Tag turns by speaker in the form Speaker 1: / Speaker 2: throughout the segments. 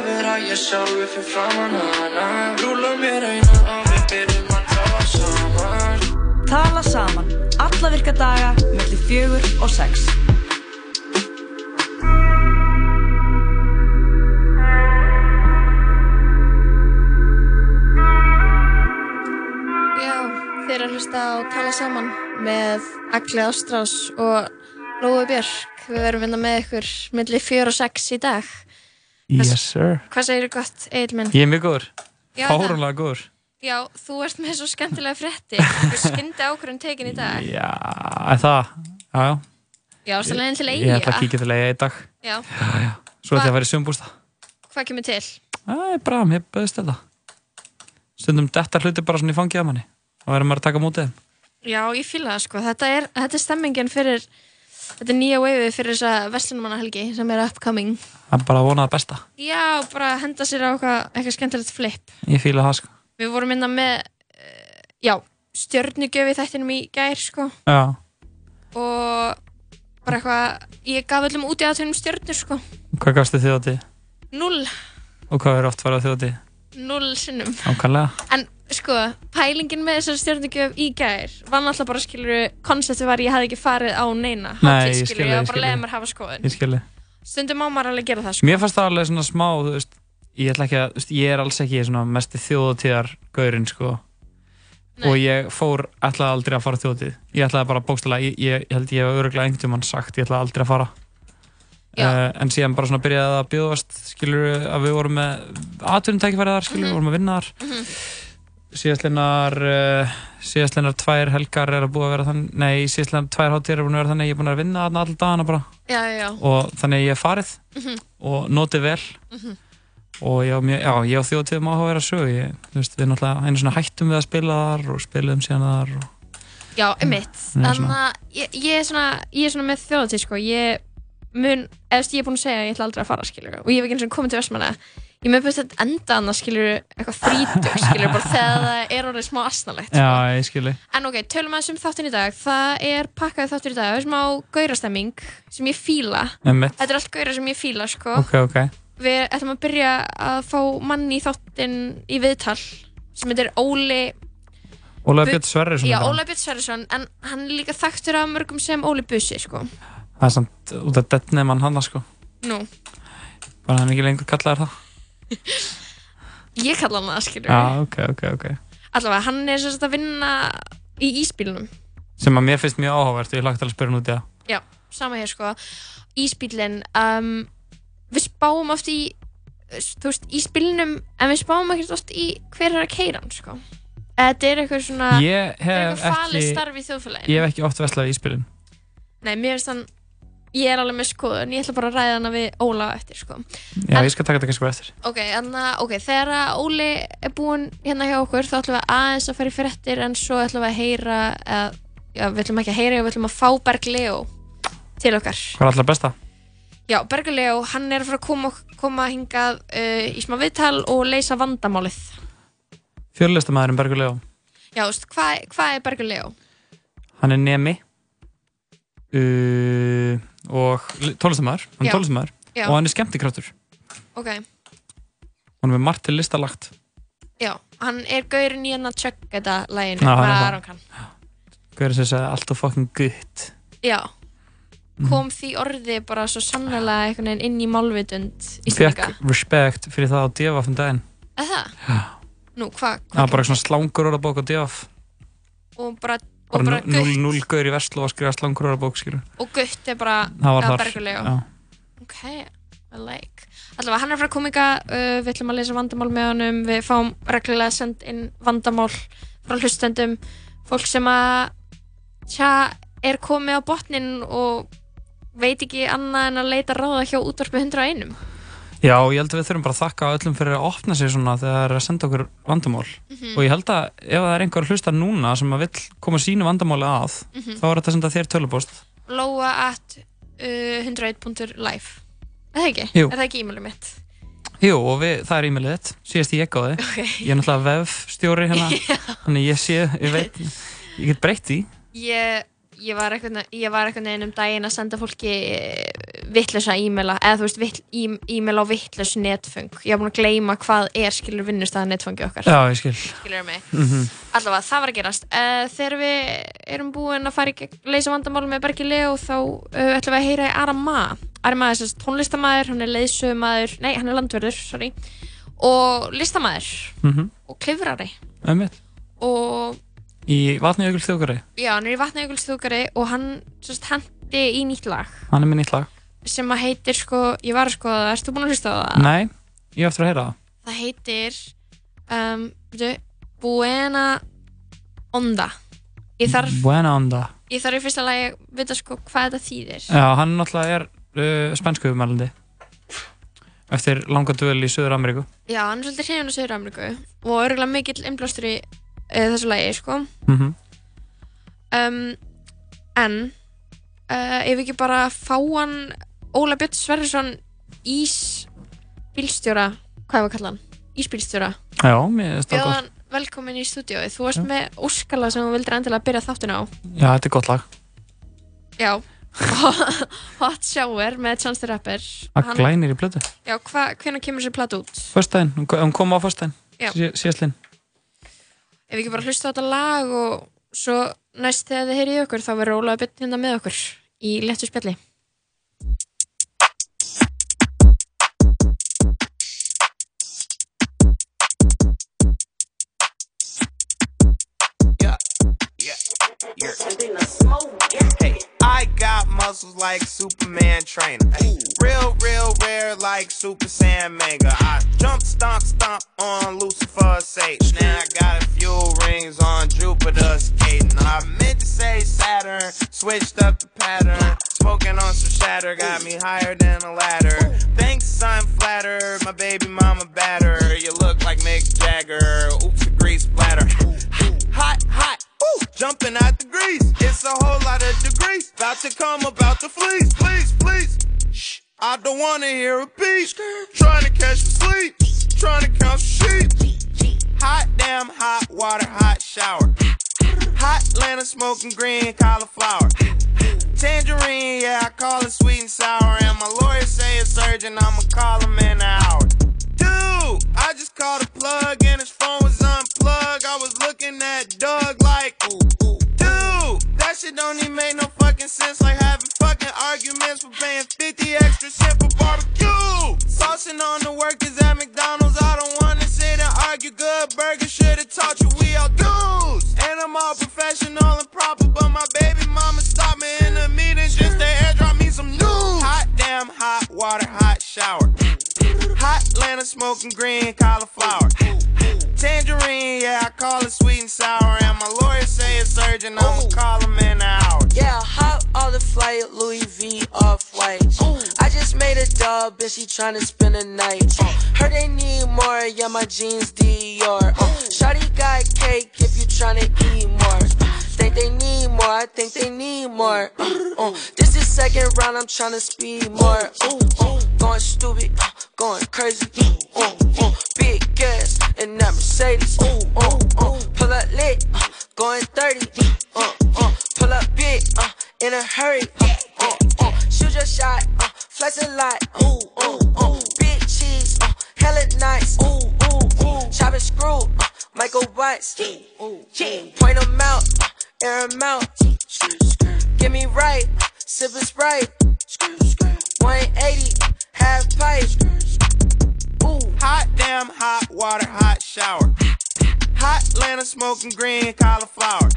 Speaker 1: sá upp fyrir framann hana Rúla mér eina og við byrjum að tala saman
Speaker 2: Tala saman. Alla virka daga, millir fjögur og sex.
Speaker 3: Já, þeir eru að hlusta á Tala Saman með Agli Ástrás og Lóa Björk. Við verum vinna með ykkur millir 4 og 6 í dag.
Speaker 4: Yes sir
Speaker 3: Hvað segir þið gott, Egil minn?
Speaker 4: Ég er mjög góður,
Speaker 3: Já,
Speaker 4: fárunlega góður
Speaker 3: Já, þú ert með svo skemmtilega frétti. Þú skyndi ákvörðum tekin í dag.
Speaker 4: Já, er það Já, já,
Speaker 3: Já, sannlega einn til
Speaker 4: ég ætla að
Speaker 3: eiga.
Speaker 4: kíkja til eiga í dag
Speaker 3: Já,
Speaker 4: Svo ætla ég
Speaker 3: Hva-
Speaker 4: að fara í sumbústa
Speaker 3: hvað kemur til?
Speaker 4: Það er bara, mér bauðst þetta Stundum detta hluti bara svona í fangið af manni Það verður maður að taka á mótið þeim
Speaker 3: Já, ég fýla það sko. Þetta er, þetta er stemmingin fyrir, þetta er nýja veifið fyrir þessa vestlunumannahelgi sem er upcoming.
Speaker 4: Það er bara að vona það besta
Speaker 3: Já, bara henda sér á eitthvað, eitthvað skemmtilegt flip.
Speaker 4: Ég fíla það sko
Speaker 3: Við vorum innan með uh, já, stjörnugjöfi þættinum í gær sko
Speaker 4: Já,
Speaker 3: og bara eitthvað ég gaf öllum út í aðtöðum stjörnur sko
Speaker 4: hvað gafstu þjóti
Speaker 3: null,
Speaker 4: og hvað er oft farað þjóti
Speaker 3: null sinnum
Speaker 4: Ákvæmlega,
Speaker 3: en sko, pælingin með þessar stjörnugjöf í gær var náttúrulega bara skilur konceptið var ég hafði ekki farið á neina
Speaker 4: Nei,
Speaker 3: hátíð,
Speaker 4: ég skil
Speaker 3: skilurðu,
Speaker 4: þig,
Speaker 3: var
Speaker 4: ég
Speaker 3: bara
Speaker 4: skil
Speaker 3: að leiða
Speaker 4: þig.
Speaker 3: mér hafa skoðun
Speaker 4: ég skilji
Speaker 3: stundum á maður alveg að gera það sko
Speaker 4: Mér fannst það alveg svona smá, þú veist Ég ætla ekki að, þú veist, ég er alls ekki svona mesti þjóðatíðar sko
Speaker 3: Nei.
Speaker 4: og ég fór, ætlaði aldrei að fara þjóðatíð Ég ætlaði bara bókstæla, ég, ég, ég held ég hef öruglega einhvern tímann sagt, ég ætlaði aldrei að fara
Speaker 3: Já.
Speaker 4: uh, en síðan bara svona byrjaði það að bjóðast skilur að við vorum með atvinnutækifæri þar,
Speaker 3: Mhm.
Speaker 4: skilur, við vorum að vinna þar mm síðastlinnar uh, síðastlinnar tvær helgar er að búa að vera þannig, nei, síðastlinnar tvær hátíðar er búin að vera þannig, að ég er búin að vinna þarna alltaf dagana bara
Speaker 3: já, já, já, Mhm.
Speaker 4: og þannig að ég hef farið og notið vel og ég á, mjög, já, ég á þjóðtíðum áhuga að vera sög ég, þú veist, við náttúrulega einu svona hættum við að spila þar og spilaðum síðan þar og,
Speaker 3: já, emitt
Speaker 4: Nei,
Speaker 3: þannig að ég, ég, er svona, ég er svona með þjóðatíð sko ég mun, eða þú veist, ég er búin að segja að ég ætla aldrei að fara skilur og ég hef ekki eins og komið til Vestmanna ég með búin að enda annað skilur eitthvað þrítug skilur bara þegar það er orðið smá asnalegt sko.
Speaker 4: já, ég skilji
Speaker 3: en ok, tölum aðeins um þáttin í dag það er pakkaði þáttur í dag, það er smá gaurastemming sem ég fíla
Speaker 4: Einmitt.
Speaker 3: þetta er allt gaurar sem ég fíla sko
Speaker 4: ok, ok,
Speaker 3: við ætlum að byrja að fá manni í þáttin í viðtal sem heitir Óli
Speaker 4: Ólega
Speaker 3: Bu-
Speaker 4: Björn Sverri
Speaker 3: já, Óla Björn Sverrisson en hann er líka þekktur af mörgum sem Óli Bussi sko
Speaker 4: það er samt út af deadnefn mann hann sko
Speaker 3: nú,
Speaker 4: bara hann er ekki lengur kallaðar það
Speaker 3: ég kalla hann það skilur
Speaker 4: já, Ah, ok, ok, ok
Speaker 3: allavega, hann er sérst að vinna í ísbílunum
Speaker 4: sem að mér finnst mjög áhugavert og ég lagt alveg að spyrja hann út í það
Speaker 3: já, sama hér sko ísbílinn um, við spáum oft í þú veist, ísbílunum en við spáum ekkert oft í hver er að keira hann sko þetta er eitthvað svona
Speaker 4: ég
Speaker 3: þetta er
Speaker 4: hef
Speaker 3: eitthvað falið
Speaker 4: ekki
Speaker 3: starf í þjóðfélaginu
Speaker 4: ég hef ekki oft veslað í spilin
Speaker 3: nei, mér finnst hann ég er alveg með skoðun, ég ætla bara að ræða hana við Óla á eftir sko
Speaker 4: já,
Speaker 3: En-
Speaker 4: ég skal taka þetta kannski bara eftir
Speaker 3: Ok, anna, ok, þegar að Óli er búinn hérna hjá okkur þá ætlum við aðeins að fara í fréttir en svo ætlum við að heyra að, já, við ætlum ekki að heyra, við ætlum að fá Berg Leo til okkar.
Speaker 4: hvað er allra besta?
Speaker 3: Já, Berg Leo, hann er að fara að koma, koma hingað uh, í smá viðtal og leysa vandamálið.
Speaker 4: fjörlistamæðurinn Bergur Leó
Speaker 3: Já, þú veist, hvað hva er Berg Leo?
Speaker 4: hann er nemi uh, og tólistamæður hann
Speaker 3: Já.
Speaker 4: er tólistamæður
Speaker 3: Já.
Speaker 4: og hann er skemmtikraftur
Speaker 3: Ok,
Speaker 4: hann er með margt til listalagt
Speaker 3: já, hann er gaurinn í hann að tjökk þetta læginu,
Speaker 4: Já, hann
Speaker 3: hvað
Speaker 4: er það.
Speaker 3: Aron kann.
Speaker 4: hver er þess að allt og fucking gutt
Speaker 3: Já, kom því orði bara svo sannlega einhvern veginn inn í málvitund í
Speaker 4: fekk respect fyrir það á devaf um daginn
Speaker 3: Er það? Nú, hvað?
Speaker 4: það
Speaker 3: Hva,
Speaker 4: var bara svona slangur orðabók á devaf
Speaker 3: og bara, og bara
Speaker 4: bara
Speaker 3: gutt
Speaker 4: 0 gaur í verslu og skrifa slangur orðabók skilur
Speaker 3: og gutt er bara
Speaker 4: það
Speaker 3: Já,
Speaker 4: var þar
Speaker 3: Bergur Leó.
Speaker 4: Já.
Speaker 3: ok, I like allavega hann er frá kominga, uh, við ætlum að leysa vandamál með honum, við fáum reglulega send inn vandamál frá hlustendum fólk sem að tja, er komið á botnin og veit ekki annað en að leita ráða hjá útvarpi 101
Speaker 4: Já, og ég held að við þurfum bara að þakka öllum fyrir að opna sig svona þegar það er að senda okkur vandamál
Speaker 3: Mhm.
Speaker 4: og ég held að ef það er einhver að hlusta núna sem að vill koma sínu vandamáli að
Speaker 3: Mhm.
Speaker 4: þá er þetta að senda þér tölupost
Speaker 3: loa at uh, 101.life er það ekki?
Speaker 4: Jú.
Speaker 3: er það ekki e-mailið mitt?
Speaker 4: Jú, og við, það er e-mailið þitt, síðast ég ekki á þig
Speaker 3: ok
Speaker 4: Ég er náttúrulega vefstjóri hérna Þannig ég sé, ég veit Ég get breytt því
Speaker 3: ég, ég var eitthvað ég var eitthvað neginn um daginn að senda fólki eh, vittlösa e-maila eða þú veist, vill, e- e-mail á vittlaus netfung ég var búin að gleyma hvað er skilur vinnustæða netfungi okkar,
Speaker 4: Já, ég skil.
Speaker 3: skilur mig
Speaker 4: Mm
Speaker 3: allavega, það var að gerast uh, þegar við erum búin að fara í gegn- leysa vandamálum með Bergi Leo þá uh, ætlum við að heyra í Ara Ma Ara Ma er sérst tónlistamæður, hann er leysumæður nei, hann er landverður, sorry og listamæður
Speaker 4: -hmm.
Speaker 3: og klifrari
Speaker 4: Ömmið.
Speaker 3: og
Speaker 4: Í Vatnajökul þjókari,
Speaker 3: já, hann er í vatnajökulsþjókari og hann sérst hendi í nýtt lag
Speaker 4: hann er minn nýtt lag.
Speaker 3: sem að heitir sko, ég var að sko það, erstu búin að hlusta á það?
Speaker 4: Nei, ég á eftir að heyra það.
Speaker 3: Það heitir um, byrju, Buena Onda ég þarf
Speaker 4: Buena onda.
Speaker 3: ég þarf í fyrsta lagi að vita sko hvað þetta þýðir
Speaker 4: Já, hann náttúrulega er uh, spænskuðumælandi. Eftir langa duvel í Suður Ameríku.
Speaker 3: já, hann er svolítið hrifin á Söður Ameríku og örgulega mikill innblástur í uh, þessu lagi sko
Speaker 4: Mm
Speaker 3: um, en uh, ef ekki bara fá hann Óla Björn Sverrisson ís bílstjóra hvað var kallan? Ísbílstjóra
Speaker 4: Já, mér finnst það gott.
Speaker 3: Bjóðan velkomin í stúdíói þú varst með óskala sem þú vildir endilega byrja þáttin á
Speaker 4: Já, þetta er gott lag.
Speaker 3: já Hot Shower með Chance the Rapper
Speaker 4: Það glænir í blötu.
Speaker 3: já, hva, hvenær kemur sér platt út?
Speaker 4: Föstæðin, hún hún kom á föstæðin.
Speaker 3: Já.
Speaker 4: Síðastlinn.
Speaker 3: ef við ekki bara hlusta á þetta lag og svo næst þegar þið heyrið í okkur þá verður Ólaður Björn hérna með okkur í léttu spjalli
Speaker 5: Hey, I got muscles like Superman trainer. Real, real rare like Super Saiyan manga. I jump, stomp, stomp on Lucifer's sake. Now I got a few rings on Jupiter skating. I meant to say Saturn, switched up the pattern. Smoking on some shatter, got me higher than a ladder. Thanks, I'm flattered. My baby mama batter. You look like Mick Jagger. Oops, a grease splatter. Hot, hot. Woo! Jumping out the grease. It's a whole lot of degrees. About to come, about to fleece. Please, please. Shh. I don't wanna hear a beat. Trying to catch some sleep. Trying to count some sheep. Hot damn, hot water, hot shower. Hot Atlanta smoking green cauliflower. Tangerine, yeah, I call it sweet and sour. And my lawyer say it's urgent, I'ma call him in an hour. Dude, I just called a plug and his phone was unplugged. I was looking at Doug like, dude, that shit don't even make no fucking sense. Like having fucking arguments for paying 50 extra cent for barbecue. Saucing on the workers at McDonald's. I don't wanna sit and argue. Good burger should've taught you we all dudes. And I'm all professional and proper, but my baby mama stopped me in the meeting just to airdrop me some news. Hot damn, hot water, hot shower. Hot Atlanta smoking green cauliflower. Tangerine, yeah, I call it sweet and sour. And my lawyer say it's urgent, I'ma call him in an hour.
Speaker 6: Yeah, hop on the flight, Louis V off white. I just made a dub, bitch, she tryna spend a night. Uh, heard they need more, yeah, my jeans Dior. Uh, Shawty got cake if you tryna eat more. Think they need more, I think they need more. Uh, uh, this is second round, I'm tryna speed more. Uh, uh, going stupid, uh, going crazy. Uh, uh, big gas in that Mercedes. Uh, uh, uh, pull up lit, uh, going 30. Uh, uh, pull up big, uh, in a hurry. Uh, uh, uh, shoot your shot, uh, flex a lot. Ooh, ooh, ooh, big cheese, uh, hella nice. Ooh, ooh, ooh, chop and screw, uh, Michael Watts. Ooh, point 'em out, uh, air 'em out. Give me right, uh, sip a sprite. 180, half pipe. Ooh.
Speaker 5: Hot damn, hot water, hot shower. Hot Atlanta smoking green cauliflower.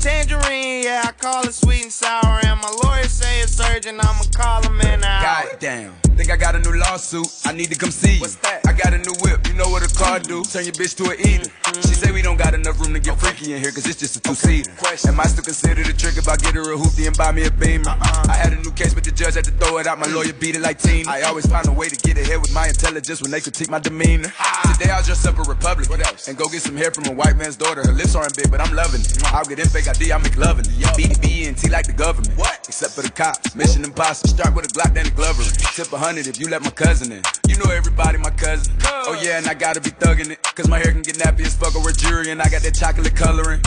Speaker 5: Tangerine, yeah, I call it sweet and sour. And my lawyer say it's urgent, I'ma call him in an hour.
Speaker 7: Goddamn. Think I got a new lawsuit. I need to come see you.
Speaker 5: What's that?
Speaker 7: I got a new whip. You know what a car do. Turn your bitch to an eater. She say we don't got enough room to get freaky in here, cause it's just a two-seater.
Speaker 5: Question.
Speaker 7: Am I still considered a trick if I get her a hoopty and buy me a beamer? I had a new case, but the judge had to throw it out. My lawyer beat it like team. I always find a way to get ahead with my intelligence when they critique my demeanor. Today I'll dress up a Republican
Speaker 5: What else?
Speaker 7: and go get some hair from a white man's daughter. Her lips aren't big, but I'm loving it. I'll get in fake ID, I'm McLovin it. BDB and T like the government.
Speaker 5: What?
Speaker 7: Except for the cops. Mission impossible. Start with a Glock, then a Glover. Tip a hundred if you let my cousin in. You know everybody, my cousin. Oh yeah, and I gotta be thugging it. Cause my hair can get nappy as fuck over jury, and I got that chocolate coloring.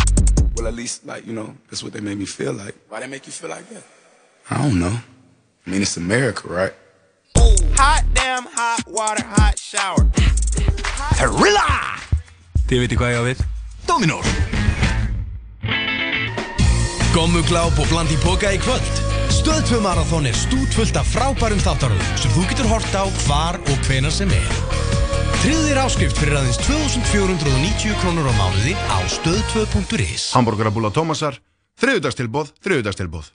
Speaker 7: Well, at least, like, you know, that's what they made me feel like. Why they make you feel like that? I don't know. I mean, it's America, right?
Speaker 5: Hot damn, hot water, hot shower.
Speaker 8: Þið veitir hvað ég á við Dominós Gommugláp og bland í poka í kvöld Stöðtvö marathón er stútfullt af frábærum þáttaröðum sem þú getur hort á hvar og hvenar sem er Tryggðir áskrift fyrir aðeins 2490 krónur á mánuði á stöðtvö.is
Speaker 9: Hamburgerabúla Tómasar, þriðudagstilbóð, þriðudagstilbóð.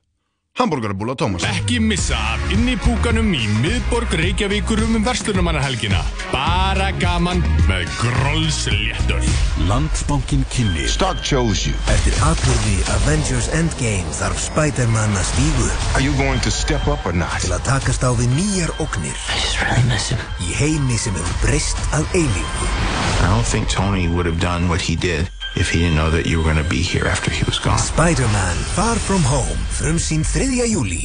Speaker 9: Hamburgerabúla Tómasar.
Speaker 10: Ekki missa af inn í púkanum í miðborg Reykjavíkur um verslunumannahelgina. Bara gaman með grólsléttur.
Speaker 8: Landsbankin kynni
Speaker 9: Stock chose you.
Speaker 11: Eftir aðbyrði Avengers Endgame þarf Spider-Man að stígu upp
Speaker 9: Are you going to step up or not?
Speaker 11: til að takast á við nýjar ógnir í heimi sem hefur breyst að eilífu.
Speaker 10: I don't think Tony would have done what he did if he didn't know that you were going to be here after he was gone.
Speaker 11: Spider-Man Far From Home frum sín 3. júli.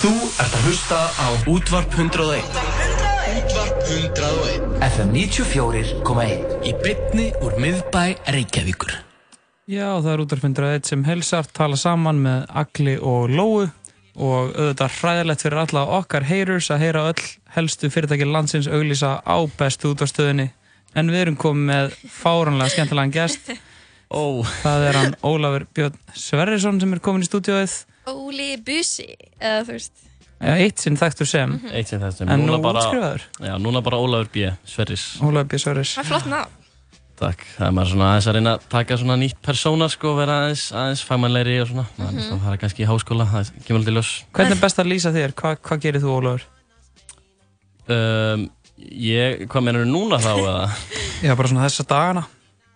Speaker 8: Þú ert að hlusta á Útvarp 101 Útvarp 101 FM 94,1 Í bytni úr miðbæ Reykjavíkur
Speaker 4: Já, það er útarfindra eitt sem helsar tala saman með Agli og Lóu og auðvitað hræðilegt fyrir alla okkar haters að heyra öll helstu fyrirtæki landsins auglýsa á bestu útvarstöðinni en við erum komið með fáránlega skemmtilegan gest
Speaker 8: Ó,
Speaker 4: það er hann Ólafur Björn Sverrisson sem er komin í stúdíóið
Speaker 3: Óli Busi, eða þú veist
Speaker 4: Já, eitt sinn þekktur sem
Speaker 3: Mhm.
Speaker 12: Eitt sem þessum
Speaker 4: en nú
Speaker 12: Núna bara,
Speaker 4: útskrifaður
Speaker 12: já, núna bara Ólafur B. Sverris
Speaker 4: Ólafur Björn Sverris
Speaker 3: Það er flott ná
Speaker 12: Takk, það er maður svona aðeins að reyna að taka svona nýtt persóna sko, vera aðeins, aðeins fagmannlegri og svona maður er að fara kannski í háskóla, það kemur aldrei ljós
Speaker 4: Hvernig er best að lýsa þér? Hva, hvað gerir þú Ólafur?
Speaker 12: um, Ég, hvað mennur núna þá eða?
Speaker 4: Já, bara svona þessa dagana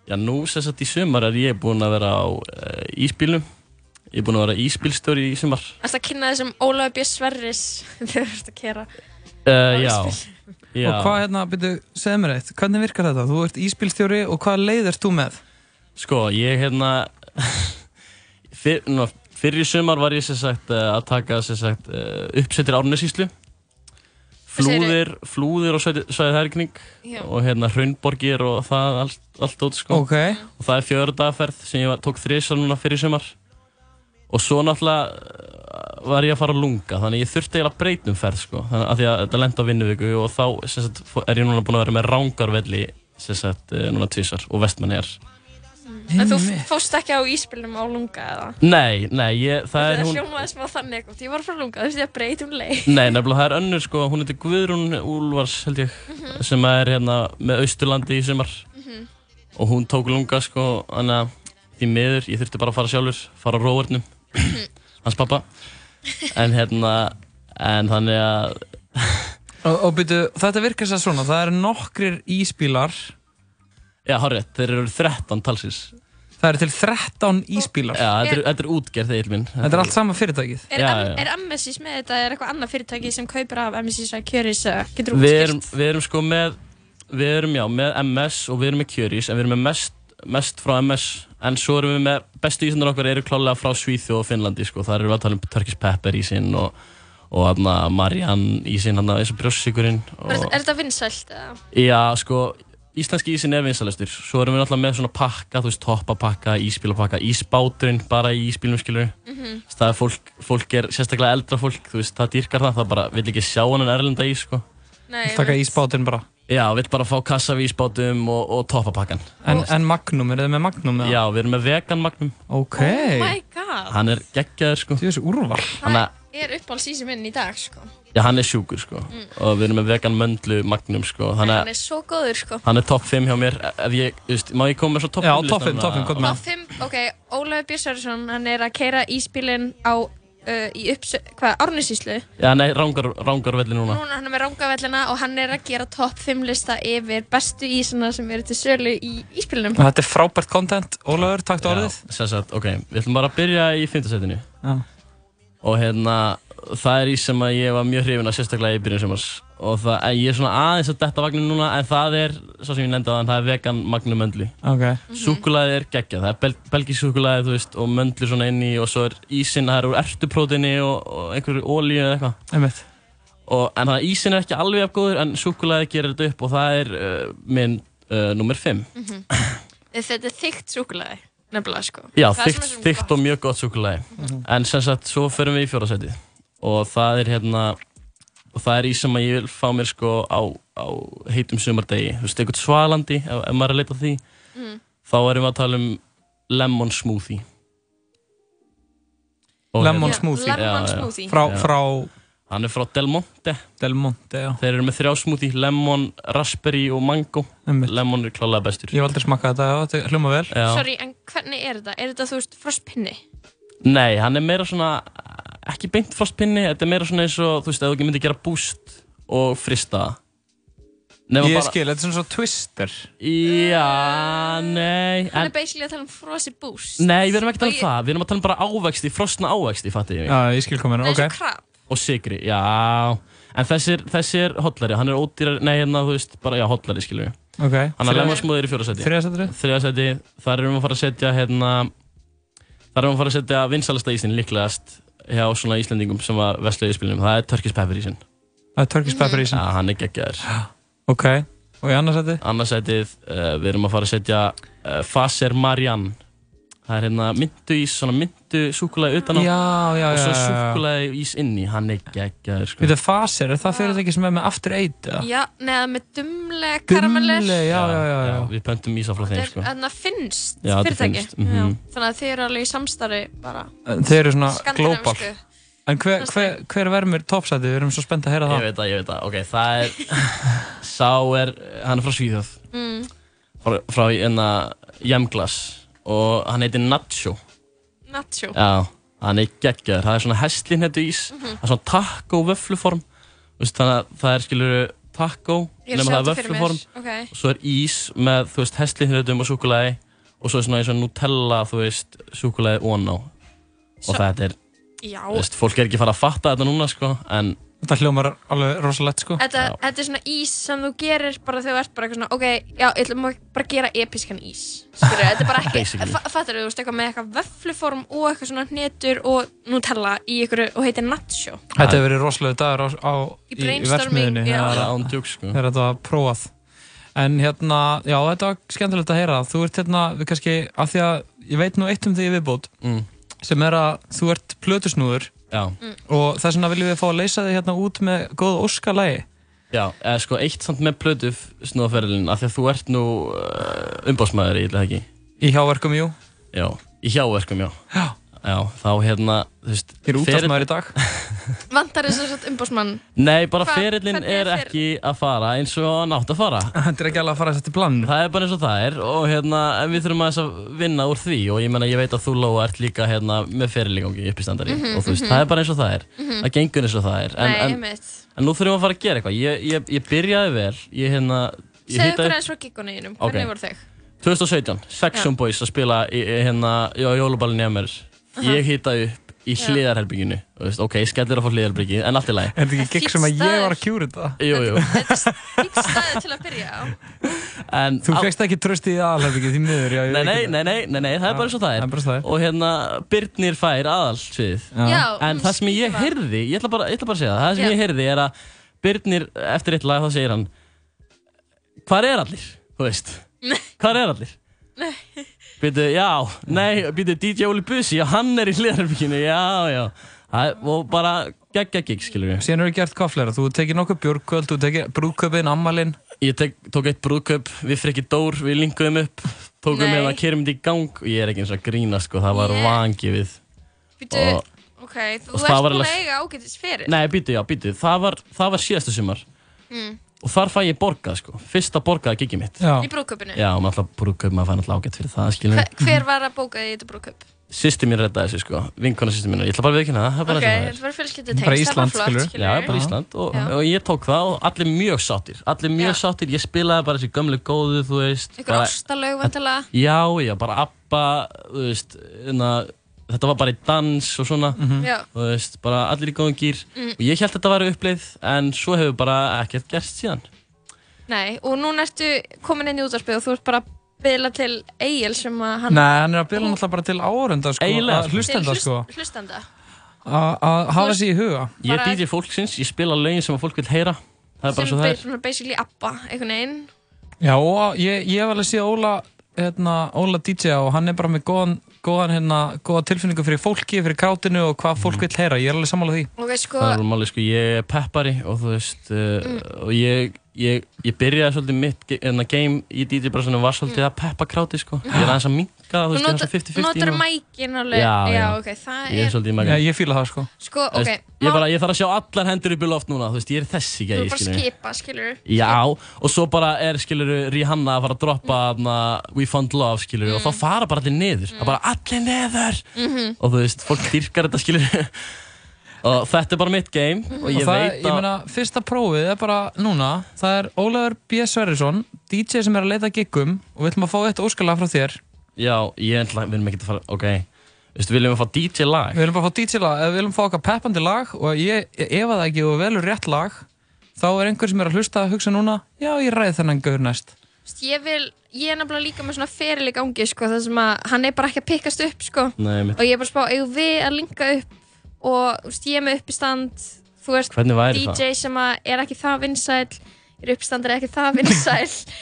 Speaker 12: Já, nú sem sagt í sumar er ég búinn að vera á uh, ísbílnum Ég er búinn að vera ísbílstjóri í sumar
Speaker 3: Það er að kynna þessum Ólafur B. Sverris þegar þú ert að kera
Speaker 12: uh, Já, já
Speaker 4: Og hvað hérna, byrju, segð mér eitt Hvernig virkar þetta? Þú ert íspilstjóri og hvað leið ert þú með?
Speaker 12: Sko, ég hérna fyr, ná, Fyrir í sumar var ég sem sagt eh, að taka sem sagt eh, uppsettir Árnesíslu
Speaker 3: segirðu?
Speaker 12: Flúðir, flúðir og svæðið hergning
Speaker 3: Já.
Speaker 12: og hérna hraunborgir og það allt, allt út sko
Speaker 4: Ok,
Speaker 12: og það er fjördagaferð sem ég var, tók þrisar núna fyrir í sumar og svo náttúrulega eh, var ég að fara að lunga þannig að ég þurfti eiginlega að breyta um ferð sko þannig að því að þetta lenda á vinnuviku og þá sem sagt, fó- er ég núna búinn að vera með rángarvelli sem sagt eh, núna tvisar og vestmanniðar
Speaker 3: En þú fóst ekki á íspilnum á lunga eða
Speaker 12: Nei, nei, ég, það er
Speaker 3: Það
Speaker 12: hún
Speaker 3: hljómaði smá þannig eitthvað Ég var frá lunga, þú veist ég að breytum leið
Speaker 12: Nei, nefnilega það er önnur sko, hún heitir Guðrún Úlfars held ég
Speaker 3: Mhm.
Speaker 12: sem er hérna með Austurlandi í sumar og hún tók lunga sko, þannig að því miður, ég þurfti bara að fara sjálfur fara á róvörnum,
Speaker 3: Mhm.
Speaker 12: hans pappa en hérna en þannig að,
Speaker 4: og, og byrju, þetta virkar sér svona Það eru nokkrir íspílar
Speaker 12: já, horrið, þeir eru 13 talsins
Speaker 4: Það eru til 13 íspílar
Speaker 12: Já, þetta er, þetta er útgerð þegar minn
Speaker 4: Þetta er allt sama fyrirtækið
Speaker 3: Er,
Speaker 12: Já,
Speaker 3: já,
Speaker 12: já.
Speaker 3: er MSIS með þetta? Er eitthvað annað fyrirtæki sem kaupir af MSIS að kjöris? eða Getur þú
Speaker 12: Við erum,
Speaker 3: útskilt?
Speaker 12: við erum sko með við erum já, með MS og við erum með Curies en við erum með mest, mest frá MS en svo erum við með, bestu ísendur okkar eru klálega frá Svíþjóð og Finnlandi sko, þar erum við að tala um Turkish Pepper ísinn og, og aðna Marian ísinn, aðna eins og brjóssikurinn
Speaker 3: Er,
Speaker 12: og,
Speaker 3: er þetta vinsælt? eða?
Speaker 12: já, sko, íslenski ísinn er vinsælastur svo erum við náttúrulega með svona pakka, þú veist, toppapakka íspílapakka, ísbáturinn bara í ísbílnum skilur
Speaker 3: Mhm.
Speaker 12: mm -hmm. það er fólk, fólk er sérstaklega eldra fólk, þú veist, það dýrkar það það bara, vill ekki sjá hann en erlenda ís sko.
Speaker 3: Nei,
Speaker 4: Taka
Speaker 3: einmitt.
Speaker 4: ísbátinn bara
Speaker 12: Já, við vill bara fá kassavísbátum og, og toppapakkan.
Speaker 4: En, en Magnum, eru þið með Magnum? eða?
Speaker 12: Já, við erum með vegan magnum.
Speaker 4: Ok,
Speaker 3: Oh my god,
Speaker 12: Hann er geggjaður, sko.
Speaker 4: þú þessi úrval
Speaker 12: Hann er,
Speaker 3: það er uppáhalds ísi minn í dag sko
Speaker 12: já, hann er sjúkur, sko. Og við erum með vegan möndlu magnum, sko.
Speaker 3: Mm. Hann
Speaker 12: Þannig
Speaker 3: er
Speaker 12: að
Speaker 3: svo góður sko
Speaker 12: hann er topp 5 hjá mér. Ef ég, þú veist, má ég koma með svo topp
Speaker 4: Já,
Speaker 12: 5
Speaker 4: topp fimm, topp fimm, gott
Speaker 3: Á
Speaker 4: með
Speaker 3: fimm, ok, Ólafur Björnsson Hann er að keira íspilin á uh, í uppsö, hvað, Árnusíslu
Speaker 12: Já, nei, rángar, rángar velli núna.
Speaker 3: Núna hann er með rangavellina og hann er að gera topp 5 lista yfir bestu ísana sem eru til sölu í íspilinum
Speaker 4: Þetta er frábært content, Ólafur, takk til orðið
Speaker 12: Já, sem sagt, ok. Við ætlum bara að byrja í 5. setinu.
Speaker 4: Já.
Speaker 12: Og hérna, það er ís sem að ég var mjög hrifin að sérstaklega í byrjun semars. Og það, en ég er svona aðeins að detta vagnum núna, en það er, svo sem ég nefndi að það er vegan magnum möndlu.
Speaker 4: Ok,
Speaker 12: Súkulaði er geggjað, það er bel belgisk súkulaði, þú veist, og möndlur svona inn í og svo er ísinn, það er úr ertupróteini og, og einhverju ólíu eða eitthvað.
Speaker 4: einmitt
Speaker 12: Og, en það ísinn er ekki alveg af góður, en súkulaði gerir þetta upp og það er uh, minn uh, nummer 5.
Speaker 3: Mhm. Þetta er þykkt súkulaði, nefnilega sko Það
Speaker 12: Já,
Speaker 3: er
Speaker 12: þykkt,
Speaker 3: svona sem
Speaker 12: þykkt
Speaker 3: gott.
Speaker 12: og mjög gott súkulaði. En sem sagt, svo förum við í fjórðasætið. og það er hérna og það er í sem að ég vil fá mér sko á, á heitum sumardegi þú veist, eitthvað svalandi, ef, ef maður er að leita að því
Speaker 3: Mm.
Speaker 12: þá erum við að tala um lemon smoothie hérna-
Speaker 4: Lemon Já, smoothie. lemon smoothie. Frá- frá-
Speaker 12: hann er frá Del Monte
Speaker 4: Del Monte, já
Speaker 12: þeir eru með þrjá smoothie, lemon, raspberry og mango
Speaker 4: Einmitt.
Speaker 12: lemon er klálega bestur
Speaker 4: Ég hef aldrei smakkað þetta, já, þetta hljóma vel
Speaker 12: Já.
Speaker 3: Sorry, en hvernig er þetta? Er þetta, þú veist, frostpinni?
Speaker 12: Nei, hann er meira svona ekki beint frostpinni, þetta er meira svona eins og þú veist, ef þú ekki myndi gera boost og frista það. Nema
Speaker 4: Ég
Speaker 12: bara-
Speaker 4: skil, þetta er svona svo twister
Speaker 12: Já, nei
Speaker 3: Hann er
Speaker 12: en,
Speaker 3: basically að tala um frosi boost
Speaker 12: Nei, við erum ekki að tala
Speaker 3: Og
Speaker 12: um
Speaker 3: ég-
Speaker 12: það, við erum að tala um bara ávexti, frostna ávexti, fattu ég
Speaker 4: Já, ég skil komin,
Speaker 3: Nei, eins og krab.
Speaker 12: Og sigri, já En þessi er, þessi er hollari, hann er ódýrar, nei, hérna, þú veist, bara, já, hollari, skilur við Hann er
Speaker 4: Ok, þriðja-
Speaker 12: lemonsmúður í fjórasæti
Speaker 4: þriðja sætinu?
Speaker 12: Þriðasæti, þar erum við að fara að setja, hérna Þar erum við að fara að setja vinsalasta ísinn líklegast hjá svona Íslendingum sem var vestlega í spilunum Það er Turkish Pepper ísinn
Speaker 4: Það er Turkish Pepper ísinn
Speaker 12: Já, hann er geggjaður
Speaker 4: Ok, og í annarsæti?
Speaker 12: Annarsætið, uh, við erum að fara að setja uh, Faser Marian Það er hérna myndu ís, svona myndu súkulega utan á
Speaker 4: Já, já,
Speaker 12: Og svo
Speaker 4: já, já, já.
Speaker 12: súkulega ís inni, hann er geggjaður sko.
Speaker 4: Við það fasir, er það fyrirtæki sem er með aftur eitt?
Speaker 3: Já, neða með dumle karameller
Speaker 4: Dumle, já, já, já, já.
Speaker 12: Við pöntum ísa frá þeim sko.
Speaker 3: Þannig að finnst
Speaker 12: Já, þetta er
Speaker 3: fyrirtæki
Speaker 12: finnst, mhm.
Speaker 3: Já, Þannig að þið eru alveg í samstarfi bara
Speaker 4: Þeir eru svona
Speaker 3: Skandinavísku.
Speaker 4: global En hver, hver, hver verður toppsæti? Við erum svo spennt að heyra
Speaker 12: Ég
Speaker 4: það
Speaker 12: veit það, ég veit það, ok, það er Sá er, hann er frá Svíþjóð
Speaker 3: Mm.
Speaker 12: frá, frá enna Jemglas og hann heitir Nacho
Speaker 3: Nacho
Speaker 12: Já, hann er geggjaður, það er svona hestlinn hættu ís
Speaker 3: Mhm.
Speaker 12: það er svona taco vöfluform Vist, þannig að það er skilur taco
Speaker 3: Ég er að
Speaker 12: nema
Speaker 3: sjá
Speaker 12: það er
Speaker 3: þetta fyrir mér,
Speaker 12: vöfluform
Speaker 3: ok.
Speaker 12: og svo er ís með, þú veist, hestlinn og súkulegi og svo er svona eins og Nutella, þú veist, súkulegi oná og
Speaker 3: Svo-
Speaker 12: þetta er,
Speaker 3: Já.
Speaker 12: þú veist, fólk er ekki fara að fatta þetta núna, sko, en
Speaker 4: Þetta hljómar alveg rosalegt, sko
Speaker 3: þetta, þetta er svona ís sem þú gerir bara þegar þú ert bara eitthvað svona Ok, já, ég ætlum að bara gera episkan ís Skilur, þetta er bara ekki
Speaker 12: Basically.
Speaker 3: fa- Fattar þú, veist, eitthvað með eitthvað vöfluform og eitthvað svona hnetur og Nutella í ykkur og heitir Nacho
Speaker 4: Þetta hefur verið rosalega dagur á, á,
Speaker 3: Í
Speaker 4: í, í,
Speaker 3: brainstorming,
Speaker 4: verksmiðunni
Speaker 3: já. Já,
Speaker 4: þegar-
Speaker 12: án djóks, sko.
Speaker 4: þegar þetta var prófað En hérna, já þetta var skemmtilegt að heyra Þú ert hérna, við kannski, af því að ég veit nú eitt um því í viðbót
Speaker 12: Mm.
Speaker 4: sem er að þú ert plötusnúður
Speaker 12: já.
Speaker 3: Mm.
Speaker 4: og þess vegna viljum við fá að leysa þig hérna út með góð óskalægi
Speaker 12: Já, eða sko eitt samt með plötu snúðaferðilin af því að þú ert nú uh, umbásmaður í það ekki
Speaker 4: Í hjáverkum, jú
Speaker 12: Já, í hjáverkum, já
Speaker 4: Já,
Speaker 12: þá hérna, þú veist
Speaker 4: Þið eru
Speaker 12: ferill-
Speaker 4: útvarpsmaður í dag
Speaker 3: Vantar þess að þetta umbásmann
Speaker 12: Nei, bara
Speaker 3: Hva-
Speaker 12: ferillin
Speaker 3: hvernig er
Speaker 12: er
Speaker 3: fer-
Speaker 12: ekki að fara eins og hann átt að fara
Speaker 4: Þetta er ekki alveg að fara þetta plan
Speaker 12: Það er bara eins og það er og hérna, en við þurfum aðeins að vinna úr því og ég menna, ég veit að þú Lóa ert líka hérna með ferilíkangi uppistandari
Speaker 3: Mhm,
Speaker 12: og þú veist,
Speaker 3: mhm.
Speaker 12: það er bara eins og það er
Speaker 3: Mhm.
Speaker 12: Það gengur eins og það er en,
Speaker 3: Nei,
Speaker 12: en,
Speaker 3: einmitt.
Speaker 12: en nú þurfum við að fara að gera eitthvað Ég, ég, ég byrjaði vel, ég hérna ég
Speaker 3: Segðu
Speaker 12: hitaði-
Speaker 3: okkur aðeins frá giggunni þínum,
Speaker 12: Ok.
Speaker 3: hvernig voru þau?
Speaker 12: 2017,
Speaker 3: Já.
Speaker 12: Saxon um Boys að spila í, í, hérna, já, jóluballin í Amer Ég hitaði upp í
Speaker 3: Já.
Speaker 12: hliðarherbygginu Þú veist, Ok, skellir að fá hliðarherbyggið, en allt í lagi
Speaker 4: Er þetta ekki gig sem að ég var að kjúra þetta?
Speaker 12: Jú, jú
Speaker 3: Staðið til að byrja á
Speaker 12: en,
Speaker 4: Þú fegst ekki tröst í aðalherbyggið því miður já, ég
Speaker 12: Nei,
Speaker 4: veit
Speaker 12: nei,
Speaker 4: þetta.
Speaker 12: nei, nei, nei, nei, það er bara svo það er, bara það er. Og hérna, Byrnir fær aðall svið
Speaker 4: Já,
Speaker 12: En
Speaker 4: hún
Speaker 12: það sem ég heyrði, ég ætla bara, ég ætla bara að segja það Það sem
Speaker 3: Já.
Speaker 12: ég heyrði er að Byrnir, eftir eitt lag, þá segir hann Hvar er allir? Þú veist, hvar er allir?
Speaker 3: Nei.
Speaker 12: Býtu, já, nei, býtu, DJ Óli Bussi, já, hann er í hliðarbygginu, já, já. Það, er- og bara geggja gig, skilur við.
Speaker 4: Síðan eru gert hvað fleira, þú tekir nokkuð björgkvöld, þú tekir brúðköpinn, ammalinn
Speaker 12: Ég tek, tók eitt brúðkaup, við frekki Dór, við linkuðum upp, tókum
Speaker 3: Nei.
Speaker 12: hérna kermit í gang og ég er ekki eins og að grína, sko, það var
Speaker 3: Ég-
Speaker 12: yeah. vangifið.
Speaker 3: Býtu,
Speaker 12: Og-
Speaker 3: ok,
Speaker 12: og
Speaker 3: þú
Speaker 12: það
Speaker 3: ert
Speaker 12: var
Speaker 3: búin að
Speaker 12: alveg-
Speaker 3: eiga ágætis fyrir
Speaker 12: Nei, býtu, já, býtu, það var, það var síðasta sumar
Speaker 3: mm.
Speaker 12: og þar fæ ég borgað, sko, fyrsta borgaða gigið mitt.
Speaker 4: Já.
Speaker 3: Í brúðkaupinu?
Speaker 12: Já, og náttúrulega brúðkaup, maður fær náttúrulega ágætt fyrir það, skilur
Speaker 3: Hver,
Speaker 12: við.
Speaker 3: hver var að bóka því þetta brúðkaup?
Speaker 12: Sýsti mín reddaði þessu, sko, vinkona sýsti mín, ég ætla bara að viðkynna það, það er bara
Speaker 3: Ok,
Speaker 12: eins og það er.
Speaker 3: þetta var fjölskyldu tengst, það
Speaker 12: bara
Speaker 3: var
Speaker 12: Ísland
Speaker 3: flott,
Speaker 12: skilur
Speaker 3: skilur
Speaker 12: já, bara Ísland og, og ég tók það og allir mjög sáttir allir mjög sáttir, ég spilaði bara þessi gömlu góðu þú veist
Speaker 3: Ykkur
Speaker 12: bara,
Speaker 3: ástalög vantilega
Speaker 12: já, já, bara Abba þú veist, na, þetta var bara í dans og svona
Speaker 3: Mhm. Já.
Speaker 12: þú veist, bara allir í góðum gýr
Speaker 3: Mm.
Speaker 12: og ég held þetta væri uppleið en svo hefur bara ekkert gerst síðan
Speaker 3: Nei, og núna ertu komin inn í útvarpið og þú ert bara að bila til Egil sem að hann
Speaker 4: Nei, hann er að bila náttúrulega bara til áhörunda sko,
Speaker 12: Eiginlega,
Speaker 4: að
Speaker 12: sko.
Speaker 4: hlustenda
Speaker 3: Til
Speaker 4: sko
Speaker 3: hlust- Hlustenda
Speaker 4: að að hafa sér í huga
Speaker 12: ég er
Speaker 3: Bara-
Speaker 12: DJ fólksins, ég spila lögin sem að fólk vil heyra það er bara
Speaker 3: sem
Speaker 12: svo það er
Speaker 3: ba- basically abba, einhvern veginn
Speaker 4: Já, og ég, ég hef alveg séð Óla hérna, Óla DJ og hann er bara með góðan góðan, hérna, góða tilfinningu fyrir fólki, fyrir krátinu og hvað fólk vil heyra, ég er alveg sammála því
Speaker 3: Ok, sko,
Speaker 12: Það er alveg máli, sko, ég er peppari og þú veist, uh,
Speaker 3: Mm.
Speaker 12: og ég, ég, ég byrjaði svolítið mitt ge- hérna, game í DJ Brassunum var svolítið að peppa kráti, sko. Ég er aðeins að minka, þú
Speaker 3: Mm. Ah. þú
Speaker 12: veist, ég er aðeins
Speaker 3: notar
Speaker 12: að 50-50.
Speaker 3: notar
Speaker 12: núna.
Speaker 3: mækin alveg
Speaker 12: Já, já.
Speaker 3: ok, það
Speaker 12: Ég er
Speaker 3: er
Speaker 12: svolítið í mækina.
Speaker 4: Já, ég fíla það, sko.
Speaker 3: Sko,
Speaker 12: Þú veist,
Speaker 3: ok,
Speaker 12: Ég,
Speaker 3: mál-
Speaker 12: bara, ég þarf að sjá allar hendur upp í loft núna, þú veist, ég er
Speaker 3: Þú
Speaker 12: þessi gæi,
Speaker 3: er bara að
Speaker 12: skilurðu.
Speaker 3: skipa, skilur
Speaker 12: Já, og svo bara er, skilur, Rihanna að fara að droppa mm. We Found Love, skilur, og
Speaker 3: Mm.
Speaker 12: þá fara bara allir niður. Það er bara allir niður!
Speaker 4: Mhm.
Speaker 12: Og þú veist, fólk dyrkar þetta, skilur. og þetta er bara mitt game, og ég
Speaker 4: það,
Speaker 12: veit
Speaker 4: ég
Speaker 12: að...
Speaker 4: meina, fyrsta prófið er bara núna það er Ólafur B. Sverrisson DJ sem er að leita giggum og við ætlum að fá eitt óskalag frá þér
Speaker 12: Já, ég ætla, við erum ekkert að fara, ok. Þú veist, viljum við fá DJ lag?
Speaker 4: við viljum bara fá DJ lag, eða við viljum fá okkar peppandi lag og ég, ég ef að það ekki og velur rétt lag þá er einhver sem er að hlusta að hugsa núna já, ég ræði þennan gaur næst
Speaker 3: Vist, ég vil, ég er nefnilega líka með svona feril í gangi sko, það sem að hann er bara ekki að pikkast upp sko.
Speaker 12: Nei, mitt.
Speaker 3: og ég er bara að spá, eigum við að linka upp og þú veist, ég er með uppistand þú veist,
Speaker 12: Hvernig væri
Speaker 3: DJ
Speaker 12: það?
Speaker 3: sem að er ekki það vinsæl er uppstandur ekki það vinsæl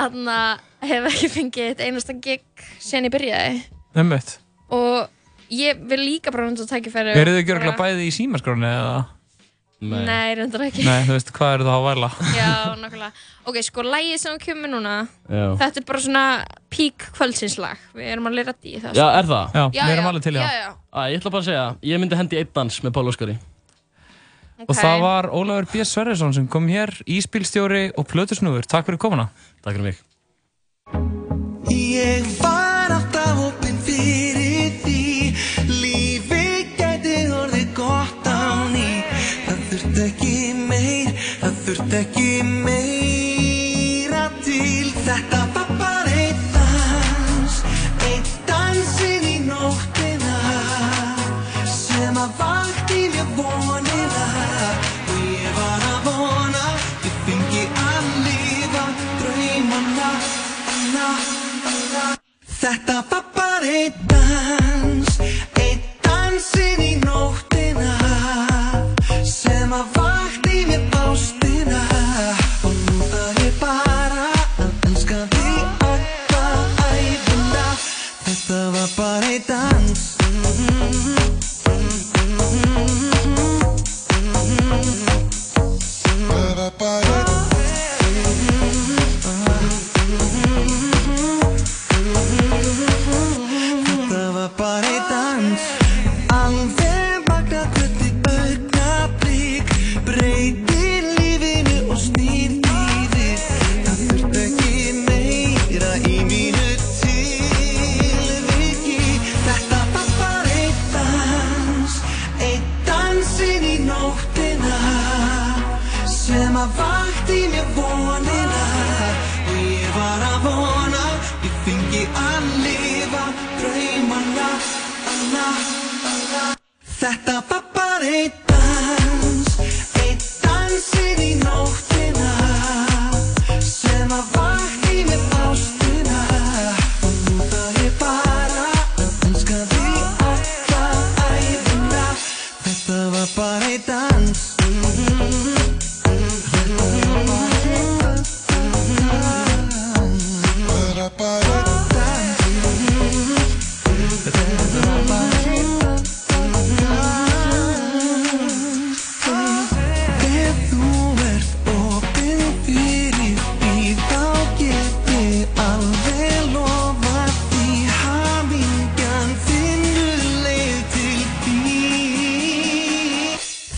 Speaker 3: þannig að hef ekki fengið eitt einasta gig sen ég byrjaði
Speaker 4: Ummitt.
Speaker 3: og ég vil líka bara hundra tækifæri
Speaker 4: Eru þið ekki örgulega bæði í símaskráni eða?
Speaker 3: Nei. Nei, reyndar ekki.
Speaker 4: Nei, þú veist, hvað eru það að væla?
Speaker 3: Já, nokkulega. Ok, sko, lægið sem við kemur núna,
Speaker 4: Já.
Speaker 3: þetta er bara svona pík kvöldsinslag. Við erum alveg rætti í það.
Speaker 12: Já,
Speaker 3: sko.
Speaker 12: er það?
Speaker 3: Já, já, Já, já,
Speaker 12: Æ, ég ætla bara að segja, ég myndi hendi einn dans með Pál Óskari.
Speaker 4: Og það var Ólafur B. Sverrisson sem kom hér, íspilstjóri og plötusnúður. Takk fyrir komuna.
Speaker 12: Takk fyrir mig.
Speaker 13: Ég var alltaf opinn fyrir því Lífi gæti orðið gott á ný Það þurft ekki meir, það þurft ekki meira til Þetta var bara einn dans Einn dansin í nóttina Sem að vakti mér vonina Og ég var að vona Ég fengi að lifa draumana Na, na Þetta var bara einn dans, einn dansinn í nóttina sem að vakti mér ástina og nú þarf ég bara að elska þig alla æfina Þetta var bara einn dans Það var bara einn Þetta var bara í dans Alveg magna hvernig augnablík Breytir lífinu og snýr í þig Það þurft ekki meira í mínu tilviki Þetta var bara í dans Einn dansinn í nóttina Sem að vakti mér vonina Og ég var að vona Ég fengi að lifa draumana na, na. Þetta var bara einn dans Einn dansinn í nóttina Sem að vakti mér ástina Og nú þarf ég bara Að elska þig alla æfina Þetta var bara einn dans Ef þú ert opinn fyrir því þá get ég alveg lofað því hamingjan finnur leið til því.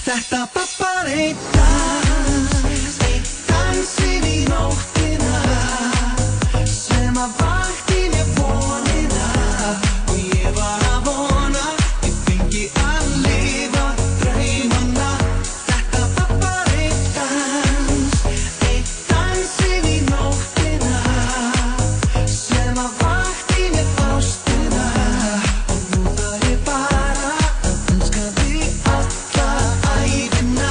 Speaker 13: Þetta var bara einn dans, einn dansinn í nóttina sem að vakti mér vonina og ég var að vona ég fengi að lifa draumana Þetta var bara einn dans, einn dansinn í nóttina sem að vakti mér ástina og nú þarf ég bara að elska þig alla æfina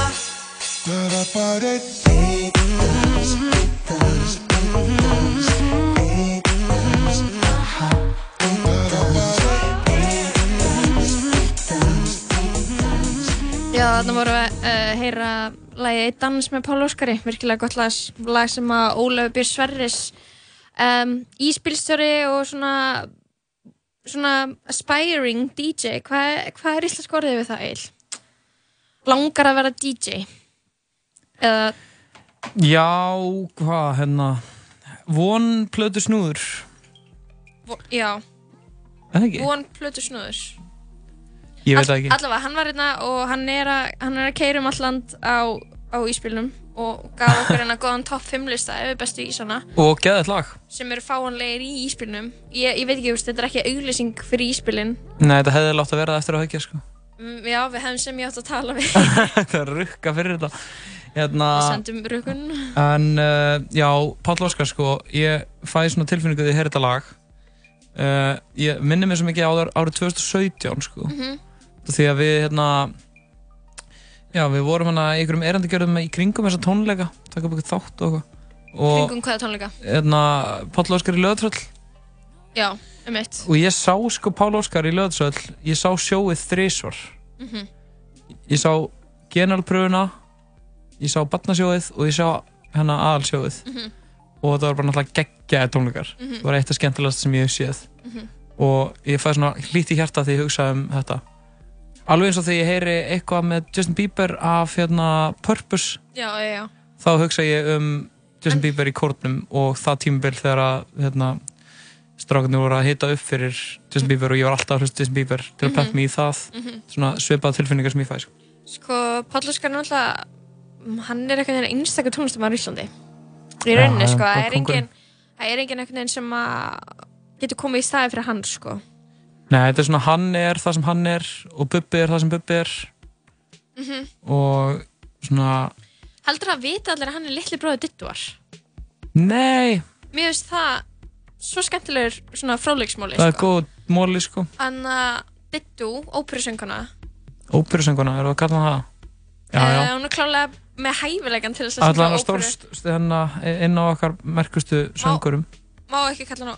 Speaker 13: Það var bara einn dans, einn dans, einn dans, einn dans aha, einn dans, einn dans, einn dans, einn dans
Speaker 3: já þannig vorum við að uh, heyra lægið Eitt dans með Pál Óskari, virkilega gott lag, lag sem að Ólafur Björn Sverris um, íspilstjóri og svona svona aspiring DJ hvað, hvað er íslensk orðið við það eil? Langar að vera DJ eða
Speaker 4: Já, hvað, hérna Von plötu snúður
Speaker 3: vo- já,
Speaker 4: Er það ekki?
Speaker 3: von plötu snúður
Speaker 4: Ég veit það ekki
Speaker 3: allavega, hann var hérna og hann er að, hann er að keira um alland á, á íspilnum og gaf okkur hérna góðan topp 5 lista ef við bestu ísana
Speaker 4: Og geðið lag
Speaker 3: sem eru fáanlegir í íspilnum ég, ég veit ekki, þú veist, þetta er ekki auglýsing fyrir íspilin
Speaker 4: Nei, þetta hefði látt að vera það eftir að haugja sko.
Speaker 3: Mm, Já, við hefum sem ég átt að tala við
Speaker 4: Þetta er rukka fyrir þetta hérna,
Speaker 3: Við sendum rökun
Speaker 4: En uh, já, Páll Óskar sko Ég fæði svona tilfinningu því að heyra þetta lag uh, Ég minni mig svo mikið á það árið 2017 sko
Speaker 3: Mhm.
Speaker 4: Því að við hérna Já, við vorum hérna í einhverjum erandigjörðum í kringum þessa tónleika Takk upp eitthvað þátt og eitthvað Og
Speaker 3: Kringum hvaða tónleika?
Speaker 4: Hérna, Páll Óskar í löðtröll
Speaker 3: Já, um eitt
Speaker 4: Og ég sá sko Pál Óskar í löðtröll Ég sá sjóið þrísvar
Speaker 3: Mhm.
Speaker 4: ég sá genalpröfuna ég sá barnasjóðið og ég sá hérna aðalsjóðið
Speaker 1: Mhm.
Speaker 4: og þetta var bara náttúrulega geggjaði tónleikar
Speaker 1: Mhm.
Speaker 4: það var eitt af skemmtilegast sem ég hef séð
Speaker 1: Mhm.
Speaker 4: og ég fæði svona hlýtt í hjarta því ég hugsaði um þetta alveg eins og þegar ég heyri eitthvað með Justin Bieber af hérna Purpose
Speaker 3: Já, já, já
Speaker 4: þá hugsa ég um Justin Bieber í kórnum og það tímabil þegar að hérna, strákarnir voru að hita upp fyrir Justin Bieber og ég var alltaf að hlusta Justin Bieber til að
Speaker 3: Mhm.
Speaker 4: pent mig í það
Speaker 3: Mhm.
Speaker 4: svona svipaða tilfinningar sem ég fæði sko.
Speaker 3: Sko, Páll Óskar er náttúrulega mm, Hann er einhvern veginn einstakar tónlistamæður í Íslandi Í rauninni,
Speaker 4: Já, hann er
Speaker 3: sko
Speaker 4: bara
Speaker 3: Það er
Speaker 4: kóngurinn.
Speaker 3: enginn Það er enginn einhvern veginn sem að Getur komið í staði fyrir hann, sko
Speaker 4: Nei, þetta er svona hann er það sem hann er og Bubbi er það sem Bubbi er
Speaker 3: mm -hmm.
Speaker 4: og svona,
Speaker 3: Heldur að vita allir að hann er litli bróði Dittuar
Speaker 4: nei,
Speaker 3: Mér finnst það Svo skemmtilegur svona fráleiksmáli
Speaker 4: það er
Speaker 3: sko.
Speaker 4: góð móli sko,
Speaker 3: Anna Dittu, óperusönguna
Speaker 4: óperusönguna, er það að kalla hann það? Já, já,
Speaker 3: Eh, Hún er klálega með hæfilegan til þess að
Speaker 4: allan
Speaker 3: syngja
Speaker 4: að
Speaker 3: óperu.
Speaker 4: stórst hennar hérna, inn á okkar merkustu söngurum.
Speaker 3: Má ekki kalla hann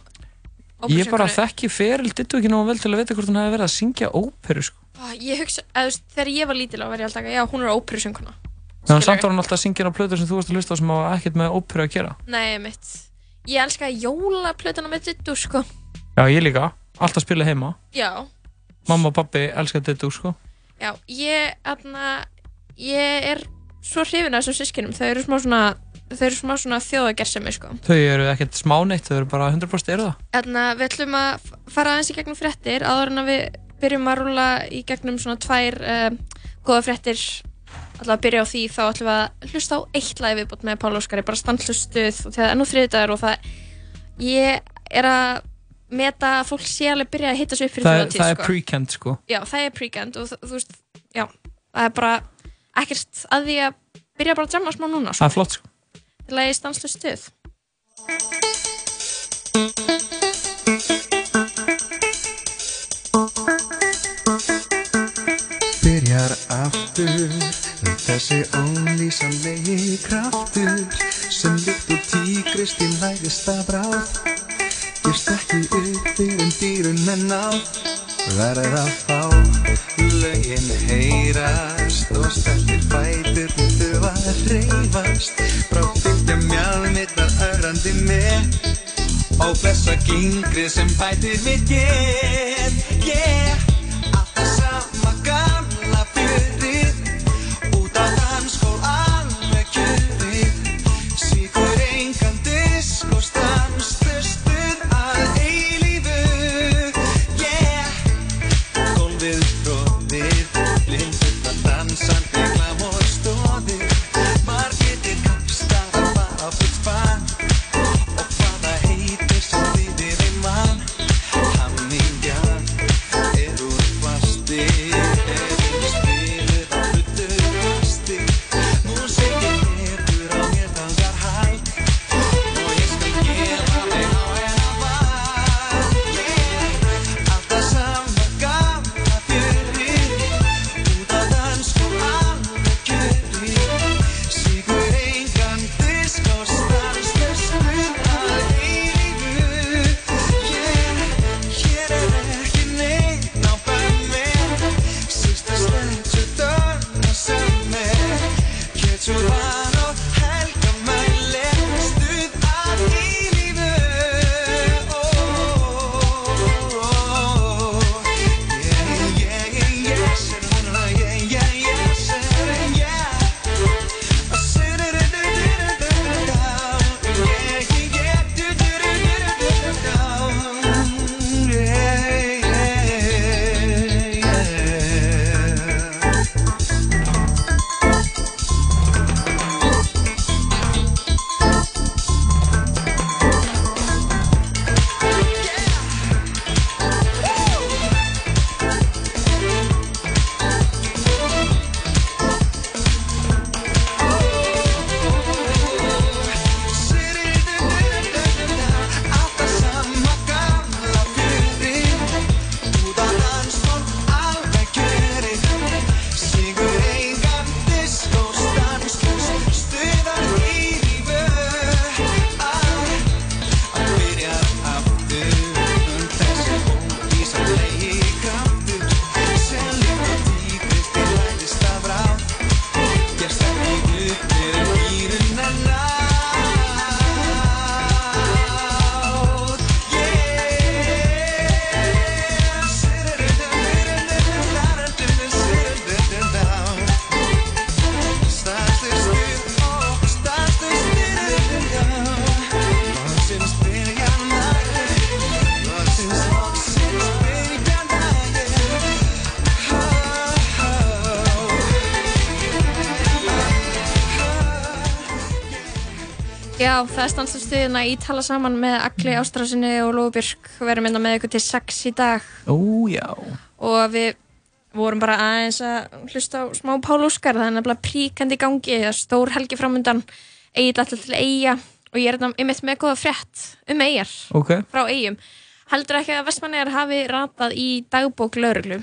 Speaker 3: óperusönguna
Speaker 4: Ég bara þekki feril, dittu ekki nógu vel til að vita hvort hún hefði verið að syngja óperu sko.
Speaker 3: Ó, Ég hugsa, eða, þú veist, þegar ég var lítil á var ég alltaf að já, hún er óperusönguna
Speaker 4: En samt var hún alltaf að syngja á plötu sem þú varst að hlusta á sem á ekkert með óperu að gera.
Speaker 3: Nei, mitt Ég elskaði jólaplötuna með Dittu, sko
Speaker 4: Já, ég líka, alltaf að spila heima.
Speaker 3: Já,
Speaker 4: Mamma og pappi elska dittu sko.
Speaker 3: já, ég, aðna Ég er svo hrifin af þessum sískinum Þau eru smá svona, þau eru smá svona þjóðagersemi, sko
Speaker 4: Þau eru ekkert smáneitt, þau eru bara 100% eru það.
Speaker 3: Þannig við ætlum að f- fara aðeins í gegnum fréttir áður en að við byrjum að rúla í gegnum svona tvær uh, góða fréttir alltaf að byrja á því þá ætlum við að hlusta á eitt lagi viðbútt með Pála Óskari bara standlustuð og þegar ennú þriðdagur og það ég er að meta að fólk sé alveg byrja að hitta svo upp fyrir
Speaker 4: Það,
Speaker 3: þjóðatíð
Speaker 4: það er
Speaker 3: sko.
Speaker 4: pre-kent sko.
Speaker 3: Já, það er pre-gend og þ- þú veist, já, það er bara ekkert að því að byrja bara að jamma smá núna
Speaker 4: Það
Speaker 3: sko.
Speaker 4: er flott sko.
Speaker 3: Lagi stanslaust
Speaker 13: Byrjar aftur Þessi ólýsanlegi kraftur Sem líkt og tígrist í læðist að bráð Gerst ekki upp fyrir dýrun en náð Verð að fá Lögin heyrast Og steltir fætur Þau að reyfast Frá fylgja mjálmittar öðrandi með Á þessa gingri sem bætir við get Yeah Það sama gamla fjörið Út á dansgól alveg kjörið Sýkur engan disk og stanslöstur að eilífu Yeah Gólfið tróðið Blindurna dansandi glam og stóðið Margetir kapstar að fara á fullt fann Og hvaða heitir sem þýðir ein mann Hamingjan er úr plasti sko
Speaker 3: Já, það er stansast stuðina í tala saman með
Speaker 4: Mm.
Speaker 3: Agli Ástrásinni og Lófbjörk verum enda hérna með ykkur til sex í dag
Speaker 4: Ó, já.
Speaker 3: og við vorum bara aðeins að hlusta á smá Pál Óskar það er nefnilega príkandi í gangi það er stór helgi framundan eigið alltaf til eiga og ég er þetta einmitt með góða frétt um eigar
Speaker 4: Ok.
Speaker 3: frá eigum heldur ekki að vestmannegar hafi ratað í dagbók lauruglu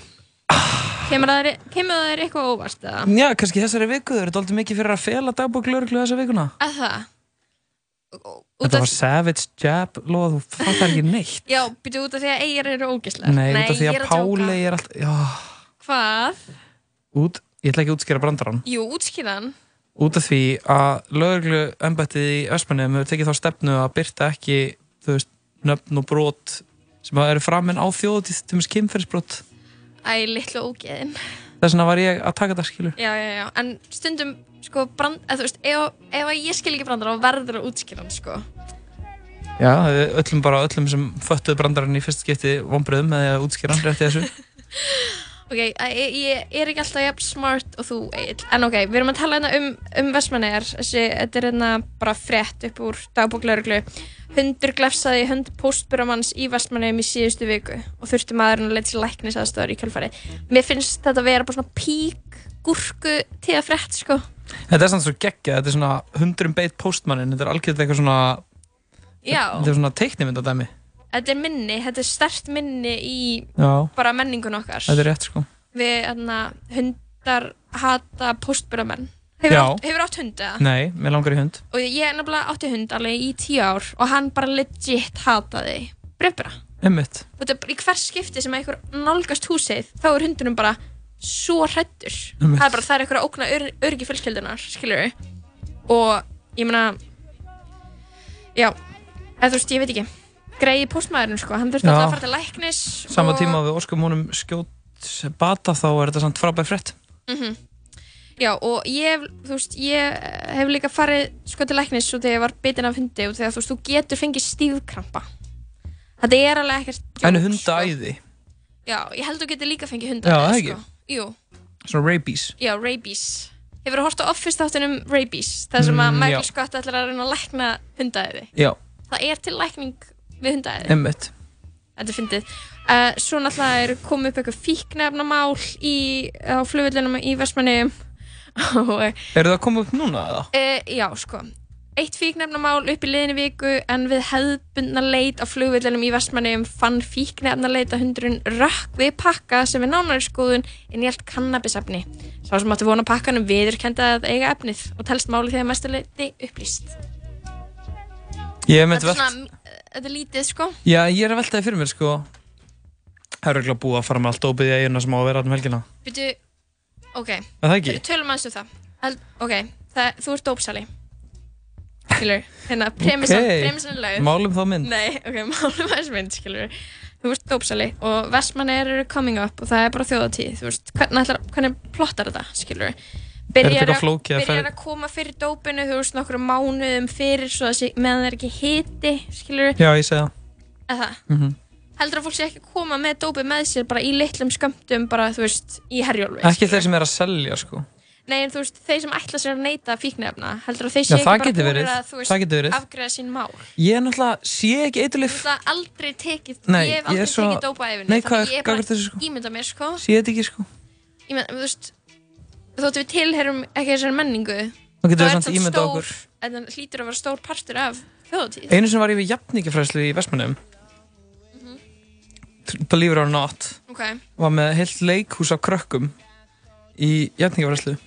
Speaker 3: kemur það þér- kemur það þér eitthvað á óvart eða?
Speaker 4: Já, kannski þessari viku, þau eru doldið mikið fyrir að fela dagbók lauruglu þessa vikuna.
Speaker 3: að það
Speaker 4: Þetta var savage jab, loð, þú fattar ekki neitt.
Speaker 3: já, byrju út af því að eigar eru ógislega
Speaker 4: Nei, út af því
Speaker 3: ég
Speaker 4: að
Speaker 3: er að
Speaker 4: Páli
Speaker 3: djóka.
Speaker 4: er allt, já,
Speaker 3: hvað?
Speaker 4: út, ég ætla ekki að útskýra brandarann.
Speaker 3: Jú, útskýran
Speaker 4: Út af því að lauruglu embættið í Öspunum hefur tekið þá stefnu að byrta ekki, þú veist, nöfn og brot sem að eru framinn á þjóðutíð, til mjög kynferðisbrot.
Speaker 3: Æ, litlu ógeðin
Speaker 4: Þess vegna var ég að taka þetta skilur.
Speaker 3: Já, já, já, en stundum sko, brand, eða, þú veist, ef, ef að ég skil ekki brandar þá verður að útskýra hann, sko
Speaker 4: Já, við öllum bara öllum sem föttuðu brandarann í fyrst skipti vonbröðum með því að útskýra hann rétti þessu.
Speaker 3: Ok, að, ég, ég er ekki alltaf jafn smart og þú, Egill. en ok, við erum að tala hérna um, um Vestmannegar, þessi, þetta er hérna bara frétt upp úr dagbóklauruglu Hundur glefsaði í hönd póstbjörnamanns í Vestmannegum í síðustu viku og þurfti maðurinn að leita sér læknis aðstofar í kjölfari Mér finnst þetta að vera bara svona pík gúrku til að frétt, sko
Speaker 4: Þetta er samt svo geggja, þetta er svona hundrum beitt póstmannin, þetta er algjörlega eitthvað svona,
Speaker 3: Já,
Speaker 4: þetta er svona teiknimyndadæmi.
Speaker 3: þetta er minni, þetta er stert minni í
Speaker 4: Já,
Speaker 3: bara menningun okkar
Speaker 4: þetta er rétt sko.
Speaker 3: við hérna, hundar hata póstbjörnamenn hefur,
Speaker 4: Já.
Speaker 3: átt- hefur átt hund eða?
Speaker 4: Nei, mér langar í hund.
Speaker 3: og ég er nefnilega átti hund alveg í tíu ár og hann bara legit hataði brefbra
Speaker 4: Einmitt.
Speaker 3: og þetta er bara í hver skipti sem einhver nálgast húsið þá er hundunum bara svo hrættur
Speaker 4: Einmitt.
Speaker 3: það er bara það er einhver að ógna ör, örgi fjölskyldunar skilur og ég meina já, eða þú veist, ég veit ekki greiði póstmaðurinn sko, hann þurfti
Speaker 4: Já.
Speaker 3: alltaf að fara til læknis
Speaker 4: Sama
Speaker 3: og-
Speaker 4: tíma að við óskum honum skjótt bata þá er þetta samt frábæð frétt.
Speaker 3: Mhm. Já og ég, hef, þú veist, ég hef líka farið sko til læknis og þegar ég var bitin af hundi og þegar þú veist, þú getur fengið stífkrampa. Þetta er alveg ekkert,
Speaker 4: En hundaæði,
Speaker 3: já, ég held þú getur líka fengið sko. hunda. sko.
Speaker 4: Já, það ekki.
Speaker 3: Jú,
Speaker 4: svona rabies.
Speaker 3: já, rabies. Hefur þú hort á Office þáttunum rabies, þar sem að
Speaker 4: Mm,
Speaker 3: Michael
Speaker 4: já.
Speaker 3: Scott ætlar að reyna að lækna hundaæði.
Speaker 4: Já,
Speaker 3: Það er til lækning við hundaæði.
Speaker 4: einmitt.
Speaker 3: Þetta er fyndið. Uh, svo náttúrulega er komið upp eitthvað fíknefnamál í, á flugvillunum í Vestmanniðum og
Speaker 4: Eru það að koma upp núna eða?
Speaker 3: Uh, já, sko. Eitt fíknefnamál upp í liðinni viku en við hefðbundna leit á flugvillinum í Vestmanneum fann fíknefnaleit að hundurinn rökk við pakka sem við nánari skoðun en ég held kannabisefni. Sá sem átti vona pakkanum viðurkenda að eiga efnið og telst máli þegar mestu leiti upplýst.
Speaker 4: Ég er með
Speaker 3: Þetta er
Speaker 4: velt,
Speaker 3: svona, eh, þetta er lítið, sko.
Speaker 4: já ég er að velta það fyrir mér sko. Það eru ekki búið að fara með allt óbyggði eiguna sem á að vera allum helgina.
Speaker 3: Býtu, ok.
Speaker 4: Er það ekki?
Speaker 3: Tölum aðeins um það. Held, ok, það, þú ert dópsali. Skilur, hérna, premissan,
Speaker 4: Ok.
Speaker 3: premissan er lögð.
Speaker 4: Málum þá mynd.
Speaker 3: Nei, ok, málum aðeins mynd, skilur. Þú ert dópsali og Vestmannir eru coming up og það er bara þjóðatíð, þú veist, hvernig, ætlar, hvernig plottar þetta, skilur.
Speaker 4: Er þetta
Speaker 3: Byrjar,
Speaker 4: eitthvað flókið að
Speaker 3: byrjar
Speaker 4: fer-
Speaker 3: að koma fyrir dópinu, þú veist, nokkru mánuðum fyrir svo að sé, meðan það er ekki hiti, skilur.
Speaker 4: Já, ég segi það.
Speaker 3: Eða það.
Speaker 4: Mm
Speaker 3: Heldur að fólk sé ekki að koma með dópi með sér bara í litlum skömmtum, bara, þú veist, í herjólfi.
Speaker 4: Ekki þeir sem er að selja sko.
Speaker 3: Nei, en þú veist, þeir sem ætla sér að neyta fíknefna, heldur að þeir
Speaker 4: Já,
Speaker 3: sé ekki
Speaker 4: það
Speaker 3: bara
Speaker 4: getur
Speaker 3: búnir
Speaker 4: verið.
Speaker 3: að, þú
Speaker 4: Það getur verið.
Speaker 3: veist, afgreða sín mál.
Speaker 4: Ég er náttúrulega, sé ekki
Speaker 3: Þú
Speaker 4: eitthulif,
Speaker 3: veist það aldrei tekið,
Speaker 4: Nei,
Speaker 3: ég hef
Speaker 4: ég
Speaker 3: aldrei
Speaker 4: er svo-
Speaker 3: tekið dópa efinu
Speaker 4: Nei, hvað er-
Speaker 3: ég
Speaker 4: gagnvart þessu, sko?
Speaker 3: ímynda mér sko
Speaker 4: sé þetta ekki sko.
Speaker 3: Ég meina, þú veist, þóttu við tilherum ekki þessari menningu
Speaker 4: Þá getum
Speaker 3: þá
Speaker 4: við
Speaker 3: er
Speaker 4: samt
Speaker 3: þetta
Speaker 4: ímyndað
Speaker 3: stór-
Speaker 4: okkur.
Speaker 3: en það hlýtur að vera stór partur af þjóðatíð
Speaker 4: Einu sem var ég við jafningafræðslu í Vestmannum
Speaker 3: Mhm.
Speaker 4: Believe it or not
Speaker 3: Ok.
Speaker 4: Var með heilt leikhús af krökkum Í jafningafræðslu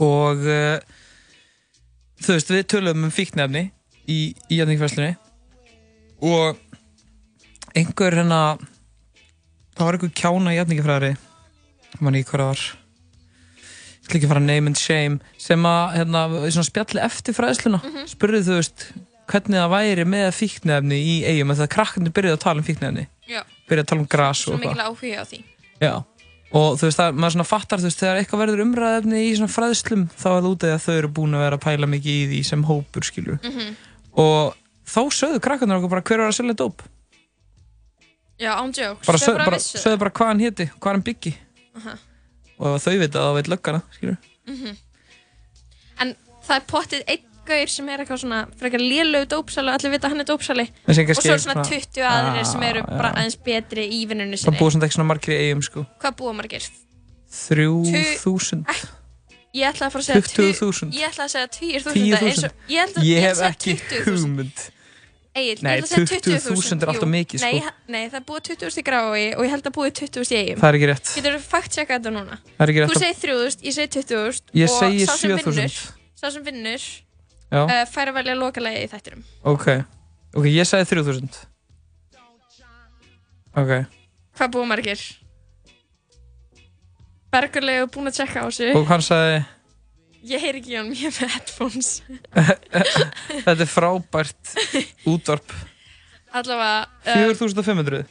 Speaker 4: Og uh, Þú veist, við töluðum um fíknefni Í, í jafningafræðslunni Og Einhver hérna Það var einhver kjána jafningafræðari Það man ekki hvað það var Ég ætla ekki að fara name and shame Sem að, hérna, í svona spjalli eftir fræðsluna
Speaker 3: Mhm.
Speaker 4: Spurði þú veist hvernig það væri með fíknefni í eigum að það krakkandi byrjuði að tala um fíknefni
Speaker 3: Já.
Speaker 4: byrjuði að tala um gras
Speaker 3: svo
Speaker 4: og
Speaker 3: mikil
Speaker 4: eitthvað
Speaker 3: áhuga á því
Speaker 4: Já. og þú veist að maður svona fattar þú veist þegar eitthvað verður umræðefni í svona fræðslum þá er það út af því að þau eru búin að vera að pæla mikið í því sem hópur skilur
Speaker 3: Mhm.
Speaker 4: og þá sögðu krakkarnar okkur bara hver var að selja dóp
Speaker 3: já, ándjók,
Speaker 4: bara sögðu bara, sögðu bara hvað hann héti, hvað hann byggi
Speaker 3: Aha.
Speaker 4: og ef þau vita það þá veit löggana skilur
Speaker 3: Mhm. en það er pottið einn gaur sem er eitthvað svona frekar lélög dópsali og allir vita að hann er dópsali
Speaker 4: En
Speaker 3: og svo
Speaker 4: sem kannski
Speaker 3: er svona
Speaker 4: eitthvað-
Speaker 3: 20 aðrir sem eru
Speaker 4: Ah,
Speaker 3: bara
Speaker 4: já.
Speaker 3: aðeins betri í vinnunni
Speaker 4: Það
Speaker 3: sinni
Speaker 4: búið samt ekki svona margir í eigum sko
Speaker 3: Hvað búa margir?
Speaker 4: 3000
Speaker 3: Ég ætla að fara að segja
Speaker 4: 20.000.
Speaker 3: tugi- Ég ætla að segja 20.000 eins
Speaker 4: 10.000
Speaker 3: og- Ég, ætla-
Speaker 4: Ég
Speaker 3: ætla
Speaker 4: hef
Speaker 3: að segja
Speaker 4: ekki
Speaker 3: 20.000.
Speaker 4: hugmynd
Speaker 3: Egil,
Speaker 4: Nei, 20.000 er alltaf mikið,
Speaker 3: nei,
Speaker 4: sko.
Speaker 3: ha- nei, það er búið 20.000 í grái og ég held að búið 20.000 í eigum
Speaker 4: Það er ekki rétt.
Speaker 3: Getur þú fakt checkað þetta núna?
Speaker 4: Það er ekki rétt
Speaker 3: Þú
Speaker 4: að-
Speaker 3: segir 3.000, ég segi 20.000
Speaker 4: Ég
Speaker 3: og
Speaker 4: segi
Speaker 3: sá sem
Speaker 4: 7.000.
Speaker 3: vinnur- Sá sem vinnur
Speaker 4: Já.
Speaker 3: uh, fær að velja lokalega í þættinum
Speaker 4: Ok, ok, ég sagði 3000 Ok,
Speaker 3: Hvað búið margir? Bergurlega er búin að checka á þessu
Speaker 4: og hann sagði
Speaker 3: Ég heyri ekki í honum, ég er með headphones
Speaker 4: Þetta er frábært útvarp
Speaker 3: Allavega eh,
Speaker 4: 4500,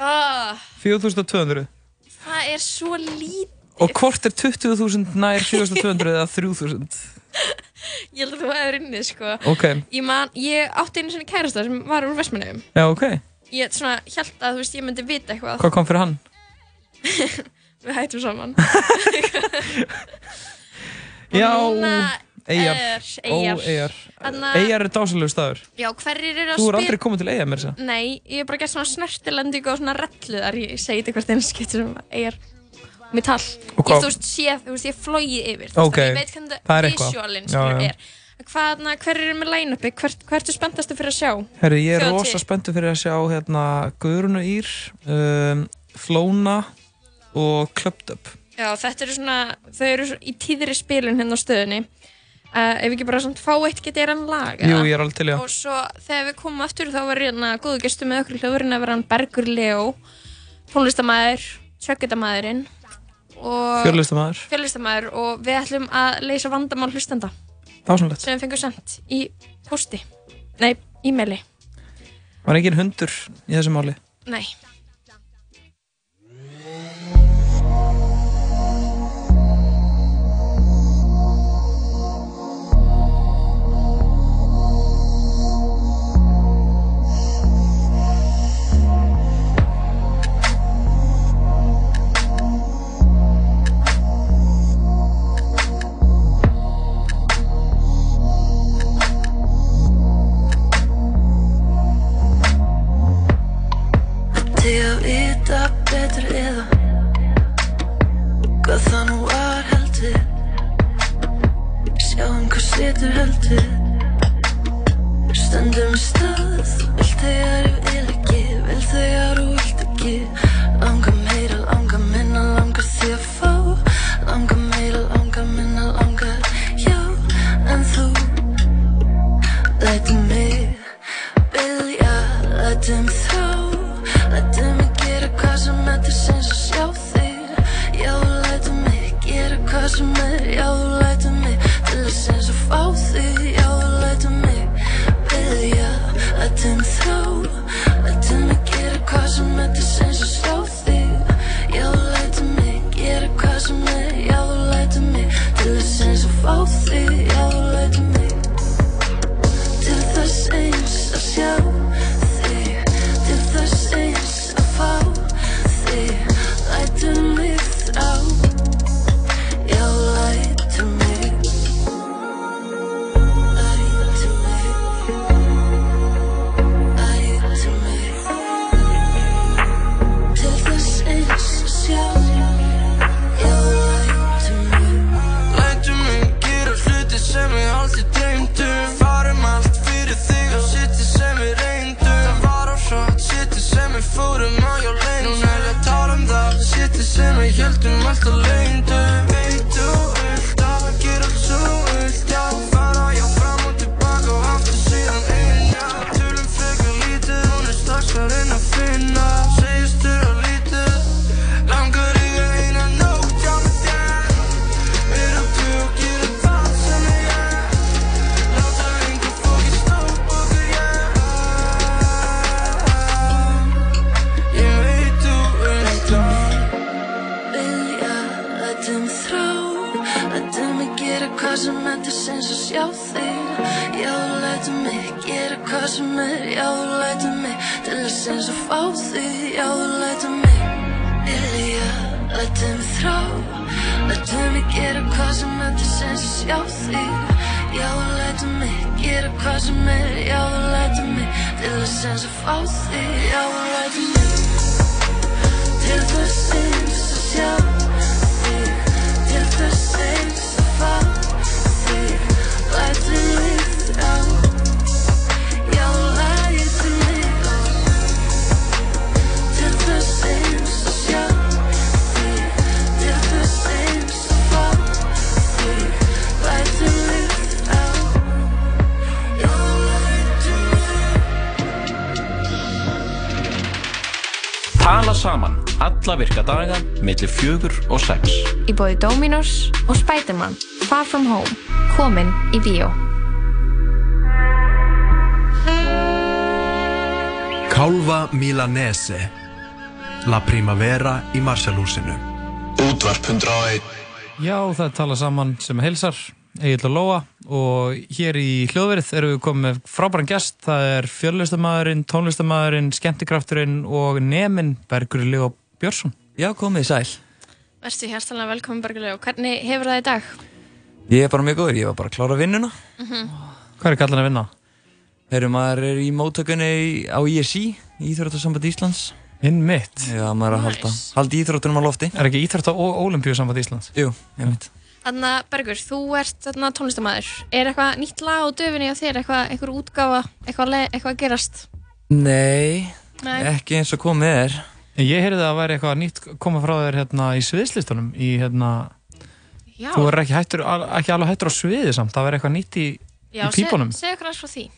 Speaker 3: oh,
Speaker 4: 4200
Speaker 3: Það er svo lít
Speaker 4: Og hvort er 20.000 nær 4200 eða 3000
Speaker 3: Ég held að þú hefur unnið sko
Speaker 4: Ok.
Speaker 3: Ég, man, ég átti einu sinni kærasta sem var úr Vestmannum
Speaker 4: Já, ok,
Speaker 3: Ég svona held að þú veist ég myndi vita eitthvað
Speaker 4: hvað kom fyrir hann?
Speaker 3: Við hættum saman Og
Speaker 4: Já,
Speaker 3: núna
Speaker 4: Eyjar
Speaker 3: er
Speaker 4: Ó,
Speaker 3: Eyjar.
Speaker 4: Eyjar
Speaker 3: Þarna-
Speaker 4: Eyjar er dásalegu staður
Speaker 3: Já, hverjir eru að
Speaker 4: Þú er
Speaker 3: spila-
Speaker 4: aldrei komið til Eyja mér þess
Speaker 3: Nei, ég hef bara gert svona snertilendingu og svona relluðar, ég segi þetta hvert einu skipt sem er mitt hall.
Speaker 4: Og
Speaker 3: Ég,
Speaker 4: hvað-
Speaker 3: þú veist, sé, þú veist, ég flóið yfir,
Speaker 4: Ok,
Speaker 3: þú veist, þannig ég veit hvernig
Speaker 4: það er
Speaker 3: þetta
Speaker 4: eitthvað.
Speaker 3: visualin
Speaker 4: Já,
Speaker 3: skilur
Speaker 4: já.
Speaker 3: er. En Hvaðna, hver eru með line-upi, hvert, hvert er spenntastu fyrir að sjá?
Speaker 4: Herri, ég er
Speaker 3: Þjóðhátíð?
Speaker 4: rosa spenntu fyrir að sjá hérna Guðrunu Ír, um, Flóna og Clubbed Up.
Speaker 3: Já, þetta eru svona, þau eru svo- í tíðri spilun hérna á stöðunni. Uh, ef ekki bara svona fá eitt geta er hann lag,
Speaker 4: Jú,
Speaker 3: eða?
Speaker 4: ég er alveg til, já.
Speaker 3: Og svo þegar við komum aftur þá var hérna góðu gestur með okkur í hljóðurinn að vera hann Bergur Leo, tónlistamæður, sjöggetamæðurinn og...
Speaker 4: Fjörlistamæður.
Speaker 3: fjöllistamæður og við ætlum að leysa vandamál hlustenda
Speaker 4: Dásamlegt.
Speaker 3: sem við fengum sendt í posti nei, e-maili,
Speaker 4: Var engin hundur í þessu máli.
Speaker 3: nei
Speaker 1: Til að vita betur eða Hvað það nú var heldur Sjáum hvað setur heldur Stöndum í stað Þú vilt þegar ég vil ekki Vil þegar þú vilt ekki Langa meira, langa minna Langa því að fá Langa meira, langa minna Langa, já, en þú Lætur mig Vilja, lætum um þá Lættu mig gera hvað sem er til sinns að sjá þig Já, þú lætur mig gera hvað sem er Já, þú lætur mig til að sinns að fá þig Já, þú lætur mig byrja Lættu mig þrá Lættu mig gera hvað sem er til sinns að sjá þig Já, þú lætur mig gera hvað sem er Já, þú lætur mig til að sinns að fá þig Já, þú lætur mig til þess eins að sjá þig til þess eins að fá þig lætur mig þrá já lætur mig lætur mig lætur mig til þess eins að sjá já lætur mig
Speaker 13: Lætum mig gera hluti sem við aldrei dreymdum Farum allt fyrir þig og sittir sem við reyndum Það var á hratt, sittir sem við fórum á hjá leynd Núna er að tala um það, sittir sem við höldum alltaf leyndum Veit þú vilt að gera allt svo vilt Já, fara já fram og tilbaka og aftur síðan inn Já, tölum frekar lítið, hún er strax farin að finna Segist þurra lítið, langar í eina nótt hjá með þér
Speaker 1: vilja Lætum þrá Lætum mig gera hvað sem er til sinns að sjá þig Já, lætum mig gera hvað sem er Já, lætum mig til að sinns að fá þig Já, lætum mig vilja Lætum þrá Lætum mig gera hvað sem er til sinns að sjá þig Já, þú lætur mig gera hvað sem er Já, þú lætur mig til þess eins að fá þig Já, þú lætur mig til þess eins að sjá þig Til þess eins að fá þig Lætur mig þrá Já, þú lætur mig til þess eins að sjá þig Til þess eins að fá þig Lætur mig þrá Já, lætur
Speaker 14: Tala saman alla virka daga millir fjögur og sex
Speaker 15: Í bóði Dominos og Spiderman Far From Home Komin í bíó
Speaker 16: Kálfa Milanese La Primavera í Marsalúsinu Útvarp 101
Speaker 4: Já, það er tala saman sem heilsar Egil og Lóa og hér í hljóðverið erum við komið með frábæran gest það er fjöllistamæðurinn, tónlistamæðurinn skemmtikrafturinn og nemin Bergur Leo Björnsson
Speaker 17: Já, komið sæl.
Speaker 3: Verstu hjartalega velkomin Berguleg og hvernig hefur það í dag?
Speaker 17: Ég er bara mjög góður, ég var bara að klára vinnuna.
Speaker 3: Mhm.
Speaker 4: Hvað er kallan að vinna?
Speaker 17: Herru, maður er í móttökunni í- á ISI, Íþróttasamband Íslands.
Speaker 4: Inn mitt?
Speaker 17: Já, maður er að halda, halda íþróttunum á lofti.
Speaker 4: Er ekki Íþrótta og Ólimpíusamband Íslands?
Speaker 17: Jú, einmitt.
Speaker 3: Þannig að Bergur, þú ert þarna tónlistamæður. Er eitthvað nýtt lag á döfinni á þér, eitthvað, eitthvað útgáfa, eitthvað, le, eitthvað að gerast?
Speaker 17: Nei,
Speaker 4: Eh,
Speaker 3: Nei.
Speaker 17: ekki eins og komið er.
Speaker 4: En ég heyrði að það væri eitthvað nýtt koma frá þér hérna í sviðslistunum í hérna
Speaker 3: Já.
Speaker 4: Þú er ekki, hættur, al- ekki alveg hættur á sviði samt, það væri eitthvað nýtt í,
Speaker 3: Já,
Speaker 4: í pípunum.
Speaker 3: seg- Segðu okkur aðeins frá því.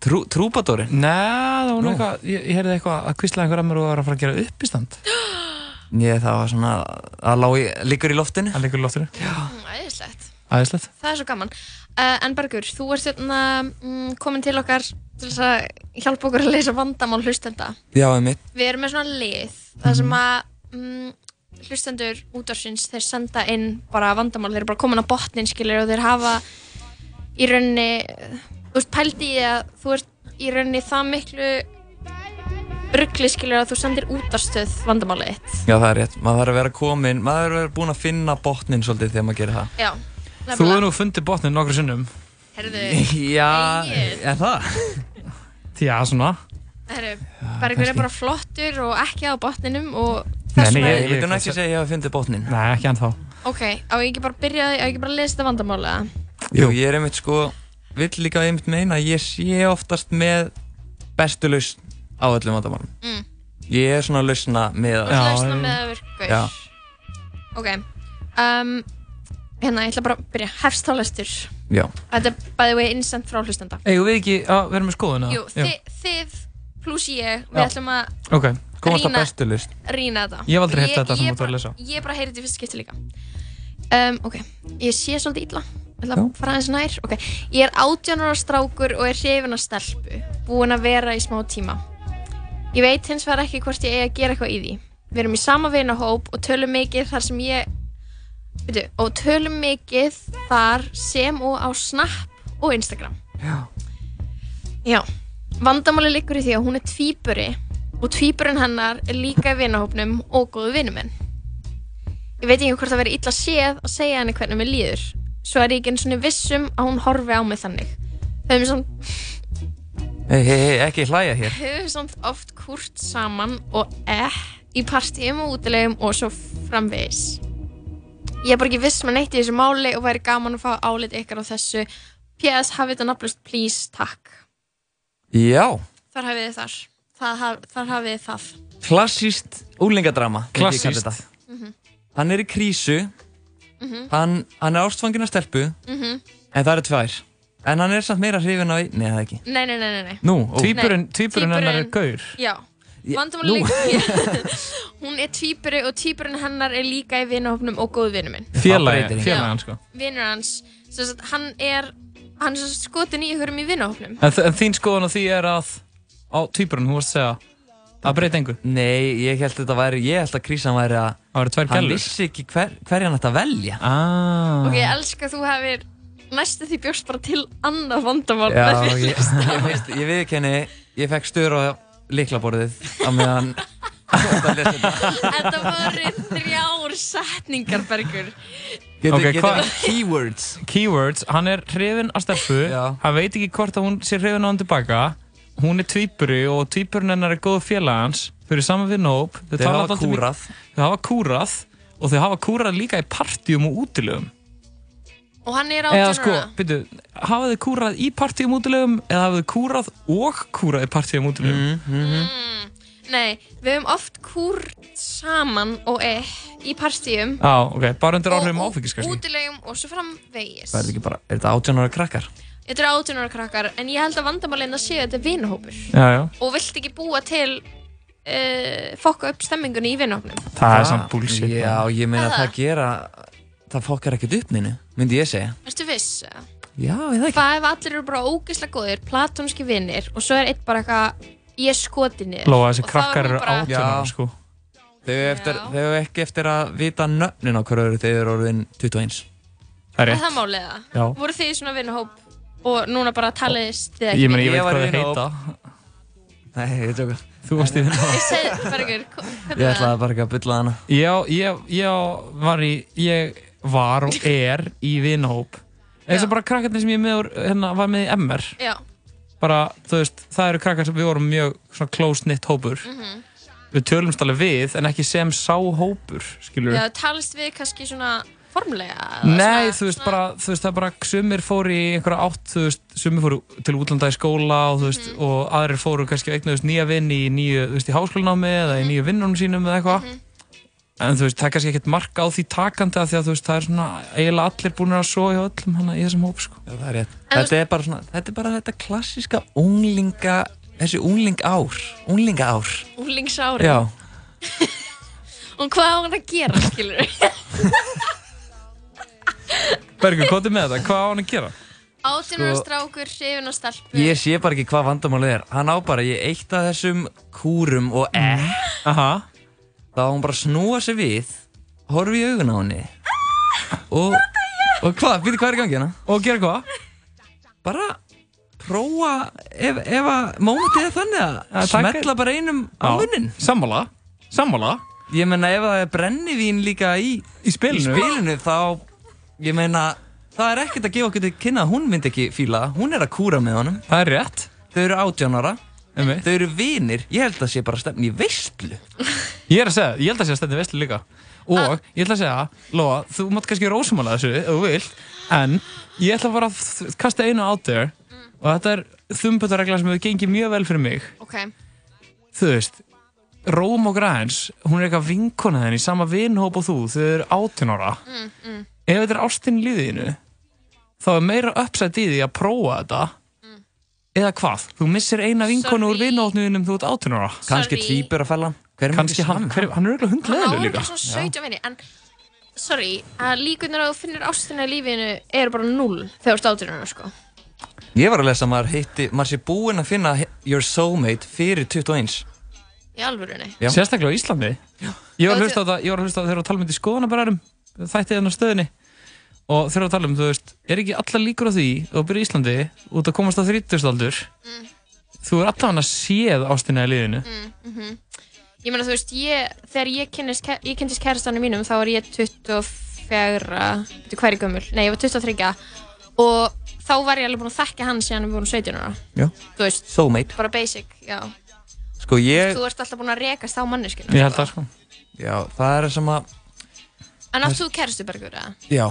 Speaker 17: Trú, trúbadórin?
Speaker 4: Nei, það var nú
Speaker 17: Nú.
Speaker 4: eitthvað, ég, ég heyrði eitthvað að kvistla einhver að mér og var að fara að gera uppistand.
Speaker 17: Ég, það var svona, það lá í, liggur í loftinu.
Speaker 4: Það liggur í loftinu. Já.
Speaker 3: Mm, Æðislegt.
Speaker 4: Æðislegt.
Speaker 3: Það er svo gaman. Uh, en Bergur, þú ert þarna mm, komin til okkar til þess að hjálpa okkur að leysa vandamál hlustenda.
Speaker 17: Já, einmitt.
Speaker 3: Við erum með svona lið, það
Speaker 4: Mhm.
Speaker 3: sem að mm, hlustendur útvarsins, þeir senda inn bara vandamál, þeir eru bara komin á botnin, skilur, og þeir hafa í rauninni, eh, þú veist, pældi í að þú ert í rauninni það miklu ruggli, skilur, að þú sendir útvarstöð vandamálið þitt.
Speaker 17: Já, það er rétt. Maður þarf að vera komin, maður þarf að vera búin að finna botnin svolítið þegar maður gerir það.
Speaker 3: Já,
Speaker 4: Þú
Speaker 3: nefnilega.
Speaker 4: hefur nú fundið botnin nokkru sinnum.
Speaker 3: Herðu,
Speaker 17: Já,
Speaker 3: Egill.
Speaker 17: er það?
Speaker 4: Já, svona.
Speaker 3: herðu, Bergur
Speaker 17: kannski.
Speaker 3: er bara flottur og ekki á botninum og
Speaker 17: Nei,
Speaker 4: nei, ég-
Speaker 17: ég, ég
Speaker 4: ég-
Speaker 17: veit hún ekki segja að ég hafa fundið botnin.
Speaker 4: Nei, ekki ennþá.
Speaker 3: Ok, á ég ekki bara að byrja, á ég ekki bara að lesa þetta vandamál eða?
Speaker 17: Jú, ég er einmitt sko, vill líka einmitt meina að ég sé oftast með bestu lausn á öllum vandamálum.
Speaker 3: Mm.
Speaker 17: Ég er svona lausna með
Speaker 3: Þú ert lausna með að virka.
Speaker 17: Já,
Speaker 3: Ok, um, hérna, ég ætla bara að byrja, hefst þá lestur.
Speaker 17: já.
Speaker 3: Þetta er by the way innsendt frá hlustenda.
Speaker 4: Eigum við ekki að vera með skoðuna?
Speaker 3: Jú, þið, þið pluss ég, við
Speaker 4: Já.
Speaker 3: ætlum að
Speaker 4: Ok, komast
Speaker 3: Rýna-
Speaker 4: að bestu list.
Speaker 3: rýna þetta.
Speaker 4: Ég hef aldrei heyrt
Speaker 3: Ég-
Speaker 4: þetta sem
Speaker 3: ég
Speaker 4: þú ert að lesa.
Speaker 3: Ég bara heyrði þetta í fyrsta skipti líka. Um, ok, ég sé svolítið illa. Ég ætla að fara aðeins nær. Ok, ég er 18 ára strákur og er hrifin að stelpu, búin að vera í smá tíma. Ég veit hins vegar ekki hvort ég eigi að gera eitthvað í því. Við erum í sama vinahóp og tölum mikið þar sem ég veitu, og tölum mikið þar sem og á Snap og Instagram. Já. Já. Vandamáli liggur í því að hún er tvíburi og tvíburinn hennar er líka í vinahópnum og góðu vinur minn. Ég veit ekki hvort það verið illa séð að segja henni hvernig mér líður. Svo er ég ekki eins og vissum um að hún horfi á mig þannig. Höfum samt
Speaker 17: Hei, hei, hei, ekki hlæja hér.
Speaker 3: höfum samt oft kúrt saman og eh í partíum og útilegum og svo framvegis. Ég er bara ekki viss með neitt í þessu máli og væri gaman að fá álit ykkar á þessu. PS, hafið þetta nafnlust, please, takk.
Speaker 17: Já,
Speaker 3: Þar hafið þið þar. Það, haf, þar hafið þið það.
Speaker 17: klassíst úlingadrama. myndi ég kalla
Speaker 4: Klassískt.
Speaker 17: þetta.
Speaker 3: Mm -hmm.
Speaker 17: Hann er í krísu,
Speaker 3: Mhm.
Speaker 17: hann, hann er ástfangin af stelpu, en það eru tvær. En hann er samt meira hrifin af, nei það ekki.
Speaker 3: Nei, nei, nei, nei, nei.
Speaker 17: Nú, ó.
Speaker 4: Tvíburinn-
Speaker 3: Nei,
Speaker 4: tvíburinn hennar er
Speaker 3: tvíburinn-
Speaker 4: gaur?
Speaker 3: Já.
Speaker 17: Ég-
Speaker 3: Vandamál
Speaker 17: nú.
Speaker 3: líka. hún er tvíburi og tvíburinn hennar er líka í vinahópnum og góðu vinur minn.
Speaker 17: Það
Speaker 4: Félagi,
Speaker 17: breytir
Speaker 4: félagi
Speaker 17: engu.
Speaker 4: hans sko.
Speaker 3: Vinur hans, sem sagt, hann er, hann er sem sagt skotin í ykkurum í vinahópnum.
Speaker 4: En, þ- en þín skoðun á því er að, á tvíburinn, þú varst að segja, það breytir engu.
Speaker 17: Nei, ég held að þetta væri, ég held að krísan væri að
Speaker 4: tvær
Speaker 17: hann
Speaker 4: gælur.
Speaker 17: vissi ekki hver, hverja hann ætti að velja.
Speaker 4: Ah.
Speaker 3: Ok, ég elska að þú hefur næstu því bjóst bara til annað vandamál
Speaker 17: Já,
Speaker 3: með
Speaker 17: ég,
Speaker 3: fyrirlista.
Speaker 17: ég, veist, ég viðkenni, ég fekk stöður á liklaborðið á meðan
Speaker 3: Þetta voru þrjár setningar, Bergur.
Speaker 16: Geti-
Speaker 4: Ok,
Speaker 16: geti
Speaker 4: hvað-
Speaker 16: verið keywords
Speaker 4: Keywords, hann er hrifin að stelpu Hann veit ekki hvort að hún sé hrifin á hann tilbaka Hún er tvýpuri og tvýpurinn hennar er góð félag hans Þau eru saman við nóp
Speaker 17: Þau
Speaker 4: tala
Speaker 17: hafa
Speaker 4: dálítið mikið-
Speaker 17: kúrað.
Speaker 4: Þau hafa kúrað Og þau hafa kúrað líka í partíum og útilegum
Speaker 3: Og hann er
Speaker 4: Eða
Speaker 3: 18
Speaker 4: sko,
Speaker 3: ára
Speaker 4: byrju, hafa þau kúrað í partíum og útilegum Eða hafa þau kúrað og kúrað í partíum og útilegum mm, mm, mm.
Speaker 3: Nei, við höfum oft kúrt saman og eh í partíum
Speaker 17: Já, ok, bara undir áhrifum
Speaker 3: Og-
Speaker 17: áfengis kannski
Speaker 3: útilegum og svo framvegis
Speaker 17: Það er ekki bara, er þetta 18 ára krakkar?
Speaker 3: Þetta eru 18 ára krakkar en ég held að vandamálinn að séu að þetta er vinahópur
Speaker 17: Já, já
Speaker 3: og vilt ekki búa til uh, fokka upp stemmingunni í vinahópnum
Speaker 17: Það
Speaker 4: er samt bullshit,
Speaker 17: Ah, Já, ég meina
Speaker 3: Það?
Speaker 17: það gera, það fokkar ekkert upp neinu, myndi ég segja
Speaker 3: Ertu viss? eða?
Speaker 17: Já, ég það ekki
Speaker 3: Hvað ef allir eru bara ógeðslega góðir, platónski vinnir og svo er eitt bara eitthvað, ég er skotið niður
Speaker 4: Lóa, þessi
Speaker 3: Og þá er
Speaker 4: krakkar
Speaker 3: hún
Speaker 4: eru
Speaker 3: bara-
Speaker 4: 18 ára
Speaker 17: Já.
Speaker 4: sko
Speaker 17: Þau eiga eftir, þau eiga ekki eftir að vita nöfnin á hverju eru þegar orðin 21
Speaker 4: Það
Speaker 3: Er það málið
Speaker 17: Já.
Speaker 3: það? Voru þið í svona vinnahóp og núna bara taliðist þið ekki?
Speaker 4: Ég meina, ég veit hvað þau
Speaker 17: vinahóp.
Speaker 4: heita
Speaker 17: Nei, ég tjóka
Speaker 4: Þú varst í vinahóp.
Speaker 3: Ég segi það bara ykkur,
Speaker 17: Ég ætlaði bara ekki að bylla hana
Speaker 4: Já, ég, ég var í ég var og er í vinahóp eins og bara krakkarnir sem ég er með úr, hérna, var með í MR
Speaker 3: Já,
Speaker 4: bara, þú veist, það eru krakkar sem við vorum mjög svona close knit hópur
Speaker 3: mhm.
Speaker 4: við tölumst alveg við, en ekki sem sá hópur skilur
Speaker 3: Já, talist við kannski svona formlega eða
Speaker 4: Nei, þú veist, bara, þú veist, það er bara sumir fóru í einhverja átt, þú veist, sumir fóru til útlanda í skóla og þú veist, og aðrir fóru kannski og eignuðust nýja vinn í nýju, þú veist, í háskólanámi eða í nýju vinnunum sínum eða eitthvað. En þú veist, það er kannski ekkert mark á því takandi af því að þú veist, það er svona eiginlega allir búin að svo í öllum hana í þessum hóp, sko.
Speaker 17: Já, það er rétt Þetta er bara svona, þetta er bara þetta klassíska unglinga, þessi ungling ár, unglinga ár
Speaker 3: Úlingsári
Speaker 17: Já,
Speaker 3: Og hvað á hann að gera, skilur
Speaker 4: Bergur, hvað er með þetta? Hvað á hann að gera?
Speaker 3: 18 ára
Speaker 17: Sko-
Speaker 3: strákur, hrifin og stelpu
Speaker 17: Ég sé bara ekki hvað vandamálið er Hann á bara, ég eitt af þessum kúrum og eh
Speaker 4: Mhm.
Speaker 17: Aha. Þá á hún bara að snúa sig við Horfi í augun á henni Og, og hvað, býttu hvað er í gangi hérna?
Speaker 4: Og gera hvað?
Speaker 17: Bara prófa Ef, ef að mómentið er þannig
Speaker 4: Að
Speaker 17: að
Speaker 4: taka-
Speaker 17: Smetla bara einum á
Speaker 4: Já,
Speaker 17: munnin
Speaker 4: Sammála, sammála
Speaker 17: Ég meina ef það er brennivín líka í
Speaker 4: Í spilinu.
Speaker 17: þá Ég meina, það er ekkert að gefa okkur til kynna að Hún myndi ekki fíla, það. hún er að kúra með honum
Speaker 4: Það er rétt
Speaker 17: Þau eru átjánara Emme. Þau eru vinir, ég held að sé bara stefni í veistlu
Speaker 4: Ég er að segja, ég held að segja stendur veistlu líka og ég ætla að segja, Lóa, þú mátt kannski rósumála þessu ef þú vilt, en ég ætla bara að þ- kasta einu out there og þetta er þumbutaregla sem hefur gengið mjög vel fyrir mig
Speaker 3: Ok,
Speaker 4: þú veist, Róm og Græns hún er eitthvað vinkona þenni, sama vinhóp og þú, þau eru 18 ára
Speaker 3: mm, mm.
Speaker 4: ef þetta er ástin líðinu þá er meira uppsætt í því að prófa þetta
Speaker 3: Mm.
Speaker 4: eða hvað, þú missir eina vinkonu úr vinhópnuðinum þú ert 18 ára
Speaker 17: Kannski tvíbur að fella
Speaker 4: Kannski hann, hver, hann er auðvitað
Speaker 3: Hann á
Speaker 4: hundleðileg líka
Speaker 3: líka svona 17 vini En, sorry, að líkunar að þú finnir ástina í lífinu eru bara 0 þegar þú ert 18 ára, sko
Speaker 17: Ég var að lesa að maður hitti, maður sé búinn að finna he- your soulmate fyrir 21
Speaker 3: Í alvörunni
Speaker 17: Já.
Speaker 4: Sérstaklega á Íslandi Ég var að hlusta á það, ég var að hlusta á það þegar að tala um þetta í skoðanabærarum Þættið hennar stöðinni Og þegar að tala um, þú veist, er ekki allar líkur á því Þú byrja í Íslandi, út að komast á 30 aldur
Speaker 17: Mm.
Speaker 4: Þú er alltaf hann að séð ástina í liðinu
Speaker 3: mm, mhm. Ég meina, þú veist, ég, þegar ég kynnist, ke- ég kynnist kærastanum mínum þá var ég 24 Þetta hver í gömul, nei, ég var 23 Og þá var ég alveg búin að þekka hann síðan við vorum 17 ára
Speaker 17: Já.
Speaker 3: Þú veist,
Speaker 17: Soulmate.
Speaker 3: bara basic, já
Speaker 17: Sko ég,
Speaker 3: Þú ert alltaf búin að rekast á manneskinu
Speaker 17: ég held það sko Já, það er sem að,
Speaker 3: En átt þú kærastu bergur, eða?
Speaker 17: já,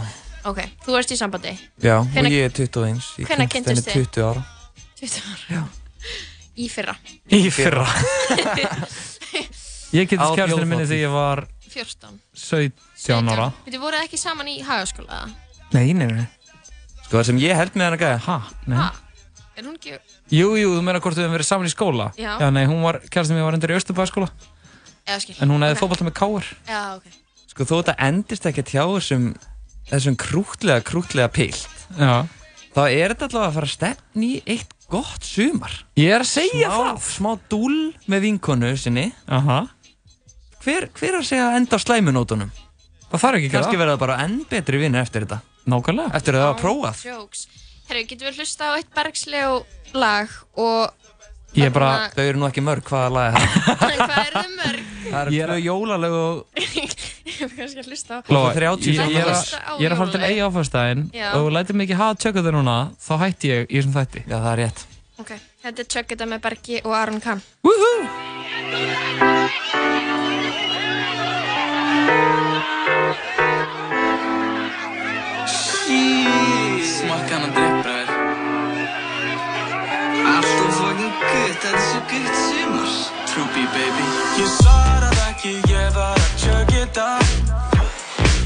Speaker 3: Ok, þú ert í sambandi
Speaker 17: já, og
Speaker 3: Hvenær-
Speaker 17: ég er 21 Ég
Speaker 3: hvenær
Speaker 17: henni
Speaker 3: kynntist þið?
Speaker 17: 20 ára
Speaker 3: 20 ára Í fyrra
Speaker 4: Í fyrra Ég
Speaker 17: Á
Speaker 4: getist kærastinu minni
Speaker 17: þjóðhátíð.
Speaker 4: þegar ég var
Speaker 3: 14
Speaker 4: 17 ára
Speaker 3: Þið voruð ekki saman í hagaskóla eða?
Speaker 4: Nei, nei, nei
Speaker 17: Sko það sem ég held með hann að gæða
Speaker 4: Ha, nei
Speaker 3: Ha? Er hún ekki
Speaker 4: Jú, jú, þú meina hvort við höfum verið saman í skóla
Speaker 3: Já.
Speaker 4: nei, hún var, kærastinu mér var endur í Östurbæðaskóla
Speaker 3: Eða skil
Speaker 4: En hún hefði
Speaker 3: Ok.
Speaker 4: fótbolta með káar
Speaker 3: Já, ok
Speaker 17: Sko þó þetta endist ekkert hjá þessum, þessum krútlega, krútlega pilt
Speaker 4: Já
Speaker 17: Þá er þetta allavega að fara að stefni í eitt gott sumar
Speaker 4: Ég er að segja
Speaker 17: smá, það Smá dúl með vinkonu sinni
Speaker 4: Aha.
Speaker 17: Hver, hver er að segja að enda á slæmunótunum?
Speaker 4: Það þarf ekki að gera
Speaker 17: Kannski verða það bara enn betri vinnir eftir þetta
Speaker 4: Nákvæmlega
Speaker 17: Eftir að það var prófað
Speaker 3: Jokes Herru, getum við hlusta á eitt bergslegu lag og
Speaker 17: Ég
Speaker 3: bara-
Speaker 17: Þau eru nú ekki mörg, hvaða lag er það?
Speaker 3: hvað eru þau mörg?
Speaker 18: Það eru tvö jólalög og
Speaker 3: Ég er kannski að hlusta á
Speaker 18: Lóa, ég, ég, er að,
Speaker 3: Hlusta á
Speaker 18: ég er að fara til
Speaker 3: jólalög.
Speaker 18: eiga áfæðstæðin
Speaker 3: Já.
Speaker 18: og þú lætir mig ekki hafa tjökka það núna þá hætti ég í þessum þætti Já, það er rétt
Speaker 3: Ok, þetta er Chuck It með Bergi og Aron Kahn
Speaker 17: Smakka hann að dreipbraður Allt um fokin gutt, þetta er svo gutt sumar Trúbi baby Ég svarað ekki, ég var að tjöka þetta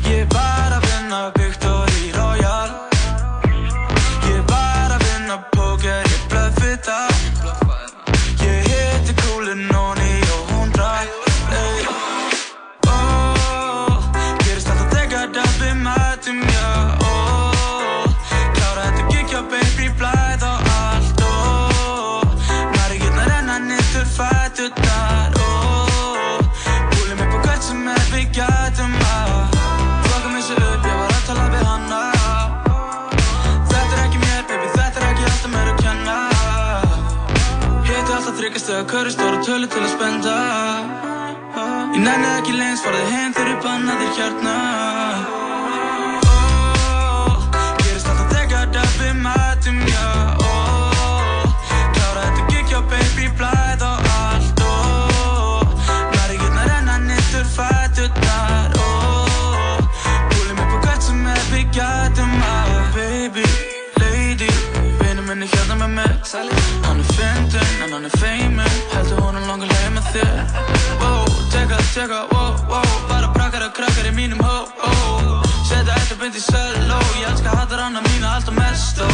Speaker 17: Ég var að vinna Victory Royale Ég var að vinna póker, ég blöfði það Ég hitti kúlin Nóni og hún ræk ey. Ó, gerist alltaf þegar það við mætum, já Ó, um Klára þetta gigja, baby, blæð og allt Ó, Mari getna renna nýttur fættunar Ó, Búlum upp á hvert sem er við gætum að Flokka mig sér upp, ég var að tala við hana Þetta er ekki mér, baby, þetta er ekki allt um mér að kenna Hitti alltaf þryggast eða hverju stóra tölu til að spenda Ég nenni ekki lengst, farði heim þegar ég banna þér hérna Ó, Gerist alltaf þegar að við mætum, já ó, Klára þetta gig, já baby, blæð og allt ó, Mari getna renna nýttur fættunar ó, Búlum upp á hvert sem er við gætum að Baby, lady, vinur minni hérna með mér Hann er fyndin, en hann er feimin Heldur hún er langar leið með þér Wow, teka, teka, wow, wow Bara brakkar og krakkar í mínum hó, ó Seta eitt og byndi söló Ég elska hattar hana mína alltaf mest, ó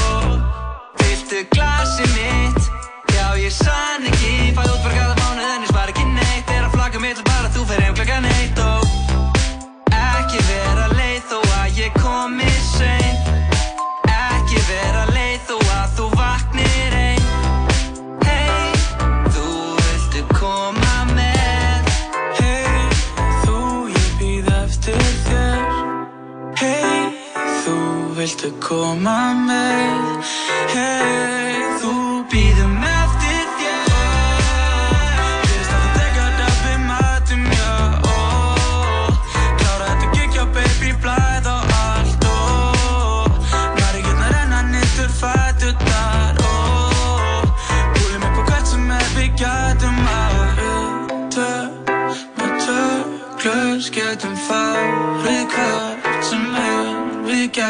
Speaker 17: Viltu glasi mitt? Já, ég sann ekki Fæði út fyrir gæða mánuðin, ég spara ekki neitt Er að flagga mitt og bara þú fer heim klakka neitt, ó Ekki vera leið þó að ég komi sein Ekki vera leið þó að þú vaknir ein Hey, þú viltu koma með Hey, þú ég býð eftir þér Hey, þú viltu koma með Hey, þú býðum eftir þér Gerist alltaf þegar að við mætum, já ó Klára þetta gig, já baby, blæð og allt, ó Mari getna renna nýttur fættunar, ó Búlum upp á hvert sem er við gætum að Tvö, með tvö glös getum farið hvert sem er við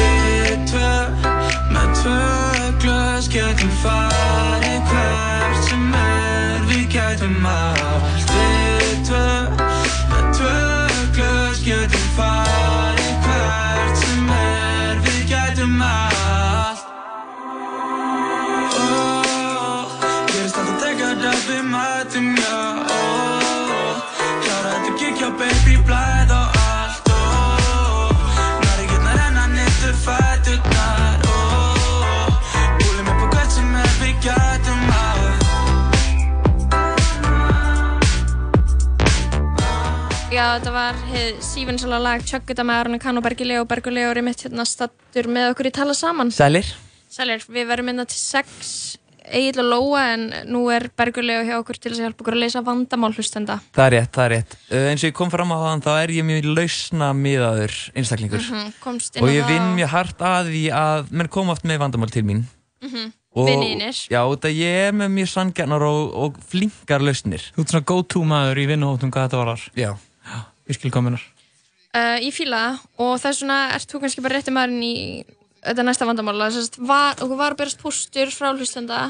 Speaker 17: Við tvö, með tvö glös getum farið hvert sem er við gætum allt Við tvö, með tvö glös getum farið hvert sem er við gætum allt Ó, Gerist alltaf þegar að við mætum, já ó, Klára þetta gig, já baby, blæð og allt ó, Mari getna renna nýttur fættunar ó, Búlum upp á hvert sem er við gætum allt
Speaker 3: Já, þetta var hið sífinsala lag Chuck It með Aron Kahn og Bergi Leo Bergi Leo er mitt hérna stattur með okkur í tala saman
Speaker 18: Sælir
Speaker 3: Sælir, við verum innan til sex Egil og Lóa en nú er Bergi Leo hjá okkur til þess að hjálpa okkur að leysa vandamál hlustenda
Speaker 18: Það er rétt, það er rétt uh, eins og ég kom fram á þann þá er ég mjög lausna miðaður einstaklingur
Speaker 3: Mhm, komst inn á
Speaker 18: og ég
Speaker 3: það.
Speaker 18: vinn mjög hart að því að menn koma oft með vandamál til mín
Speaker 3: Mhm,
Speaker 18: Og-
Speaker 3: Vinninir
Speaker 18: Já, út að ég er með mjög sangjarnar og, og flinkar lausnir
Speaker 4: Þú ert svona go-to maður í vinnuhóttum hvað þetta varar.
Speaker 18: Já.
Speaker 4: Ég skil kominar.
Speaker 3: uh, Ég fíla það og það er svona, ert þú kannski bara rétti maðurinn í þetta næsta vandamál Þess að var, okkur var að berast póstur frá hlustenda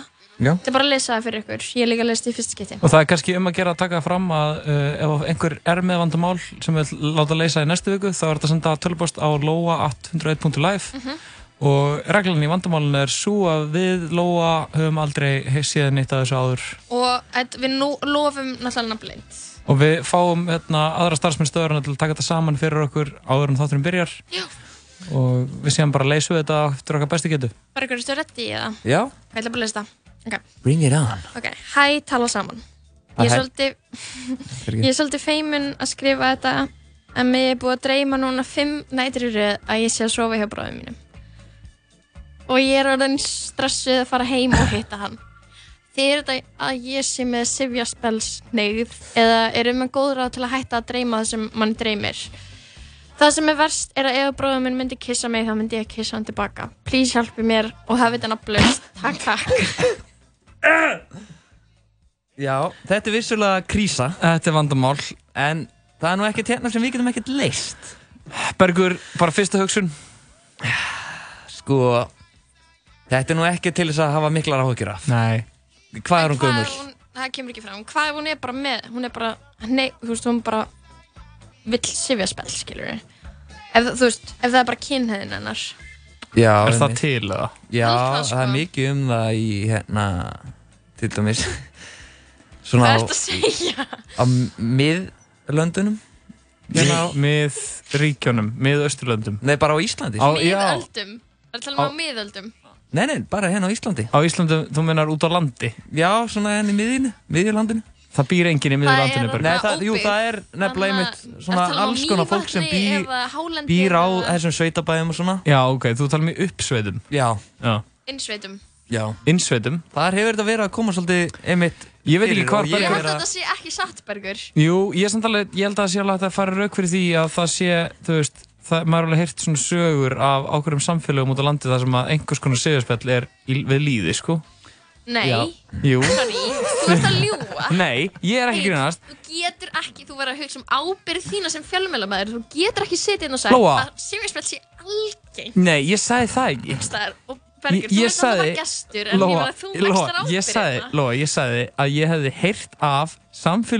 Speaker 18: Já.
Speaker 3: Þetta er bara að leysa það fyrir ykkur, ég er líka að leysa þetta í fyrst skipti
Speaker 4: Og það er kannski um að gera að taka fram að uh, ef einhver er með vandamál sem við láta leysa í næstu viku þá er þetta að senda tölpost á loa801.live og reglan í vandamálinu er svo að við Lóa höfum aldrei he- séð neitt að þessu áður
Speaker 3: Og þetta- við nú, lofum náttúrulega nafnleint
Speaker 4: og við fáum hérna, aðra starfsmenn stöðurna til að taka þetta saman fyrir okkur áður en þátturinn byrjar
Speaker 3: Já.
Speaker 4: og við séum bara að leysu þetta eftir okkar bestu getu
Speaker 3: Bara ykkur, ertu reddi í það?
Speaker 18: Já,
Speaker 3: Ég ætla bara að leysa það Ok,
Speaker 18: bring it on
Speaker 3: ok, hæ, tala saman Ég er
Speaker 18: Hæ.
Speaker 3: svolítið
Speaker 18: Fyrir
Speaker 3: Ég
Speaker 18: ekki.
Speaker 3: er svolítið feimin að skrifa þetta En mér er búið að dreyma núna fimm nætur í röð að ég sé að sofa hjá bráðum mínum. Og ég er orðin stressuð að fara heim og hitta hann. Þegar þetta að ég sé með sifjaspels neyð eða er um að góðra til að hætta að dreyma það sem mann dreymir. Það sem er verst er að ef bróðum minn myndi kissa mig þá myndi ég kissa hann tilbaka. Please hjálpi mér og hafið þetta nafnlaust. Takk, takk.
Speaker 17: Já, þetta er vissulega krísa Þetta er vandamál En það er nú ekkert hérna sem við getum ekkert leist Bergur, bara fyrsta hugsun Sko Þetta er nú ekki til þess að hafa miklar áhyggjur af Nei Hvað er hún
Speaker 3: Hvað
Speaker 17: gömul?
Speaker 3: ef hún, það kemur ekki fram. Hvað ef hún er bara með, hún er bara, nei, þú veist, hún bara vill sifjaspel, skilur við. Ef, þú veist, ef það er bara kynhæðin hennar.
Speaker 17: Já,
Speaker 4: Er það
Speaker 17: til eða? Já,
Speaker 3: Held það,
Speaker 17: það
Speaker 3: sko.
Speaker 17: er mikið um það í hérna Til dæmis Svona
Speaker 3: Hvað
Speaker 17: á-
Speaker 3: ertu að segja?
Speaker 17: Á miðlöndunum Hérna
Speaker 4: Mið, mið ríkjónum, mið austurlöndum
Speaker 17: Nei, bara á Íslandi
Speaker 4: á, já,
Speaker 3: Miðöldum. Það er talað um á miðöldum.
Speaker 17: Nei, nei, bara hérna á Íslandi
Speaker 4: á Íslandu, þú menar út á landi
Speaker 17: Já, svona hérna henni miðinu, miðjurlandinu
Speaker 4: Það býr enginn í miðurlandinu
Speaker 17: Nei, það, jú, það er hérna. nefnilega einmitt svona
Speaker 3: um
Speaker 17: alls konar fólk sem býr, býr á þessum sveitabæðum og svona
Speaker 4: Já, ok, þú talar mér uppsveitum
Speaker 17: Já,
Speaker 4: já.
Speaker 3: Innsveitum.
Speaker 17: já.
Speaker 4: Innsveitum
Speaker 17: Þar hefur þetta verið að koma svolítið einmitt
Speaker 4: Ég veit ekki
Speaker 17: fyrir
Speaker 4: hvar
Speaker 17: og
Speaker 3: Ég
Speaker 4: Bergur
Speaker 3: held að þetta sé ekki satt, Bergur.
Speaker 4: Jú, ég, er samt alveg, ég held að það sé alveg hægt að fara rauk fyrir því að það sé, þú veist, það, maður er alveg heyrt svona sögur af ákveðum samfélögum út á landi þar sem að einhvers konar segjarspjall er í, við líði, sko.
Speaker 3: Nei.
Speaker 4: Já. Jú.
Speaker 3: Sorry, þú ert að ljúa.
Speaker 4: Nei, ég er ekki að grínast.
Speaker 3: Þú getur ekki, þú verður að hugsa um ábyrð þína sem fjölmjölamæður, þú getur ekki setið inn og sagt
Speaker 4: Lóa.
Speaker 3: að sifjarspjall sé algengt
Speaker 4: Nei, ég sagði það ekki.
Speaker 3: staðar og Bergur,
Speaker 4: Ég-
Speaker 3: þú
Speaker 4: ég
Speaker 3: ert alltaf
Speaker 4: sagði-
Speaker 3: gestur en ég var að þú
Speaker 4: Lóa,
Speaker 3: leggst þar
Speaker 4: ég
Speaker 3: ábyrð
Speaker 4: sagði, Lóa, ég sagði að ég hefði heyrt af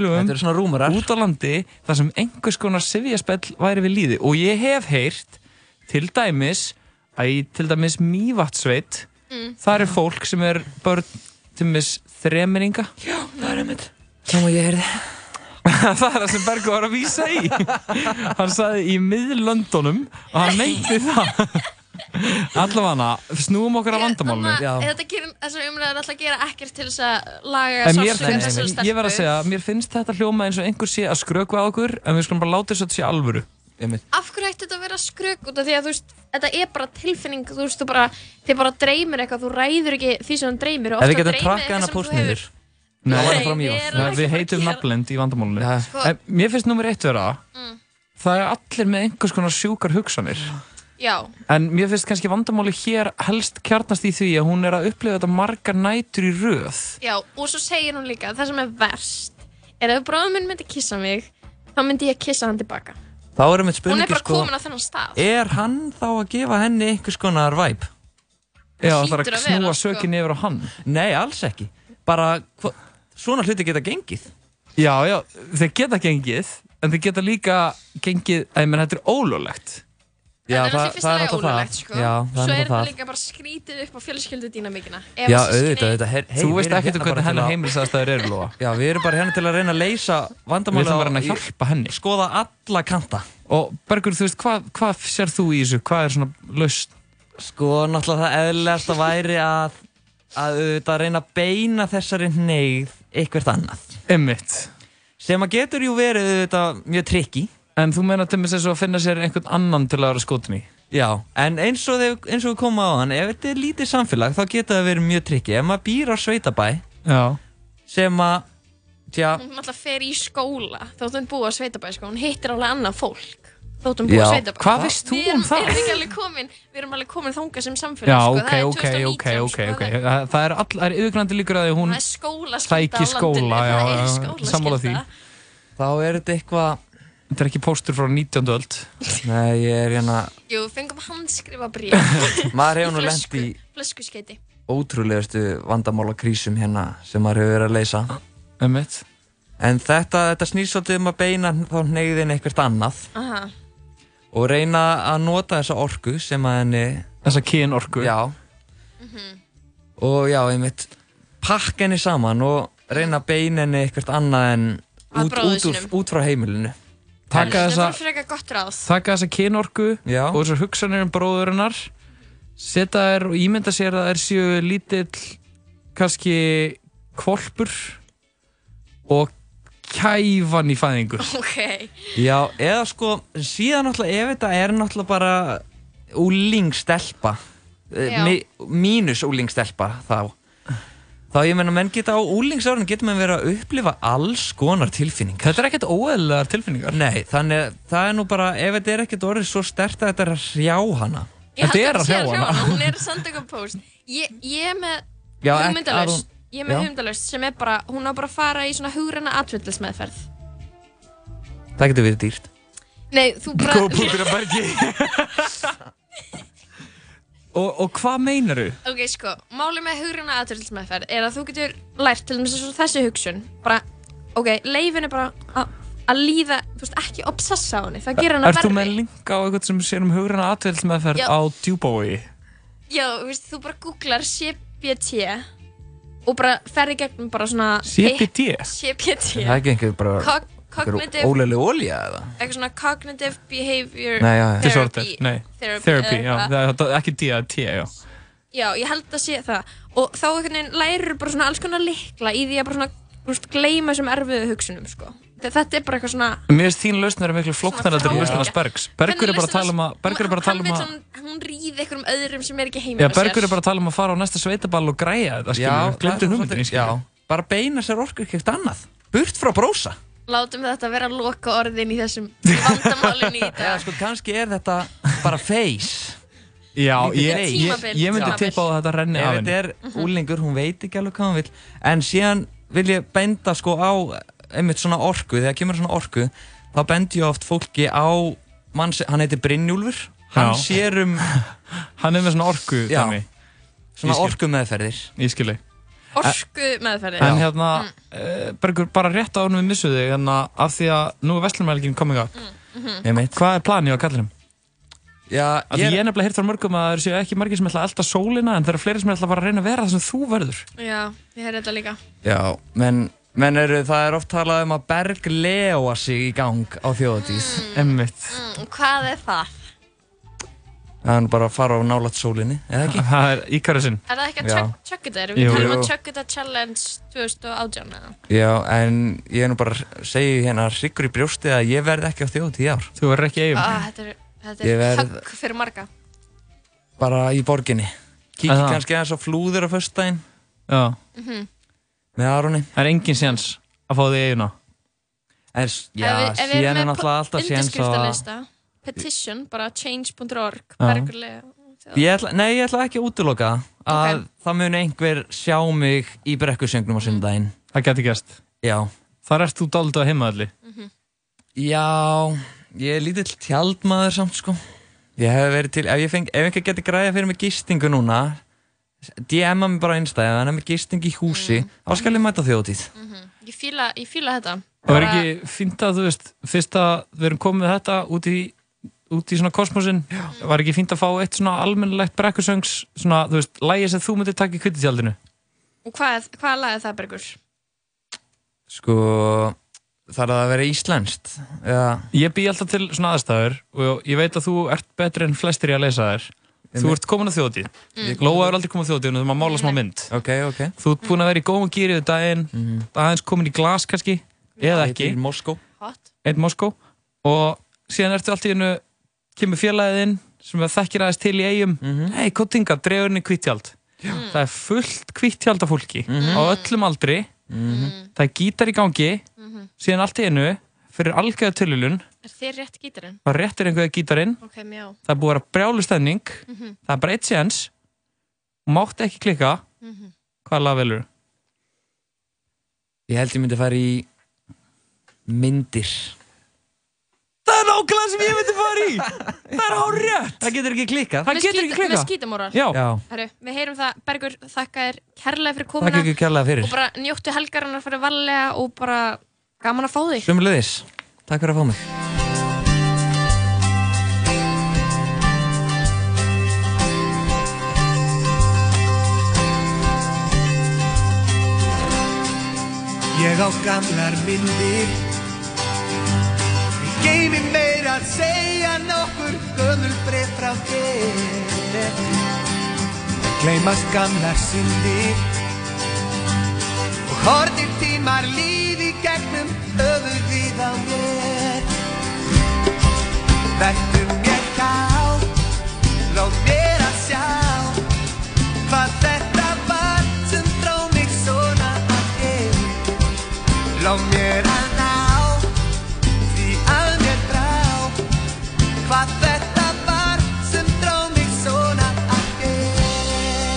Speaker 4: samfélögum út á landi þar sem einhvers konar sifjaspell væri við líði og ég hef heyrt til dæmis að í til dæmis Mývatsveit
Speaker 17: Mm.
Speaker 4: þar er fólk sem er börn til dæmis þremeringa Já, það er einmitt Þá ég heyrði Það er það sem Bergur var að vísa í Hann sagði í miðlöndunum og hann meinti það Allavega, snúum okkur að vandamálinu
Speaker 3: Þannig að þetta gerir, þessar umræður alltaf gera ekkert til þess að laga
Speaker 4: En mér
Speaker 3: sársökar
Speaker 4: finnst,
Speaker 3: þessar stelpu.
Speaker 4: ég verð að segja, mér finnst þetta hljóma eins og einhver sé að skrökva á okkur en við skulum bara láta þess að þetta sé alvöru Einmitt.
Speaker 3: Af hverju ætti þetta að vera skrök út af því að þú veist, þetta er bara tilfinning, þú veist, þú bara, þið bara dreymir eitthvað, þú ræður ekki því sem þú dreymir og
Speaker 4: Ef við
Speaker 3: ofta
Speaker 4: getum
Speaker 3: dreymir
Speaker 4: trakkað
Speaker 3: eitthvað
Speaker 4: hana
Speaker 3: sem
Speaker 4: póst
Speaker 3: þú hefur-
Speaker 4: niður
Speaker 3: Nei,
Speaker 4: Láta
Speaker 3: við
Speaker 4: fram í
Speaker 3: erum
Speaker 4: vatn. Nei,
Speaker 3: ekki
Speaker 4: Við
Speaker 3: að
Speaker 4: heitum
Speaker 3: gera- Sko-
Speaker 4: nafnlend í vandamálinu En Mér finnst nummer eitt vera
Speaker 3: Mm.
Speaker 4: Það er allir með einhvers konar sjúkar hugsanir
Speaker 3: Já,
Speaker 4: En mér finnst kannski vandamáli hér helst kjarnast í því að hún er að upplifa þetta margar nætur í röð.
Speaker 3: já, og svo segir hún líka, það sem er verst, er ef bróðum minn myndi kissa mig, þá myndi ég kissa hann tilbaka.
Speaker 17: Þá erum við
Speaker 3: Hún er
Speaker 17: spurningi
Speaker 3: bara
Speaker 17: sko
Speaker 3: komin á þennan stað.
Speaker 17: Er hann þá að gefa henni einhvers konar væp?
Speaker 4: Já, það er að Hlýtur að vera, snúa sko. sökinni yfir á hann
Speaker 17: Nei, alls ekki Bara, hva, svona hluti geta gengið
Speaker 4: Já, já, þeir geta gengið, en þeir geta líka gengið, að ég menn þetta er ólulegt.
Speaker 17: Já,
Speaker 3: það er fyrsta lagi ólulegt sko.
Speaker 4: Já,
Speaker 3: Svo
Speaker 4: það
Speaker 3: er
Speaker 4: er
Speaker 3: þetta
Speaker 4: það.
Speaker 3: líka bara skrítið upp á fjölskyldu dýnamíkina
Speaker 17: Já, auðvitað, auðvitað her,
Speaker 4: Þú veist ekkert um hvernig hennar heimilisæðstæður eru, Lóa
Speaker 17: Já, við erum bara hérna til að reyna að leysa vandamála
Speaker 4: Við ætlum bara að hjálpa henni.
Speaker 17: Skoða alla kanta
Speaker 4: Og Bergur, þú veist, hvað hva sér þú í þessu? Hvað er svona laust?
Speaker 17: Sko, náttúrulega það eðlilegasta væri að að auðvitað reyna að beina þessari neyð eitthvert annað
Speaker 4: Emmitt
Speaker 17: Sem að getur jú verið auðvitað mjög trikki
Speaker 4: En þú meina til þess að finna sér einhvern annan til að vera skotin í
Speaker 17: Já, en eins og, þau, eins og við komum á hann, ef þetta er lítið samfélag þá geta það verið mjög trikki. Ef maður býr á sveitabæ
Speaker 4: Já.
Speaker 17: sem að, tja,
Speaker 3: Hún alltaf fer í skóla þótt hún búa á sveitabæði sko. Hún hittir alveg annað fólk þótt hún
Speaker 4: Já,
Speaker 3: búa á sveitabæði
Speaker 4: hvað veist þú
Speaker 3: Við erum-
Speaker 4: um það?
Speaker 3: Erum við, ekki alveg komin, við erum alveg komin þangað sem samfélag
Speaker 4: Já,
Speaker 3: sko.
Speaker 4: ok,
Speaker 3: Það er
Speaker 4: ok,
Speaker 3: 2019,
Speaker 4: ok, ok,
Speaker 3: sko.
Speaker 4: ok Það það er all- það er yfirgrænandi líkur að því hún
Speaker 3: Það er skólaskylda á
Speaker 4: sæki
Speaker 3: landinu,
Speaker 4: skóla já,
Speaker 3: það er
Speaker 4: já,
Speaker 3: skólaskylda.
Speaker 4: Sammála því
Speaker 17: Þá er þetta eitthvað
Speaker 4: Þetta er ekki póstur frá 19. öld
Speaker 17: Nei, ég er hérna
Speaker 3: Jú, við fengum handskrifa bríð
Speaker 17: Maður hefur nú lent í
Speaker 3: Flöskuskeiti
Speaker 17: ótrúlegustu vandamála krísum hérna sem maður hefur verið að leysa.
Speaker 4: Ömmit.
Speaker 17: En þetta, þetta snýr svolítið um að beina þá neyðin eitthvert annað
Speaker 3: Aha.
Speaker 17: og reyna að nota þessa orku sem að henni...
Speaker 4: Þessa kyn orku?
Speaker 17: Já.
Speaker 3: Mhm.
Speaker 17: Og já, einmitt, pakka henni saman og reyna að beina henni eitthvert annað en
Speaker 3: Að
Speaker 17: út,
Speaker 3: bróður
Speaker 17: út, úr,
Speaker 3: sínum.
Speaker 17: út frá heimilinu.
Speaker 4: Taka
Speaker 3: Þetta
Speaker 4: þessa,
Speaker 3: er frekar gott ráð
Speaker 4: taka þessa kynorku
Speaker 17: Já.
Speaker 4: og þessar hugsanir um bróðurinnar setja þær og ímynda sér að þær séu lítill kannski kvolpur og kæfan í fæðingu
Speaker 3: Ok
Speaker 17: Já, eða sko, síðan náttúrulega, ef þetta er náttúrulega bara úlingstelpa,
Speaker 3: Já.
Speaker 17: mi, mínus úlingstelpa þá, þá ég meina, menn geta á úlingsárunum, getur menn verið að upplifa alls konar tilfinningar. Þetta er ekkert óeðlegar tilfinningar. Nei, þannig að það er nú bara, ef þetta er ekkert orðið svo stert að þetta er að hrjá hana.
Speaker 3: Ég held þetta sé Hún er að senda ykkur post Ég, ég er með
Speaker 17: Já, ekki-
Speaker 3: hugmyndalust
Speaker 17: Aron-
Speaker 3: Ég er með
Speaker 17: Já.
Speaker 3: hugmyndalust sem er bara Hún á bara að fara í svona hugræna atvillismeðferð
Speaker 17: Það getur verið dýrt.
Speaker 3: Nei, þú bara
Speaker 17: að bergi. og, og hvað meinaru?
Speaker 3: Ok, sko, máli með hugræna aðtöldismeðferð er að þú getur lært til dæmis þessu, þessi hugsun bara, ok, leifin er bara að- að líða, þú veist, ekki obsessa á henni það gerir hann að
Speaker 4: Ert þú
Speaker 3: verði
Speaker 4: með link á eitthvað sem sér um hugræna atveilsmeðferð
Speaker 3: Já.
Speaker 4: á Djúbói?
Speaker 3: Já, þú veist, þú bara googlar CBT og bara fer í gegnum bara svona
Speaker 4: CBT?
Speaker 3: CBT
Speaker 17: Það er ekki einhver bara,
Speaker 3: Cog-
Speaker 17: einhver
Speaker 3: Cognitive-
Speaker 17: óleileg olja eða?
Speaker 3: eitthvað svona Cognitive Behavior
Speaker 4: Nei, já, já. Disorder,
Speaker 3: Therapy
Speaker 4: nei.
Speaker 3: Therapy,
Speaker 4: Therapy,
Speaker 3: eða
Speaker 4: já.
Speaker 3: eitthvað.
Speaker 4: Það, það, ekki D, það er T, já.
Speaker 3: Já, ég held að sé það og þá einhvern veginn lærir bara svona alls konar likla í því að bara svona þú veist, gleyma þessum erfiðu hugsunum sko. Þe- þetta er bara eitthvað svona
Speaker 4: Mér finnst þín lausnir miklu flóknar þetta er
Speaker 3: þráhyggja.
Speaker 4: lausnir hans Bergs. Bergur er bara að tala um að, Bergur er bara að tala um
Speaker 3: Hann
Speaker 4: að,
Speaker 3: vil svona, hún ríði einhverjum öðrum sem er ekki heiminn
Speaker 4: já, Bergur er bara að tala um að fara á næsta sveitaball og græja þetta,
Speaker 17: Já,
Speaker 4: skilur. Glemdu
Speaker 17: það er
Speaker 4: hugmyndinni, skilur.
Speaker 17: Já, bara beina sér orku ekkert annað. Burt frá brósa.
Speaker 3: Látum þetta vera loka orðin í þessum vandamálinu í dag
Speaker 17: Eða sko, kannski er þetta bara face.
Speaker 4: Já,
Speaker 17: Lítið
Speaker 4: ég,
Speaker 17: face.
Speaker 4: ég, ég myndi tippa á að þetta renni af
Speaker 17: Ef þetta
Speaker 4: henni.
Speaker 17: er úlingur, hún veit ekki alveg hvað hún vil. En síðan vil ég benda sko á einmitt svona orku, þegar kemur svona orku, þá bendi ég oft fólki á, mann, sem- hann heitir Brynjúlfur, hann
Speaker 4: Já.
Speaker 17: sér um...
Speaker 4: Hann er með svona orku,
Speaker 17: Já,
Speaker 4: dæmi. Ég
Speaker 17: svona
Speaker 4: skil.
Speaker 17: orku meðferðir.
Speaker 4: Ég skilji.
Speaker 3: Orku meðferði
Speaker 4: En hérna, mm. Bergur, bara rétt á hann við missuðu þig, hérna, af því að nú er Vestlumælgin coming up.
Speaker 3: Mm, mhm.
Speaker 4: Hvað er planið á kallinum?
Speaker 17: Já,
Speaker 4: Af því ég er nefnilega heyrt frá mörgum að það séu ekki margir sem ætla að elda sólina en það eru fleiri sem ætla bara að reyna að vera það sem þú verður.
Speaker 3: Já, ég heyrði þetta líka
Speaker 17: Já, menn, menn eru, það er oft talað um að berg leoa sig í gang á þjóðatís. Emmitt.
Speaker 3: mm, Hvað er það?
Speaker 17: Það er nú bara að fara á nálat sólinni, eða ekki?
Speaker 4: Það er íkarusinn.
Speaker 3: Er það ekki
Speaker 17: Já.
Speaker 3: að tjökka þetta? Við
Speaker 17: Jú,
Speaker 3: talum
Speaker 17: jú.
Speaker 3: að tjökka þetta challenge 2018 eða?
Speaker 17: Já, en ég er nú bara að segja hérna hryggur í brjósti að ég verð ekki á þjóðatí í ár.
Speaker 4: Þú verður ekki
Speaker 3: Á, Ah, Þetta er, þetta
Speaker 17: Ég
Speaker 3: er
Speaker 17: verð-
Speaker 3: högg fyrir marga
Speaker 17: Bara í borginni. Kikið
Speaker 4: Aha.
Speaker 17: kannski aðeins á flúður á föstudaginn
Speaker 4: Já.
Speaker 3: Mhm.
Speaker 17: með Aroni.
Speaker 4: Það er engin séns að fá þig eiguna.
Speaker 17: Er,
Speaker 4: já,
Speaker 3: Ef við- ef við erum
Speaker 4: síðan er
Speaker 3: með
Speaker 4: náttúrulega alltaf
Speaker 3: po-
Speaker 4: séns að-
Speaker 3: undirskriftalista, Petition, bara change.org
Speaker 17: Já.
Speaker 3: Bergulega
Speaker 17: Ég ætla, nei, ég ætla ekki að útiloka það, að það muni einhver sjá mig í brekkusöngnum á sundaginn.
Speaker 4: Það getur gæst.
Speaker 17: Já.
Speaker 4: Þar ert þú dálítið að heimaðalli.
Speaker 17: Já, ég er lítill tjaldmaður samt sko Ég hef verið til, ef, ég feng, ef einhver getur græða fyrir mig gistingu núna DM-a mig bara á einstæði, ef hann er með gisting í húsi þá skal ég mæta á þjóðtíð
Speaker 3: Ég fíla, ég fíla þetta
Speaker 4: Það verður ekki fínt að þú veist, fyrst að við erum komið með þetta út í, út í svona kosmosin, var ekki fínt að fá eitt svona almennilegt brekkusöngs, svona, þú veist, lægi sem þú myndir taka í kvittitjaldinu.
Speaker 3: Og hvað, hvað lagði það Bergur?
Speaker 17: Sko, þarf það að vera íslenskt Já,
Speaker 4: Ég bý alltaf til svona aðstæður og ég veit að þú ert betri en flestir í að leysa þær. Þú ert komin á þjóðtíð.
Speaker 17: Mm.
Speaker 4: Lóa er aldrei komin á þjóðtíð, þú maður mála smá mynd.
Speaker 17: Okay, okay.
Speaker 4: Þú ert búin að vera í góðum gýrið daginn,
Speaker 17: Mhm.
Speaker 4: aðeins komin í glas kannski, eða ekki.
Speaker 17: Einn Moskó.
Speaker 3: Hot.
Speaker 4: Einn Moskó. Og síðan ertu allt í hennu, kemur félagið inn sem við þekkir aðeins til í eigum.
Speaker 17: Mhm.
Speaker 4: Hei, kottinga, drefur henni kvittjald. Mm. Það er fullt kvittjald af fólki
Speaker 17: Mhm.
Speaker 4: á öllum aldri. Það er gítar í gangi,
Speaker 3: Mhm.
Speaker 4: síðan allt í hennu, fyrir algjörðu tilhjulun,
Speaker 3: Er þér rétt gítarinn?
Speaker 4: það réttir einhverja gítarinn,
Speaker 3: Ok, mjá
Speaker 4: það er búið að vera brjálu stemning
Speaker 3: Mhm.
Speaker 4: það er bara eitt séns mátt ekki klikka,
Speaker 3: Mhm.
Speaker 4: hvað lag velur
Speaker 17: Ég held ég myndi fara í myndir
Speaker 4: Það er nákvæmlega sem ég myndi fara í Það er hár rétt
Speaker 17: Það getur ekki klikkað
Speaker 3: Með skít- Með skítamóral
Speaker 17: Já. Já.
Speaker 3: Herru, við heyrum það Bergur, þakka þér kærlega fyrir komuna
Speaker 17: Takk ekki kjærlega fyrir.
Speaker 3: Og bara njóttu helgarinnar fyrir valega og bara gaman að fá þig
Speaker 17: Sumleðis, takk fyrir að fá mig
Speaker 13: Ég á gamlar myndir Ég geymi meira að segja nokkur gömul bref frá þér Gleimast gamlar syndir Og hortir tímar líði gegnum öfugvíð á mér Vertu mér kál, lóð mér að sjá Hvað þetta var sem dró mig svona að gera Lóð mér að ná, því að mér drá Hvað þetta var sem dró mig svona að gera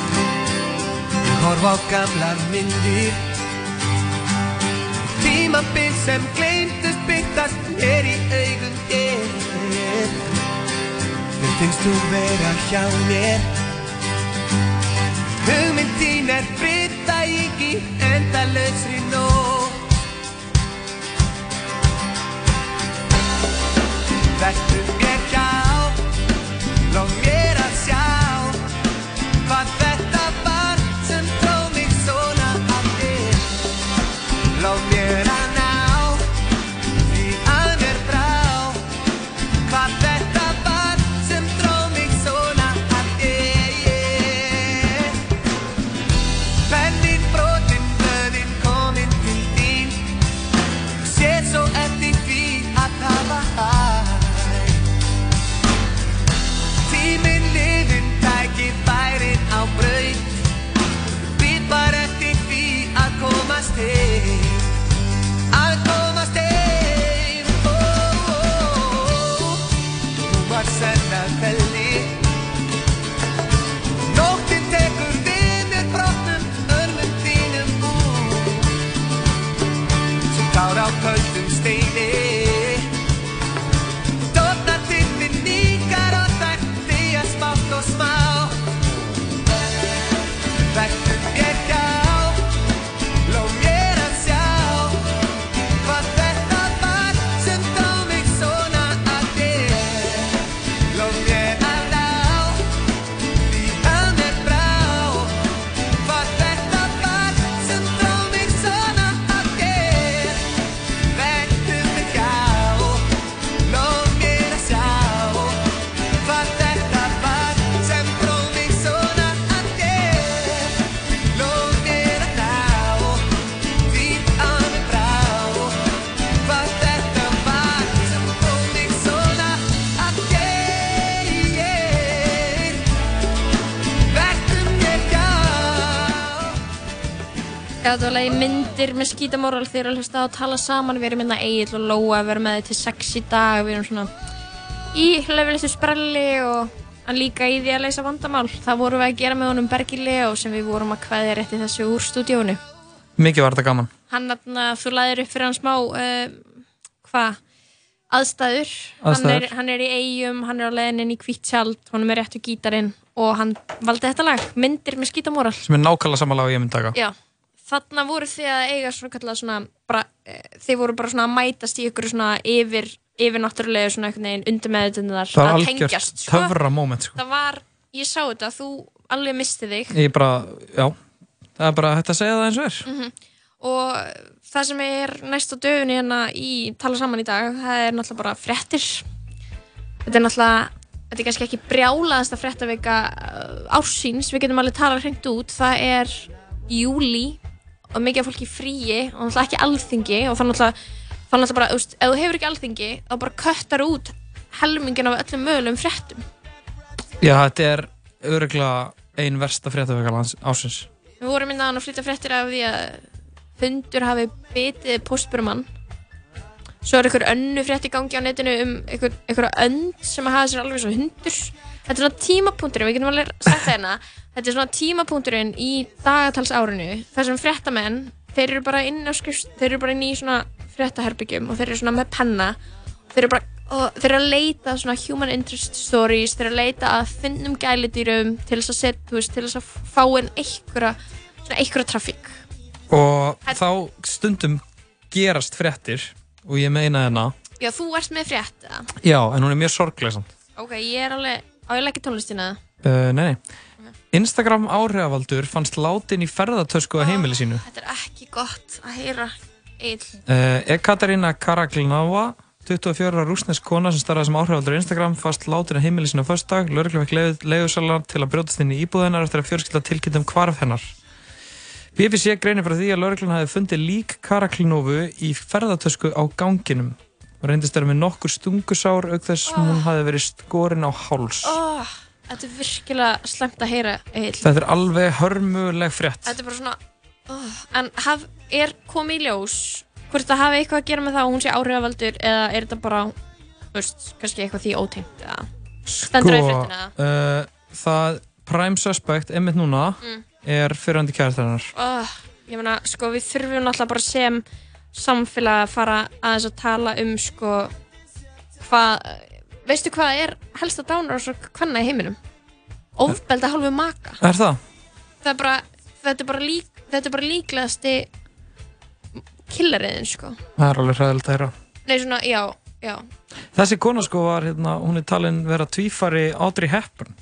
Speaker 13: Ég horf á gamlar myndir Tímabil sem gleymdust byggtast mér í augum þér Mér finnst þú vera hjá mér Hugmynd þín er brita ég í endalausri nótt Vertu mér hjá Lóð mér að sjá Hvað þetta var sem dró mig svona að þér Lóð mér að ná Því að mér brá Hvað þetta var sem dró mig svona að þér Pennin brotin, blöðin komin til þín Sé svo eftir því að hafa hæ Tíminn lifin, tæki bærin á braut Við bara eftir því að komast heim Að komast heim Ó, ó, ó. Nú var senna felli Nóttin tekur við mér brotnum örmum þínum úr Svo kár á köldum steini Dóttar tilfinningar og þær þýja smátt og smá Vertum ég hjá, lóð mér að sjá Hvað þetta var sem dró mig svona að þér Lóð mér að ná, því að mér brá Hvað þetta var sem dró mig svona að þér Vertum ég hjá Lóð mér að sjá Hvað þetta var sem dró mig svona að þér Lóð mér að ná Því að mér brá Hvað þetta var sem dró mig svona að þér Vertum mér hjá
Speaker 3: Já, þetta var lagi myndir með skítamóral þeir eru að hlusta á að tala saman, við erum minna Egil og Lóa, við erum með þið til sex í dag, við erum svona í hlöfilistu sprelli og hann líka í því að leysa vandamál. Það vorum við að gera með honum Bergi Leo sem við vorum að kvæðja rétt í þessu úr stúdíónu.
Speaker 4: Mikið var þetta gaman.
Speaker 3: Hann, þarna, þú laðir upp fyrir hann smá, uh, hvað, aðstæður. Hann,
Speaker 4: Aðstæður.
Speaker 3: er, hann er í eigum, hann er á leiðinni í hvitt sjald, honum er réttu gítarinn og hann valdi þetta lag, myndir með skítamóral.
Speaker 4: Sem er nákvæmlega samanlega og ég myndi taka.
Speaker 3: Já, þarna voru þið að eiga svona kallað svona bara, eh, þið voru bara svona að mætast í ykkur svona yfir, yfir náttúrulegu svona einhvern veginn undir meðutinnar
Speaker 4: Það var
Speaker 3: að
Speaker 4: algjört
Speaker 3: tengjast sko.
Speaker 4: töfra moment sko.
Speaker 3: Það var, ég sá þetta, þú alveg misti þig
Speaker 4: Ég bara, já, það er bara hægt að segja það eins og er.
Speaker 3: mm og það sem er næst á döfunni hérna í tala saman í dag, það er náttúrulega bara frettir þetta er náttúrulega þetta er kannski ekki brjálaðasta frettavika ársins, við getum alveg tala hreint út, það er júli og mikið af fólki í fríi og náttúrulega ekki alþingi og það náttúrulega það náttúrulega bara, þú veist, ef þú hefur ekki alþingi þá bara köttar út helmingin af öllum mögulegum frettum
Speaker 4: Já, þetta er öruglega ein versta fréttavekala ásins.
Speaker 3: Við vorum minna að flytja fréttir af því að hundur hafi bitið postburumann. Svo er einhver önnu frétt í gangi á netinu um einhver, einhverja önd sem hafa sér alveg svo hundur. Þetta er svona tímapunkturinn, við getum alveg sagt það hérna. Þetta er svona tímapunkturinn í dagatalsárinu. þar sem fréttamenn, þeir eru bara inn á skrifst, þeir eru bara inn í svona fréttaherbyggjum og þeir eru svona með penna. Þeir eru bara, og þeir eru að leita að svona human interest stories, þeir eru að leita að finnum gælidýrum til þess að setja, þú veist, til þess að fá inn einhverja, svona einhverja trafík.
Speaker 4: Og þá stundum gerast fréttir og ég meina hérna,
Speaker 3: Já, þú ert með frétt, eða?
Speaker 4: já, en hún er mjög sorgleg samt.
Speaker 3: Ok, ég er alveg, á ég leggja tónlistina það?
Speaker 4: Uh, nei,
Speaker 3: Mhm.
Speaker 4: nei. Instagram áhrifavaldur fannst látin í ferðartösku að heimili sínu.
Speaker 3: Þetta er ekki gott að heyra, Egil.
Speaker 4: Eh, Uh, Ekaterina Karaklinova, 24 ára rúsnesk kona sem starfaði sem áhrifaldur á Instagram fast látin að heimili sinna á föstudag. Lörglu fekk leiðusalar til að brjótast inn í íbúðunar eftir að fjörskilta tilkynntum hvarf hennar. BBC greinir frá því að lörglun hafi fundið lík karaklinófu í ferðartösku á ganginum og reyndist þeirra með nokkur stungusár auk þess sem hún hafi verið skorin á háls.
Speaker 3: oh, Þetta er virkilega slemt að heyra Egil.
Speaker 4: Þetta er alveg hörmuleg frétt.
Speaker 3: Þetta er bara svona oh, En haf, er komið í ljós Hvort það hafi eitthvað að gera með það að hún sé áhrifavaldur eða er þetta bara þú veist, kannski eitthvað því ótengt eða stendur það
Speaker 4: Sko,
Speaker 3: í fréttina eða?
Speaker 4: uh, það prime suspect einmitt núna
Speaker 3: Mm.
Speaker 4: er fyrrandi kærtarinnar
Speaker 3: oh, Ég meina, sko, við þurfum náttúrulega bara sem samfélag að fara aðeins að tala um sko hvað veistu hvað er helsta dánur og hvenna í heiminum ofbelda hálfu maka
Speaker 4: er það?
Speaker 3: það er bara, þetta, er bara lík, þetta er bara líklegasti killariðin sko
Speaker 4: það er alveg hræðilegt að heyra
Speaker 3: Nei, svona, já, já
Speaker 4: þessi kona sko var hérna hún er talin vera tvífari Audrey Hepburn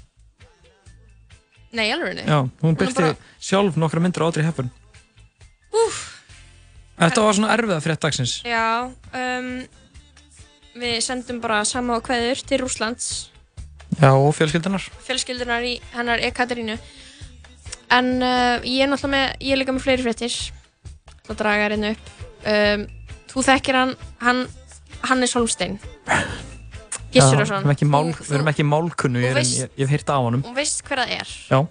Speaker 3: Nei, alveg
Speaker 4: já, hún
Speaker 3: Eh. er
Speaker 4: byrti sjálf nokkra myndir af Audrey Hepburn þetta var svona erfiða frétt dagsins
Speaker 3: Já, um, við sendum bara sama á kveður til Rúslands
Speaker 4: já, og fjölskyldunar
Speaker 3: fjölskyldunar í hennar Ekaterínu en uh, ég er náttúrulega með ég er líka með fleiri fréttir þá draga ég hérna upp um, þú þekkir hann, hann Hannes Holmstein Gissur og
Speaker 4: Já, við erum
Speaker 3: svona
Speaker 4: ekki mál- við erum ekki málkunnu
Speaker 3: þú
Speaker 4: ég, er-
Speaker 3: veist-
Speaker 4: ég, ég hef heyrt af honum
Speaker 3: og veist hver það er
Speaker 4: já,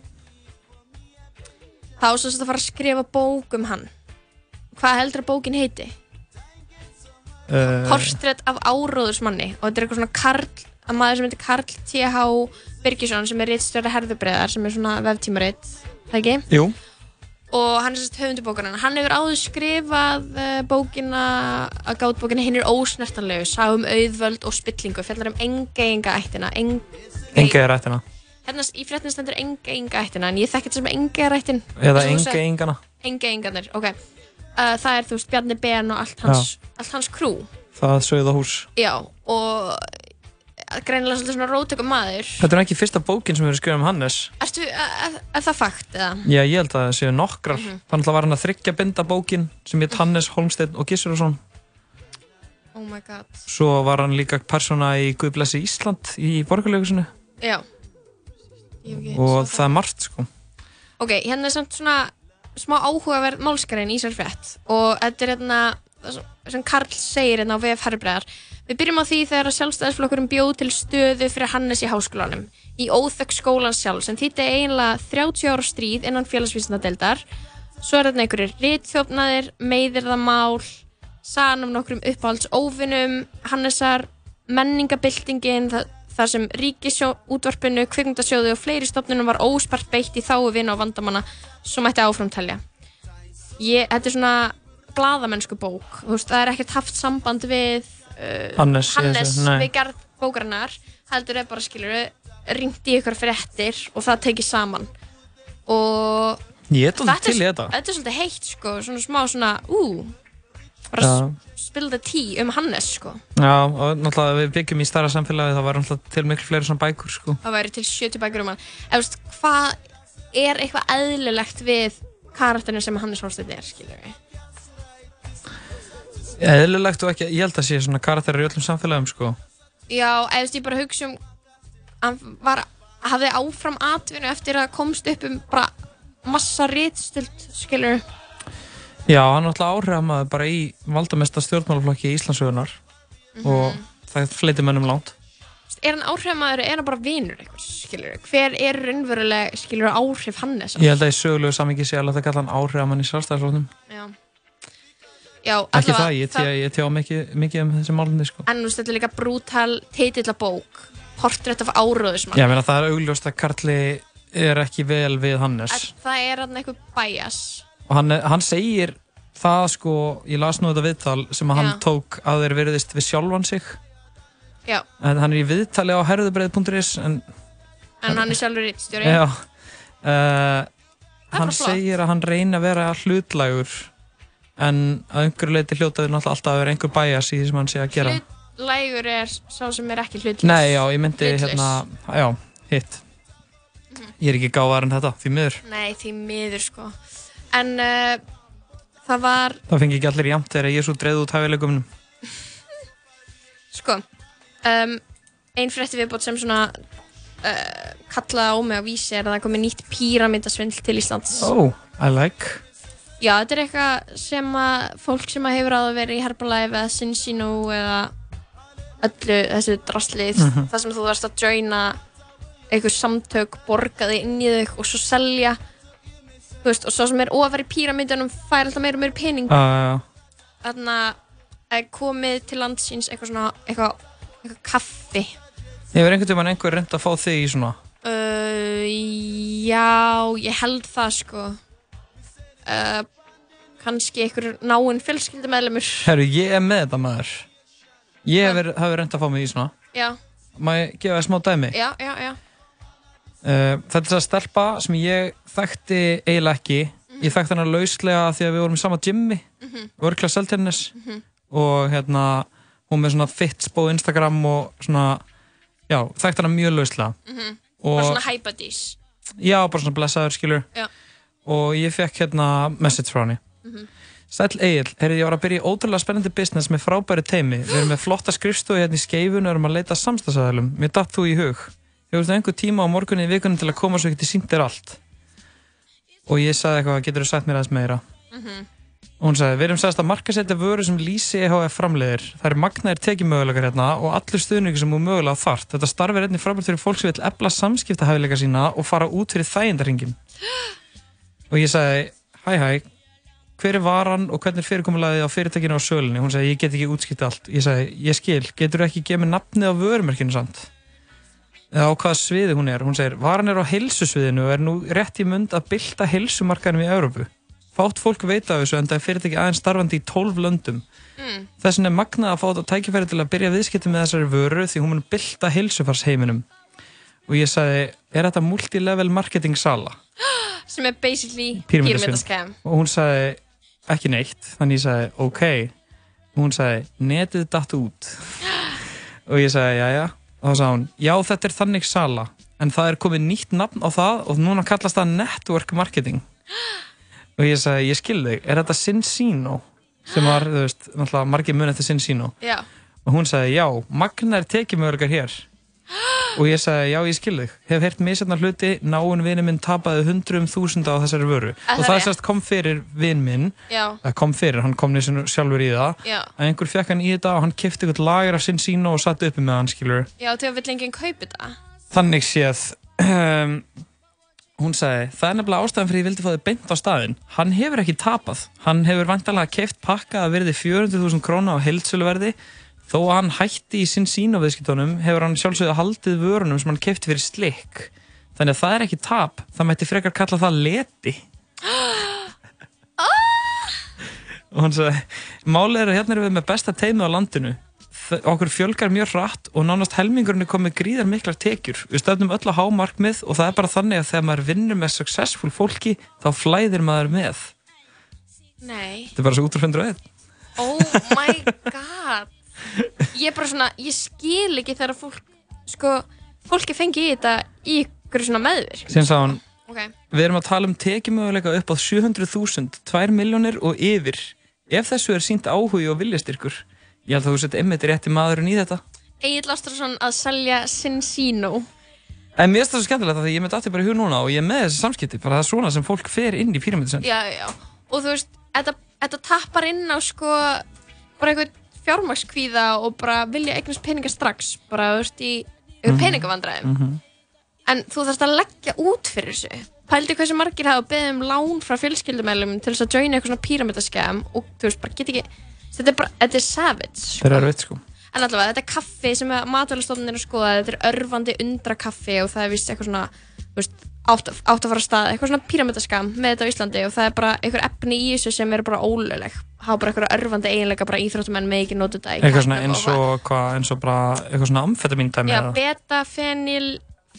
Speaker 3: þá svo sem þetta fara að skrifa bók um hann hvað heldur að bókin heiti?
Speaker 4: uh,
Speaker 3: Portrétt af áróðursmanni og þetta er eitthvað svona Karl að maður sem heitir Karl T.H. Birgisson sem er réttstjóra herðubreiðar sem er svona veftímaritt, það ekki?
Speaker 4: jú
Speaker 3: og hann er sérst höfundubókarinn hann hefur áður skrifað uh, bókina að gátbókina hinn er ósnertanlegu sá um auðvöld og spillingu fjallar um engeinga ættina eng...
Speaker 4: enga er rættina
Speaker 3: hérna s- í fréttin stendur engeinga ættina en ég þekki þetta sem engeinga ættin
Speaker 4: eða enga engana
Speaker 3: engeinganir, ok uh, það er þú veist Bjarni Ben og allt hans, allt hans krú
Speaker 4: það sögða hús
Speaker 3: já og eh, greinilega svolítið svona rótökum maður
Speaker 4: þetta er ekki fyrsta bókin sem við erum skrifað um Hannes
Speaker 3: Ertu, er, er það fakt eða?
Speaker 4: Já, ég held að það séu nokkrar.
Speaker 3: Mhm.
Speaker 4: Þannig að var hann að þryggja binda bókin sem hétt Hannes, Holmsteinn og Gissurusson.
Speaker 3: Oh my god,
Speaker 4: Svo var hann líka persóna í Guð blessi Ísland í borgarleikusinu
Speaker 3: já Ég hef ekki
Speaker 4: og það er margt sko.
Speaker 3: Ok, hérna er samt svona smá áhugaverð málskarinn í sér frétt og þetta er hérna sem Karl segir hérna á VF Herbreyðar Við byrjum á því þegar að sjálfstæðisflokkurinn bjóð til stöðu fyrir Hannes í háskólanum í óþökk skólans sjálf sem þýtti eiginlega 30 ára stríð innan félagsvísindadeildar Svo er þarna einhverjir rítþjófnaðir, meiðirðamál sagan um nokkrum uppáhalds óvinnum Hannesar, menningabildingin þa þar sem ríkisútvarpinu, kvikmyndasjóðu og fleiri stofnunum var óspart beitt í þáu vinn og vandamanna svo mætti áframtalja Ég, þetta er svona gladamennsku bók þú veist, það er ekkert haft samband við uh,
Speaker 4: Hannes, ég
Speaker 3: Hannes
Speaker 4: sé, nei.
Speaker 3: við gerð bókarinnar heldur er bara skilur ringt í ykkur fréttir og það tekið saman og
Speaker 4: Ég er dálítið
Speaker 3: er-
Speaker 4: til í þetta.
Speaker 3: þetta er svolítið heitt sko, svona smá svona ú,
Speaker 4: Já.
Speaker 3: spilda tí um Hannes sko
Speaker 4: Já, og náttúrulega við byggjum í starra samfélagi það var náttúrulega til miklu fleiri svona bækur sko.
Speaker 3: það væri til 70 bækur um hann eða veist, hvað er eitthvað eðlilegt við karakterinu sem Hannes Hólsteinn er, skilur við
Speaker 4: Eðlilegt og ekki, ég held að sé svona karakterar í öllum samfélagum sko.
Speaker 3: já, eða veist, ég bara hugsa um hann var, hafði áfram atvinnu eftir að komst upp um bara massa rítstult, skilur
Speaker 4: Já, hann er náttúrulega áhrifamaður bara í valdamesta stjórnmálaflokki í Íslandsögunar
Speaker 3: Mhm.
Speaker 4: og það fleiti mönnum langt.
Speaker 3: er hann áhrifamaður, eða er hann bara vinur eitthvað, skilur hver er raunverulega, skilur áhrif Hannes
Speaker 4: Ég held að í sögulegu samingi sé alveg að kalla hann áhrifamann í sjálfstæðarslóknum.
Speaker 3: já, já
Speaker 4: Ekki
Speaker 3: allavega,
Speaker 4: það, ég, tjá, ég tjá mikið, mikið um þessi málunni sko.
Speaker 3: en þú veist, þetta er líka brútal teitilla bók Portrait of áróðismann
Speaker 4: Já, ég meina það er augljóst að Karli er ekki vel við Hannes
Speaker 3: það er hann eitthvað bæjas
Speaker 4: og hann, hann segir það sko, ég las nú þetta viðtal sem að hann
Speaker 3: Já.
Speaker 4: tók að þeir veriðist við sjálfan sig
Speaker 3: já,
Speaker 4: en hann er í viðtali á herðubreið.is en
Speaker 3: en hann er sjálfur rittstjóri
Speaker 4: já uh,
Speaker 3: bara
Speaker 4: hann
Speaker 3: flott.
Speaker 4: segir að hann reyni að vera hlutlægur en að einhverju leiti hljótaður náttúrulega alltaf að vera einhver bæjas í því sem hann sé að gera
Speaker 3: Lægur er sá sem er ekki hlutlaus
Speaker 4: Nei, já, ég myndi
Speaker 3: Hlutlaus.
Speaker 4: hérna, já, hitt
Speaker 3: Mhm.
Speaker 4: Ég er ekki gáðar en þetta, því miður
Speaker 3: Nei, því miður sko En uh, það var
Speaker 4: Það fengi ekki allir jæmt þegar Jésu dreigði út hæfileikum
Speaker 3: Sko, um, ein frétti viðbót sem svona uh, kallaði á mig að vísi er að það komið nýtt píramindasvindl til Íslands.
Speaker 4: Oh, I like
Speaker 3: Já, þetta er eitthvað sem að fólk sem að hefur áður verið í Herbalife eða Sinsinu eða öllu þessu draslið, mm
Speaker 1: Mhm.
Speaker 3: það sem þú varst að joina einhver samtök, borgaði inn í þau og svo selja þú veist, og svo sem er ofar í píramindunum fær alltaf meira og meira pening
Speaker 4: uh,
Speaker 3: þarna er komið til landsins eitthvað svona, eitthvað, eitthvað kaffi
Speaker 4: Hefur einhvern tímann einhver reynd að fá þig í svona
Speaker 3: Uh, já, ég held það sko uh, Kanski einhver náinn fjölskyldumeðlumur
Speaker 4: Herru, ég er með þetta maður Ég hef verið- hafi reynd að fá mig í svona
Speaker 3: Já,
Speaker 4: Má ég gefa það smá dæmi?
Speaker 3: já, já, já
Speaker 4: Uh, þetta er það stelpa sem ég þekkti eiginlega ekki Ég þekkti hana lauslega af því að við vorum í sama gymmi mm -hmm. Vörkla Seltjarnis Og hérna, hún með svona fitspó Instagram og svona Já, þekkti hana mjög lauslega
Speaker 3: mm -hmm.
Speaker 4: Og-
Speaker 3: Bara svona hæpadís
Speaker 4: Já, bara svona blessaður skilur
Speaker 3: Já.
Speaker 4: Og ég fekk hérna message frá henni
Speaker 3: Mhm.
Speaker 4: Sæll Egil, heyrðu ég var að byrja í ótrúlega spennandi business með frábæri teimi Við erum með flotta skrifstofu hérna í skeifun og erum að leita að samstagsæðalum Mér datt þú í hug Hefur þú einhver tíma á morgunni í vikunum til að koma svo ég geti sínt þér allt Og ég sagði eitthvað, getur þú sagt mér aðeins meira
Speaker 3: Mhm.
Speaker 4: Og hún sagði, við erum sagðist að markasetja vöru sem Lísi EHF framleiðir. Það eru magnaðir tekjumöguleikar hérna og allur stuðningur sem hún mögulega þarft. Þetta starf er einnig frábært fyrir fólk sem vil efla samskiptahæfileika sína og fara út fyrir þægindarhingin. Og ég sagði, hæ hæ, hver er varan og hvernig er fyrirkomulagið á fyrirtækinu á sölunni? Hún sagði, ég get ekki útskipt allt. Ég sagði, ég skil, getur þú ekki gefið mér nafnið á vörumerkinu samt? eða á hvaða sviði hún er. Hún segir, varan er á helsusviðinu og er nú rétt í mund að bylta helsumarkanum í Európu. Fátt fólk veit af þessu en það er fyrirtæki aðeins starfandi í 12 löndum.
Speaker 1: Mm.
Speaker 4: Þess vegna er magnað að fá þetta tækifæri til að byrja viðskipti með þessari vöru því hún mun bylta helsufarsheiminum. Og ég sagði, er þetta multilevel marketing sala?
Speaker 3: Sem er basically
Speaker 4: Píramídasvindl.
Speaker 3: píramíndaskem
Speaker 4: Og hún sagði, ekki neitt, þannig ég sagði, ok. Og hún sagði, netið datt út. og ég sagði, já, já. Og þá sagði hún, já, þetta er þannig sala, en það er komið nýtt nafn á það og núna kallast það network marketing. og ég sagði, ég skil þig, er þetta Sinsino? Sem var, þú veist, náttúrulega margir munið til Sinsino.
Speaker 3: Já,
Speaker 4: Og hún sagði, já, magna er tekjumörgar hér. Og ég sagði, já, ég skil þig. Hef heyrt misennar hluti, náinn vini minn tapaði hundrum þúsunda á þessari vöru.
Speaker 3: það
Speaker 4: og það
Speaker 3: rétt?
Speaker 4: sérst kom fyrir vin minn,
Speaker 3: já,
Speaker 4: það kom fyrir, hann kom nýsinn sjálfur í það.
Speaker 3: já
Speaker 4: Að einhver fekk hann í þetta og hann kefti eitthvað lager af sinn sína og satt uppi með hann, skilur.
Speaker 3: Já, þegar vill enginn kaupi þetta
Speaker 4: Þannig séð, um, hún sagði, það er nefnilega ástæðan fyrir ég vildi fá þið beint á staðinn. Hann hefur ekki tapað. Hann hefur vantalega keift pakka að verði 400.000 króna á heldsöluverði. Þó að hann hætti í sinn sín á viðskiptunum hefur hann sjálfsögðu haldið vörunum sem hann keifti fyrir slikk. Þannig að það er ekki tap. Það mætti frekar kalla það leti. Og hann sagði, málið er að hérna erum við með besta teimi á landinu. Þ- Okkur fjölgar mjög hratt og nánast helmingurinn er komið gríðar miklar tekjur. Við stöfnum öll að hámarkmið og það er bara þannig að þegar maður vinnur með successful fólki þá flæðir maður með.
Speaker 3: Nei,
Speaker 4: Þetta er bara svo útrúfendur aðeins.
Speaker 3: oh my god Ég er bara svona, ég skil ekki þegar fólk Sko, fólki fengi í þetta í ykkur svona meðvirk
Speaker 4: Síðan sagði hann,
Speaker 3: Ok,
Speaker 4: við erum að tala um tekjumöguleika upp á 700.000, 2 miljónir og yfir. Ef þessu er sínt áhugi og viljastyrkur, ég held að þú sett einmitt rétti maðurinn í þetta.
Speaker 3: Egil Ástrason að selja Sinsino
Speaker 4: En mér finnst það svo skemmtilegt að ég með datti bara í hug núna og ég er með þessi samskipti, bara það er svona sem fólk fer inn í píramidasönd.
Speaker 3: já, já, og þú veist þetta, þetta tappar inn á sko bara eitthvað fjármagnskvíða og bara vilja eignast peninga strax bara þú veist í mm.
Speaker 1: Mhm.
Speaker 3: peningavandræðum en þú þarfst að leggja út fyrir þessu pældi hversu margir hafa beðið um lán frá fjölskyldumælum til þess að joina eitthvað svona píramidaskem og þú veist bara get ekki þetta er bara, þetta er savage
Speaker 4: Þeir eru veit sko.
Speaker 3: En allavega, þetta er kaffi sem matvælastofnun er að skoða, þetta er örfandi undra kaffi og það er vist eitthvað svona, þú veist, átt, að- átt að fara af stað, eitthvað svona píramidaskam með þetta á Íslandi og það er bara einhver efni í þessu sem er bara ólögleg, hafa bara einhver örfandi eiginlega bara íþróttumenn með ekki nota þetta í
Speaker 4: Eitthvað svona
Speaker 3: kappleik
Speaker 4: eins og, hvað, eins og bara, eitthvað svona amfetamín dæmi.
Speaker 3: Já,
Speaker 4: eða-
Speaker 3: beta-fenil,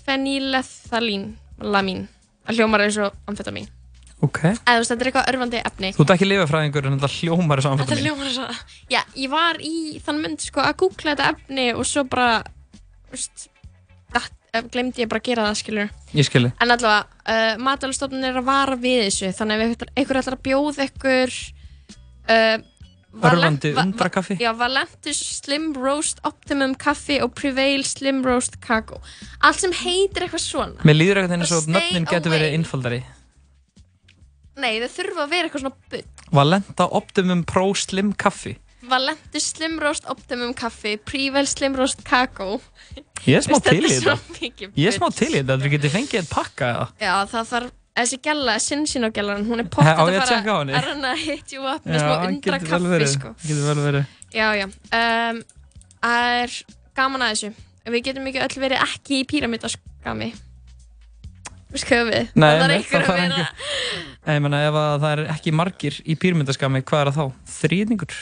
Speaker 3: fenilethalín, lamín, það hljómar eins og amfetamin.
Speaker 4: Ok.
Speaker 3: Eða þú veist, þetta er eitthvað örfandi efni.
Speaker 4: Þú ert ekki lifafræðingur en þetta hljómar þessu
Speaker 3: Þetta
Speaker 4: amfetamín.
Speaker 3: hljómar svo Já, ég var í þann mynd sko að googla þetta efni og svo bara þú veist, datt, eh, glemdi ég bara að gera það skilur
Speaker 4: Ég skilji.
Speaker 3: En allavega, uh, matalastofnun er að vara við þessu þannig að ef einhver- einhver ætlar að bjóða ykkur uh,
Speaker 4: Örlandi
Speaker 3: Va- va-
Speaker 4: undrakaffi
Speaker 3: Já, Valentus Slim Roast Optimum Kaffi og Prevail Slim Roast Kakó Allt sem heitir eitthvað svona
Speaker 4: Mér líður eitthvað eins og
Speaker 3: Bara stay
Speaker 4: nöfnin getur
Speaker 3: away.
Speaker 4: verið einfaldari
Speaker 3: Nei, þau þurfa að vera eitthvað svona bull
Speaker 4: Valenta Optimum Pro Slim Kaffi
Speaker 3: Valentus Slim Roast Optimum Kaffi Prevail Slim Roast Kakó
Speaker 4: Ég er smá
Speaker 3: Veist,
Speaker 4: til í
Speaker 3: þetta er
Speaker 4: þetta
Speaker 3: svo mikið
Speaker 4: Ég er
Speaker 3: bull.
Speaker 4: smá til í þetta, þetta getið fengið eitt pakka eða
Speaker 3: Já, það þarf Þessi gæla, Sinsino gælan, hún er
Speaker 4: Á,
Speaker 3: pottið
Speaker 4: ég að checka á henni?
Speaker 3: Er hann að hit you up með smá undra
Speaker 4: getur vel
Speaker 3: kaffi
Speaker 4: verið
Speaker 3: sko
Speaker 4: Getur vel verið
Speaker 3: Já, já. Um, Það er gaman að þessu. Við getum ekki öll verið ekki í píramítaskami. Við skoðum við.
Speaker 4: Nei,
Speaker 3: það er
Speaker 4: nei,
Speaker 3: einhver
Speaker 4: það
Speaker 3: að
Speaker 4: þarf
Speaker 3: vera.
Speaker 4: Nei, ég meina, ef að það er ekki margir í pýrmyndaskami, hvað er það þá? Þrýðningur?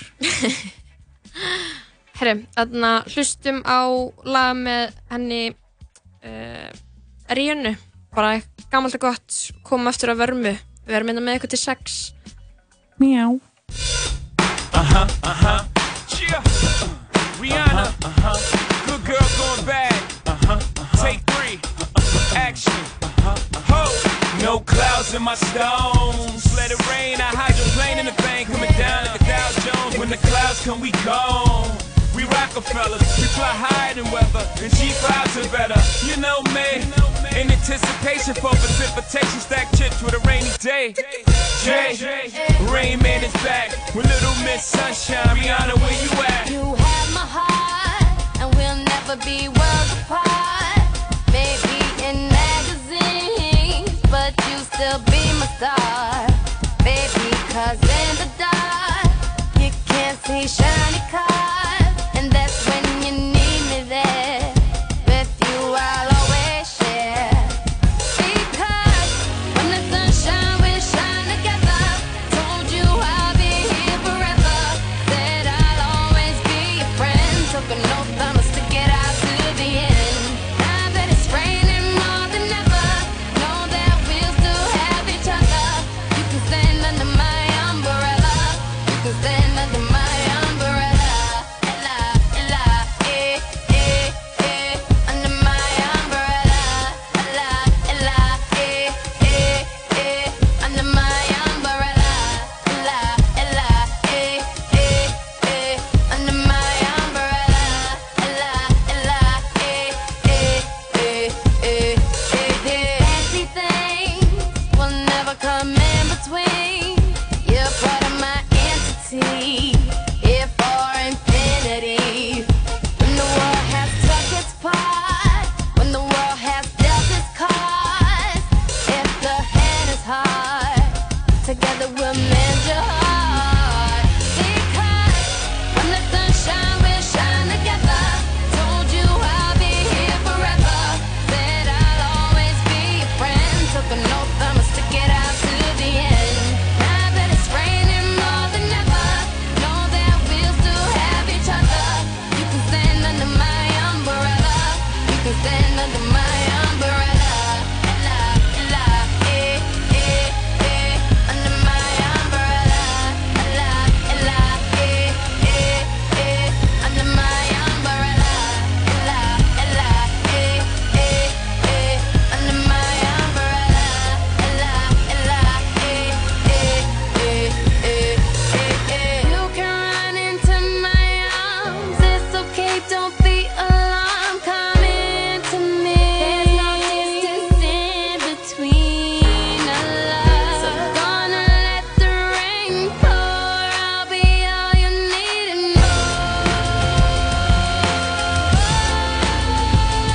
Speaker 3: Herru, þarna hlustum á lag með henni uh, Ríunu. Bara gamalt og gott. Komum aftur að vörmu. Við erum innan með eitthvað til sex.
Speaker 4: Mjá.
Speaker 1: Uh-huh, uh-huh. Yeah. Rihanna. Uh-huh. Good girl going bad. Uh-huh. Take 3 Action. Ho! No clouds in my stones. Let it rain. I hydroplane in the bank. Coming down at the Dow Jones. When the clouds come, we gone. We Rockefellers. We fly higher than weather. And G5s are better. You know me. In anticipation for precipitation. Stack chips with a rainy day. Jay. Rain Man is back. With Little Miss Sunshine. Rihanna, where you at?
Speaker 18: You have my heart, and we'll never be worlds apart. Maybe in magazines, but you still be my star. Baby, cause in the dark, you can't see shiny cars, and that's when you need me there. With you, I'll always share. Because when the sunshine will shine together, told you I'll be here forever. Said I'll always be your friend. Took an oath I'ma stick it out to the end. Now that it's raining more than ever, know that we'll still have each other. You can stand under my umbrella. You can stand under my umbrella. Ella, Ella, eh, eh, eh, under my umbrella. Ella, Ella, eh, eh, eh, under my umbrella. Ella, Ella, eh, eh, eh, under my umbrella. Ella, Ella, eh, eh, eh, eh, eh, eh. Fancy things will never come in between. You're part of my entity, here for infinity. When the world has took its part, when the world has dealt its cards, if the hand is hard, together we'll mend your heart. Because when the sunshine will shine together, told you I'll be here forever. Said I'll always be your friend. Took an oath I'ma stick it out to the end. Now that it's raining more than ever, know that we'll still have each other. You can stand under my umbrella. You can stand under my umbrella. Ella, Ella, eh, eh, eh, under my umbrella. Ella, Ella, eh, eh, eh, under my umbrella. Ella, Ella, eh, eh, eh, under my umbrella. Ella, Ella, eh, eh, eh, eh, eh, eh. You can run into my arms. It's okay, don't be alarmed. Come into me. There's no distance in between us. So gonna let the rain pour. I'll be all you need and more. Because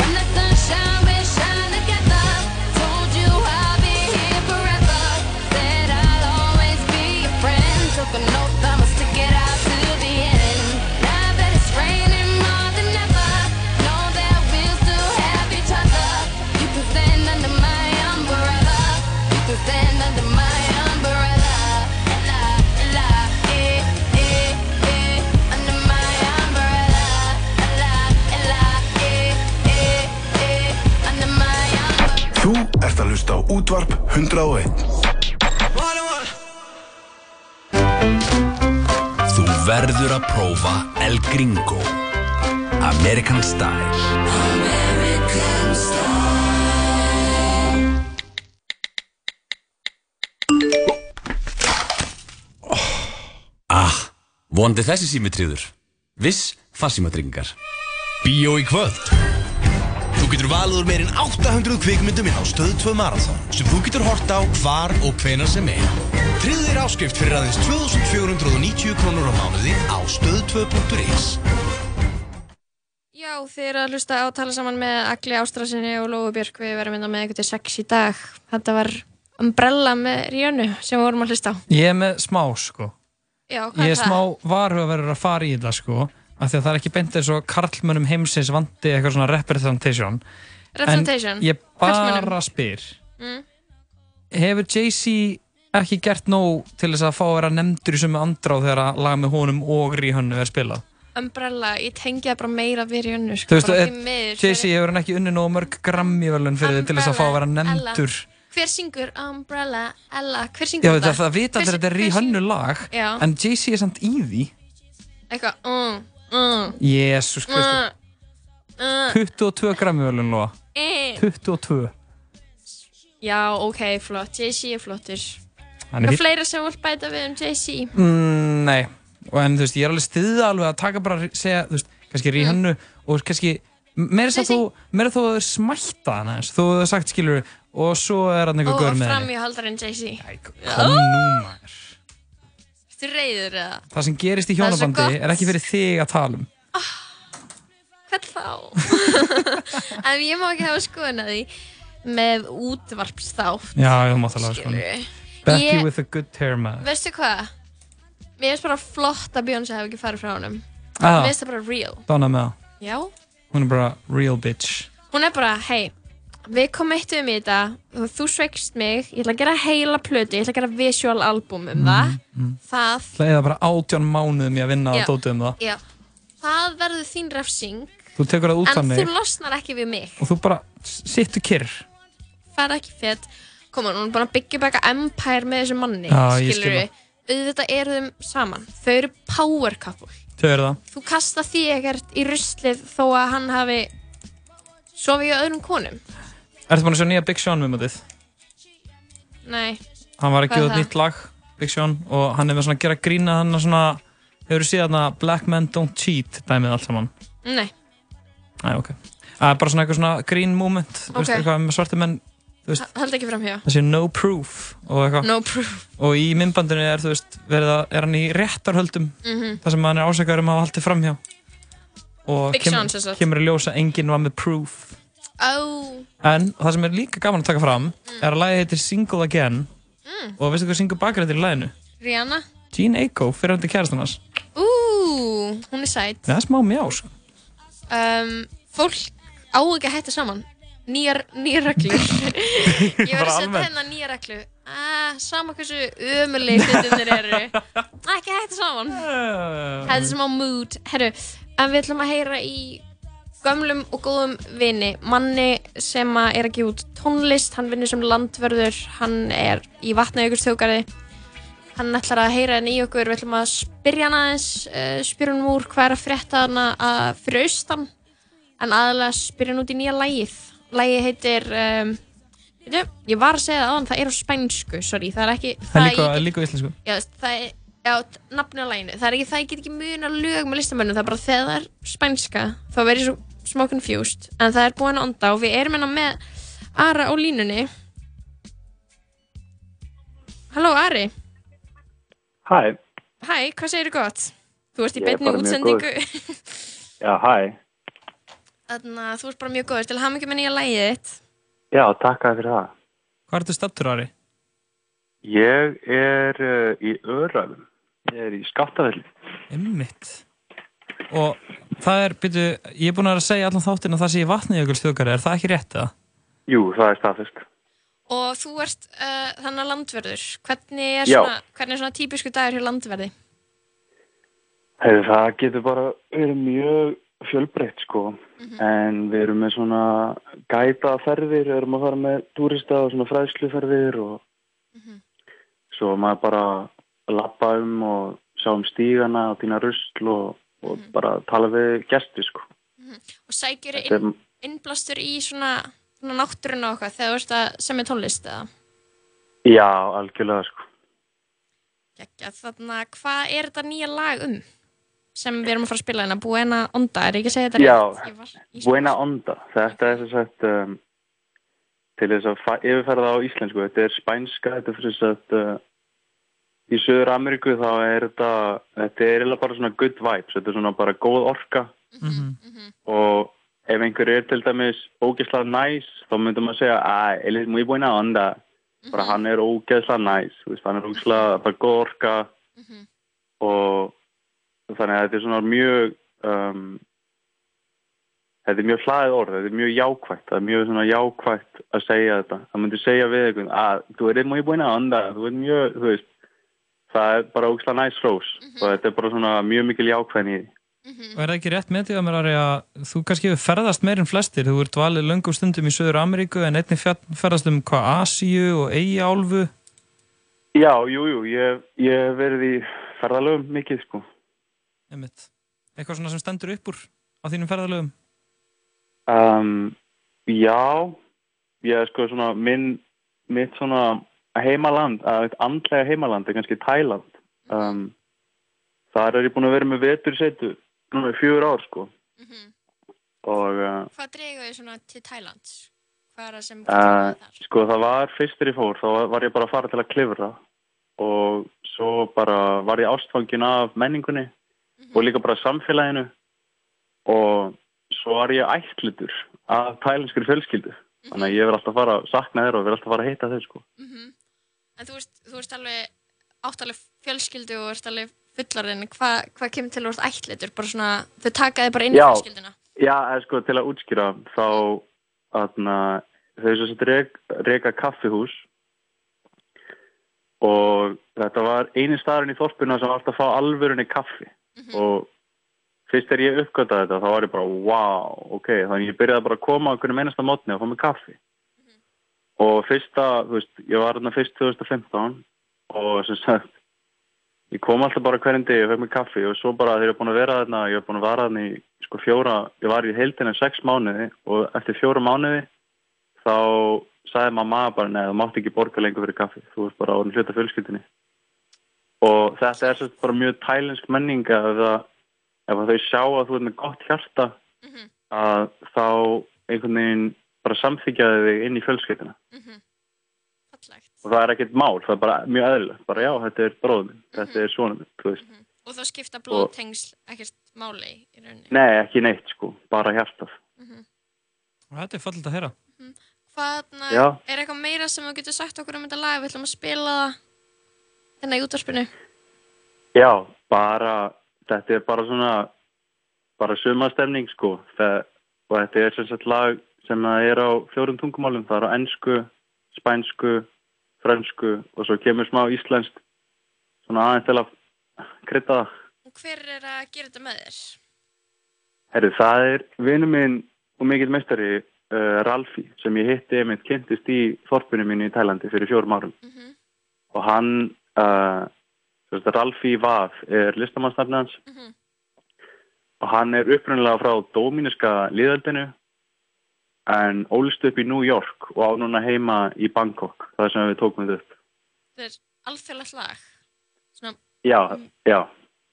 Speaker 18: when the sunshine will shine together, told you I'll be here forever. Said I'll always be your friend. Took an oath I'ma stick it out to the end. Now that it's raining more than ever, know that we'll still have each other. You can stand under my umbrella. You can stand under my umbrella. Ella, Ella, eh, eh, eh, under my umbrella. Ella, Ella, eh, eh, eh, under my umbrella.
Speaker 9: Þú ert að hlusta á útvarp 101.
Speaker 19: Þú verður að prófa El Gringo American Style American Style Ah, Vonandi þessi sími tríður. Viss farsímatryggingar.
Speaker 8: Bíó í kvöld. Þú getur valið úr meirinn 800 kvikmyndum inn á Stöð 2 Marathon sem þú getur hort á hvar og hvenar sem er. Tryggðu þér áskrift fyrir aðeins 2490 krónur á mánuði á stöð2.is.
Speaker 3: Já, þið eru að hlusta á að tala saman með Agli Ástrasinni og Lóu Björk við verðum innan með einhvern til sex í dag þetta var Umbrella með Ríönu sem við vorum að hlusta á
Speaker 4: Ég er með smá sko
Speaker 3: Já, hvað
Speaker 4: Ég
Speaker 3: er
Speaker 4: er smá varhugaverður að fara í þetta sko af því að það er ekki beint eins og karlmönnum heimsins vandi eitthvað svona representation
Speaker 3: Representation?
Speaker 4: En ég bara
Speaker 3: Karlmönnum?
Speaker 4: spyr
Speaker 3: Mm.
Speaker 4: Hefur Jay-Z ekki gert nóg til þess að fá að vera nefndur í sömu andrá þegar að laga með honum og Ríhönnu er spilað?
Speaker 3: Umbrella, ég tengi það bara meira við Ríönu
Speaker 4: Þú
Speaker 3: sko,
Speaker 4: veist,
Speaker 3: bara
Speaker 4: eh,
Speaker 3: því miður
Speaker 4: Jay-Z hefur hann ekki unnið nóg mörg grammíverlun fyrir þið til þess að fá að vera
Speaker 3: Umbrella,
Speaker 4: nefndur
Speaker 3: Ella. Hver syngur Umbrella, Ella, hver
Speaker 4: Já,
Speaker 3: syngur
Speaker 4: það, það vita
Speaker 3: Hver
Speaker 4: allir að þetta er
Speaker 3: sy- hver
Speaker 4: Ríhönnu
Speaker 3: syngur-
Speaker 4: lag
Speaker 3: Já.
Speaker 4: en Jay-Z er samt í því
Speaker 3: Eitthvað, mm, mm,
Speaker 4: Jésús Kristi
Speaker 3: mm, mm,
Speaker 4: 22 grammíverlun lóa
Speaker 3: eh.
Speaker 4: 22
Speaker 3: Já, ok, flott, Jay-Z er flottur
Speaker 4: Hann
Speaker 3: Það
Speaker 4: er fínn.
Speaker 3: er fleira sem vilt bæta við um Jay-Z
Speaker 4: Mm, nei, og en þú veist, ég er alveg stiðið alveg að taka bara, segja, þú veist,
Speaker 3: Mm.
Speaker 4: kannski Ríhannu og kannski, meira þess að þú, meira þú hefur smættað hana eins, þú hefur sagt, skilur, og svo er hann
Speaker 3: Og
Speaker 4: einhver gaur með henni.
Speaker 3: framhjóhaldarinn Jay-Z
Speaker 4: Kom nú maður.
Speaker 3: Þú reyður eða?
Speaker 4: Það sem gerist
Speaker 3: Það er
Speaker 4: í
Speaker 3: svo
Speaker 4: hjónabandi
Speaker 3: gott.
Speaker 4: er, ekki fyrir þig að tala um.
Speaker 3: Hvern þá? en ég má ekki hafa skoðun að því með útvarpsþátt
Speaker 4: Já, ég má tala um sko.
Speaker 3: skilurðu.
Speaker 4: Becky
Speaker 3: Ég-
Speaker 4: with a good hair man.
Speaker 3: Veistu hvað? Mér finnst bara flott að Beyonce hafi ekki farið frá honum
Speaker 4: Ah.
Speaker 3: Mér finnst það bara real
Speaker 4: Donna með það.
Speaker 3: Já,
Speaker 4: Hún er bara real bitch.
Speaker 3: hún er bara, hei Við kommittum í þetta og þú sveikst mig Ég ætla að gera heila plötu, ég ætla að gera visual album um það
Speaker 4: mm.
Speaker 3: Það,
Speaker 4: Það er bara átján mánuðum ég að vinna
Speaker 3: Já.
Speaker 4: að dótið um það.
Speaker 3: já Það verður þín refsing
Speaker 4: Þú tekur það út af
Speaker 3: En
Speaker 4: mig
Speaker 3: þú losnar ekki við mig
Speaker 4: og þú bara s- sittu kyrr.
Speaker 3: fara ekki fett koma, hún er búin að byggja upp eitthvað empire með þessum manni,
Speaker 4: Já, ég skil
Speaker 3: skilurðu. auðvitað eru þeim saman, þau eru power couple
Speaker 4: Þau eru það.
Speaker 3: þú kasta því ekkert í ruslið þó að hann hafi sofið í öðrum konum
Speaker 4: Ertu búin að sjá nýja Big Sean viðmótið?
Speaker 3: nei,
Speaker 4: hann var
Speaker 3: Hvað er
Speaker 4: að gefa út
Speaker 3: það?
Speaker 4: nýtt lag Big Sean og hann er með svona að gera grína hann er svona, hefur þú séð þarna Black Men Don't Cheat dæmið allt saman
Speaker 3: nei,
Speaker 4: Æ, ok Það er bara svona eitthvað svona grín moment þú veist,
Speaker 3: Ok.
Speaker 4: eitthvað með svartu menn þú veist,
Speaker 3: ha- held ekki fram hjá
Speaker 4: það sé no proof og eitthvað
Speaker 3: no proof
Speaker 4: og í myndbandinu er, þú veist, verið að, er hann í réttarhöldum
Speaker 3: Mhm.
Speaker 4: þar sem hann er ásakaður um að hafa haldið framhjá og
Speaker 3: Big Sean,
Speaker 4: kemur,
Speaker 3: sem sagt.
Speaker 4: kemur í ljósa enginn var með proof
Speaker 3: oh,
Speaker 4: En það sem er líka gaman að taka fram er að lagið heitir Single Again
Speaker 3: Mm.
Speaker 4: og veistu hvað syngur bakrættir í laginu?
Speaker 3: Rihanna
Speaker 4: Gene Aiko, fyrirhandi kærastan hans
Speaker 3: ú, hún er sæt
Speaker 4: Það er smá mjá sko.
Speaker 3: um, fólk á ekki að hætta saman nýjar, nýjar reglur ég var að setja
Speaker 4: Bara almennt.
Speaker 3: hennar nýjar reglu ah, sama hversu ömulegi hlutinir eru ekki að hætta saman þetta er smá mood Heru, en við ætlum að heyra í gömlum og góðum vini manni sem að er að gefa út tónlist hann vinnur sem landverður hann er í vatnaugurs þjókari hann ætlar að heyra henni í okkur við ætlum að spyrja hann aðeins uh, spyrja hann úr hvað er að frétta hann að fyrir austan en aðalega spyrja hann út í nýja lægið lægið heitir um, veitu, ég var að segja það áðan, það er á spænsku sorry, það er ekki
Speaker 4: Það er
Speaker 3: ég
Speaker 4: líka,
Speaker 3: get-
Speaker 4: líka á íslensku
Speaker 3: Já, veist, það er, já, nafni á læginu. Það er ekki það, ég get ekki muna lög með listamönnum, það er bara þegar það er spænska, þá verð ég svo smá confused. En það er búin að onda og við erum hérna með Ara á línunni. Halló, Ari.
Speaker 13: Hæ,
Speaker 3: Hæ, hvað segirðu gott? Þú ert í
Speaker 13: Ég er
Speaker 3: beinni
Speaker 13: bara mjög
Speaker 3: útsendingu.
Speaker 13: já hæ,
Speaker 3: Þannig að þú ert bara mjög góður til að hafa mikið með nýja lægið þitt.
Speaker 13: já takk að fyrir það.
Speaker 4: Hvað ertu stattur Ari?
Speaker 13: Ég er uh, í öðræðum, ég er í skattafelli.
Speaker 4: Einmitt Og það er, byrju, ég er búin að vera að segja allan þáttinn að það sé í vatni ykkur stjókari, er það ekki rétt eða?
Speaker 13: Jú, það er staðfest.
Speaker 3: Og þú ert uh, þannig að landverður. Hvernig er,
Speaker 13: Já.
Speaker 3: svona, hvernig er svona típisku dagur hér landverði?
Speaker 13: Hefur, það getur bara verið mjög fjölbreytt sko, en við erum með svona gætaferðir, við erum að fara með túrista og svona fræðsluferðir og svo maður bara lappa um og sjá um stígana og týna rusl og, og bara tala við gesti sko.
Speaker 3: Og sækir
Speaker 13: Þetta er-
Speaker 3: inn, innblastur í svona, svona náttúruna og eitthvað þegar þú ert að semja tónlist eða?
Speaker 13: Já, algjörlega sko.
Speaker 3: Geggjað, þarna, hvað er þetta nýja lag um? Sem við erum að fara að spila hérna, Buena Onda, er ekki að segja þetta rétt? Ég var í-
Speaker 20: Já, Buena Onda. Þetta er sem sagt um, til þess að fa- yfirfæra það á íslensku. Þetta er spænska, þetta er fyrir þess að uh, í Suður Ameríku þá er þetta, þetta er eiginlega bara svona good vibes. Þetta er svona bara góð orka og ef einhver er til dæmis ógeðslega næs þá myndum maður segja að él es muy buena onda. Bara hann er ógeðslega næs, þú veist, hann er ógeðslega bara góð orka og þannig að þetta er svona mjög um, þetta er mjög hlaðið orð, þetta er mjög jákvætt það er mjög svona jákvætt að segja þetta það myndi segja við einhvern að þú er mjög búin að anda, þú er mjög þú veist, það er bara ógslag næs rós og þetta er bara svona mjög mikil jákvæðin í því
Speaker 4: Og er það ekki rétt metið að mér Ari að þú kannski hefur ferðast meir en flestir, þú ert valið löngum stundum í Suður Ameríku en einnig fjall- ferðast um hvað Asíu og Eyjaálfu
Speaker 20: Já, jú, jú, ég, ég hef verið í ferðalögum mikið sko
Speaker 4: einmitt. Eitthvað svona sem stendur upp úr á þínum ferðalögum
Speaker 20: um, Já ég er sko svona minn, mitt svona heimaland að eitt andlega heimaland er kannski Tæland um, þar er ég búin að vera með vetur setu núna í fjögur ár sko og uh,
Speaker 3: Hvað dregur þið svona til Tælands? Hvað er það sem...
Speaker 20: Uh, sko það var fyrst þegar ég fór þá var ég bara að fara til að klifra og svo bara var ég ástfangin af menningunni og líka bara samfélaginu og svo var ég ættlutur af tælenskri fjölskyldu þannig að ég verð alltaf að fara að sakna þeirra og verð alltaf að fara að hitta þeir sko
Speaker 3: Mhm. En þú ert, þú ert alveg áttaleg fjölskyldu og ert alveg fullarinn. Hva, hvað kemur til að þú ert ættlitur? Bara svona, þau taka þið bara inn í
Speaker 20: Já.
Speaker 3: fjölskylduna.
Speaker 20: Já, eða sko til að útskýra þá þarna, þau sem sett rek, reka kaffihús og þetta var eini staðurinn í þorpuna sem var alltaf að fá alvörunni kaffi
Speaker 3: Mhm.
Speaker 20: og fyrst er ég uppgötaði þetta þá var ég bara wow, ok þannig ég byrjaði bara að koma okkur um einasta mótni og fá mig kaffi
Speaker 3: Mhm.
Speaker 20: og fyrsta, þú veist, ég var þarna fyrst 2015 og sem sagt ég kom alltaf bara hverjum degi og fekk mér kaffi og svo bara þegar ég er búin að vera þarna ég er búin að vara þarna í sko fjóra ég var í heildina í sex mánuði og eftir fjóra mánuði þá sagði mamma bara neða þú mátt ekki borga lengur fyrir kaffi þú ert bara orðin hluta fjölskyldinni og þetta er svolítið bara mjög tælensk menning að ef, það, ef að þau sjá að þú ert með gott hjarta að þá einhvern veginn bara samþykjaði þig inn í fjölskyldina og það er ekkert mál, það er bara mjög eðlilegt bara já, þetta er bróðum minn, þetta er svona minn þú veist
Speaker 3: Og þá skipta blóðtengsl ekkert máli í rauninni.
Speaker 20: Nei, ekki neitt sko, bara hjartað.
Speaker 4: og þetta er fallit að heyra
Speaker 3: Hvaðna,
Speaker 20: Já.
Speaker 3: er eitthvað meira sem þú getur sagt okkur um þetta lag? Við ætlum að spila það hérna í útvarpinu.
Speaker 20: Já, bara, þetta er bara svona, bara sumastemning sko. Það, og þetta er sem sagt lag sem það er á fjórum tungumálum. Það er á ennsku, spænsku, frönsku og svo kemur smá íslenskt svona aðeins til að krytta það.
Speaker 3: Og hver er að gera þetta með þér?
Speaker 20: Herru, það er vinnu minn og mikill meistari uh, Ralfi sem ég hitti einmitt kynntist í þorpinu mínu í Tælandi fyrir fjórum árum og hann uh, sem sagt, Ralfi Vaf er listamannsnafni hans og hann er upprunalega frá Dóminiska liðaldinu en ólst upp í New York og á núna heima í Bangkok það sem við tókum þetta upp
Speaker 3: Þetta er alþjóðlegt lag. Svona
Speaker 20: Já, já,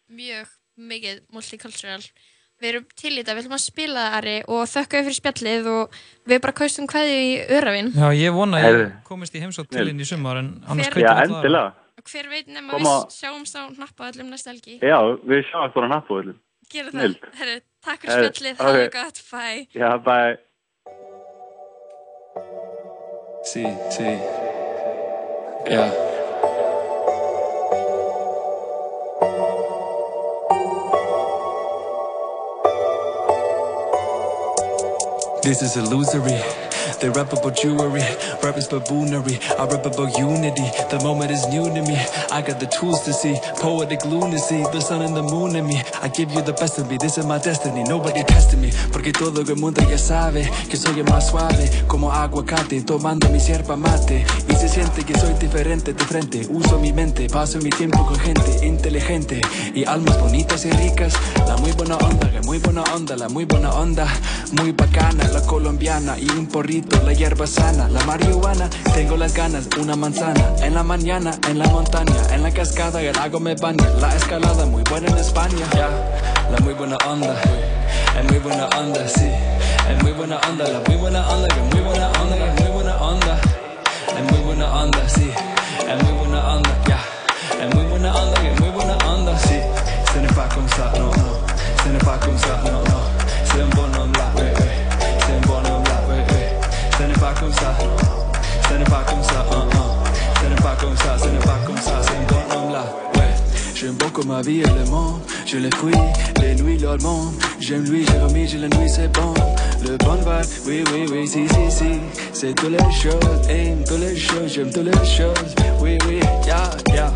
Speaker 3: mjög mikið multicultural við erum til í þetta, við ætlum að spila það Ari og þökkum við fyrir spjallið og við bara kaustum kveðju í örafinn
Speaker 4: Já, ég vona að ég
Speaker 20: Heyrðu.
Speaker 4: komist í heimsótt til inn í sumar en annars
Speaker 20: Já,
Speaker 4: kaupir þetta aðra.
Speaker 20: endilega.
Speaker 3: og hver veit nema
Speaker 20: Koma-
Speaker 3: við sjáumst á nappa öllum næsta helgi
Speaker 20: já, við sjáum bara nattbúðlum
Speaker 3: gera það,
Speaker 20: snillt.
Speaker 3: Herru, takk fyrir
Speaker 20: Heyrðu,
Speaker 3: spjallið, það
Speaker 20: ok.
Speaker 3: er gott, bye
Speaker 20: Já, bæ
Speaker 21: Sí, sí. Já. This is illusory. They rap about jewelry, rap is baboonery. I rap about unity. The moment is new to me. I got the tools to see poetic lunacy, the sun and the moon in me. I give you the best of me. This is my destiny. Nobody testing me. Porque todo el mundo ya sabe que soy el más suave, como aguacate tomando mi sierva mate. Y se siente que soy diferente de frente. Uso mi mente, paso mi tiempo con gente inteligente y almas bonitas y ricas. La muy buena onda, la muy buena onda, la muy buena onda, muy bacana la colombiana y un porrito fumando la hierba sana, la marihuana. Tengo las ganas, una manzana. En la mañana, en la montaña, en la cascada, el lago me baña. La escalada, muy buena en España. Ya, la muy buena onda. Es muy buena onda, sí. Es muy buena onda, la muy buena onda, que muy buena onda, que muy buena onda. Es muy buena onda, sí. Es muy buena onda, ya. Es muy buena onda, que muy buena onda, sí. Ce n'est pas comme ça, non, non. Ce n'est pas comme ça, non, non. C'est un bonhomme là, ouais, ouais. C'est un bonhomme là, ouais, ouais. Ce n'est pas comme ça, non, non. Ce n'est pas comme ça, hein, hein. Ce n'est pas comme ça, ce n'est pas comme ça. C'est un bonhomme là, ouais. J'aime beaucoup ma vie et le monde. Je le fuis, les nuits, l'allemand. J'aime lui, j'ai remis, j'ai la nuit, c'est bon. Le bon vibe, oui, oui, oui, si, si, si. C'est toutes les choses, aime toutes les choses, j'aime toutes les choses. Oui, oui, ja, ja.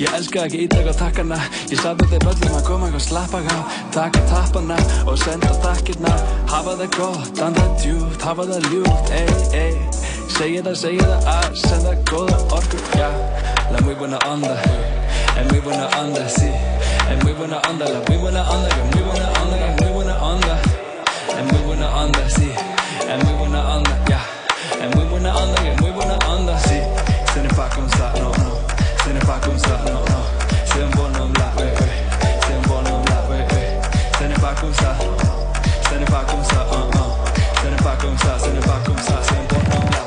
Speaker 21: Ég elska ekki ítaka takkana Ég sagði þeim öllum að koma og slappa á Taka tappana og senda takkirna Hafa það gott, anda djúpt Hafa það ljúft, ey, ey Segja það, segja það að senda góða orku Já, la muy buena onda En muy buena onda, sí En muy buena onda, la muy buena onda Que muy buena onda, que muy buena onda En muy buena onda, sí En muy buena onda, já En muy buena onda, que muy buena onda, sí Se n'est pas comme ça, no, no Ce n'est pas comme ça, non, non. C'est un bonhomme là, ouais, ouais. C'est un bonhomme là, ouais, ouais. Ce n'est pas comme ça, non, non. Ce n'est pas comme ça, hein, hein. Ce n'est pas comme ça, ce n'est pas comme ça. C'est un bonhomme là.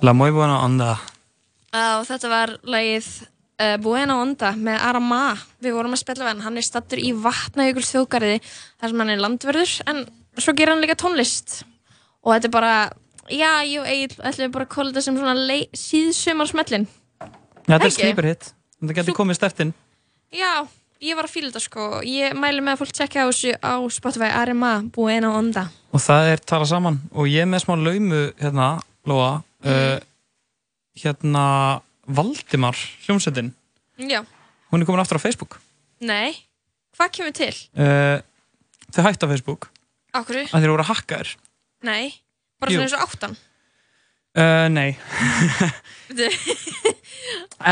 Speaker 4: La muy buena onda
Speaker 3: Já, þetta var lagið uh, Buena Onda með Arama Við vorum að spjalla við hann, hann er stattur í Vatnajökuls þjóðgarði þar sem hann er landverður en svo gerir hann líka tónlist og þetta er bara, já, jú, Egil ætlum við bara að kóla þetta sem svona síðsumarsmellin
Speaker 4: Þetta er
Speaker 3: Ekki?
Speaker 4: sleeper hit Þetta getur komið stertinn
Speaker 3: Já, ég var að fíla þetta sko ég mæli með að fólk tjekka á þessu á Spotify Arama Buena Onda
Speaker 4: og það er tala saman og ég er með smá laumu hérna, Lóa
Speaker 3: Mhm.
Speaker 4: uh, hérna Valdimar hljómsveitin
Speaker 3: Já,
Speaker 4: hún er komin aftur á Facebook
Speaker 3: nei, hvað kemur til?
Speaker 4: uh, þau hættu á Facebook
Speaker 3: Akkur,
Speaker 4: að þeir voru að hakka þér
Speaker 3: nei, bara
Speaker 4: Jú.
Speaker 3: svona eins og áttan
Speaker 4: uh, nei,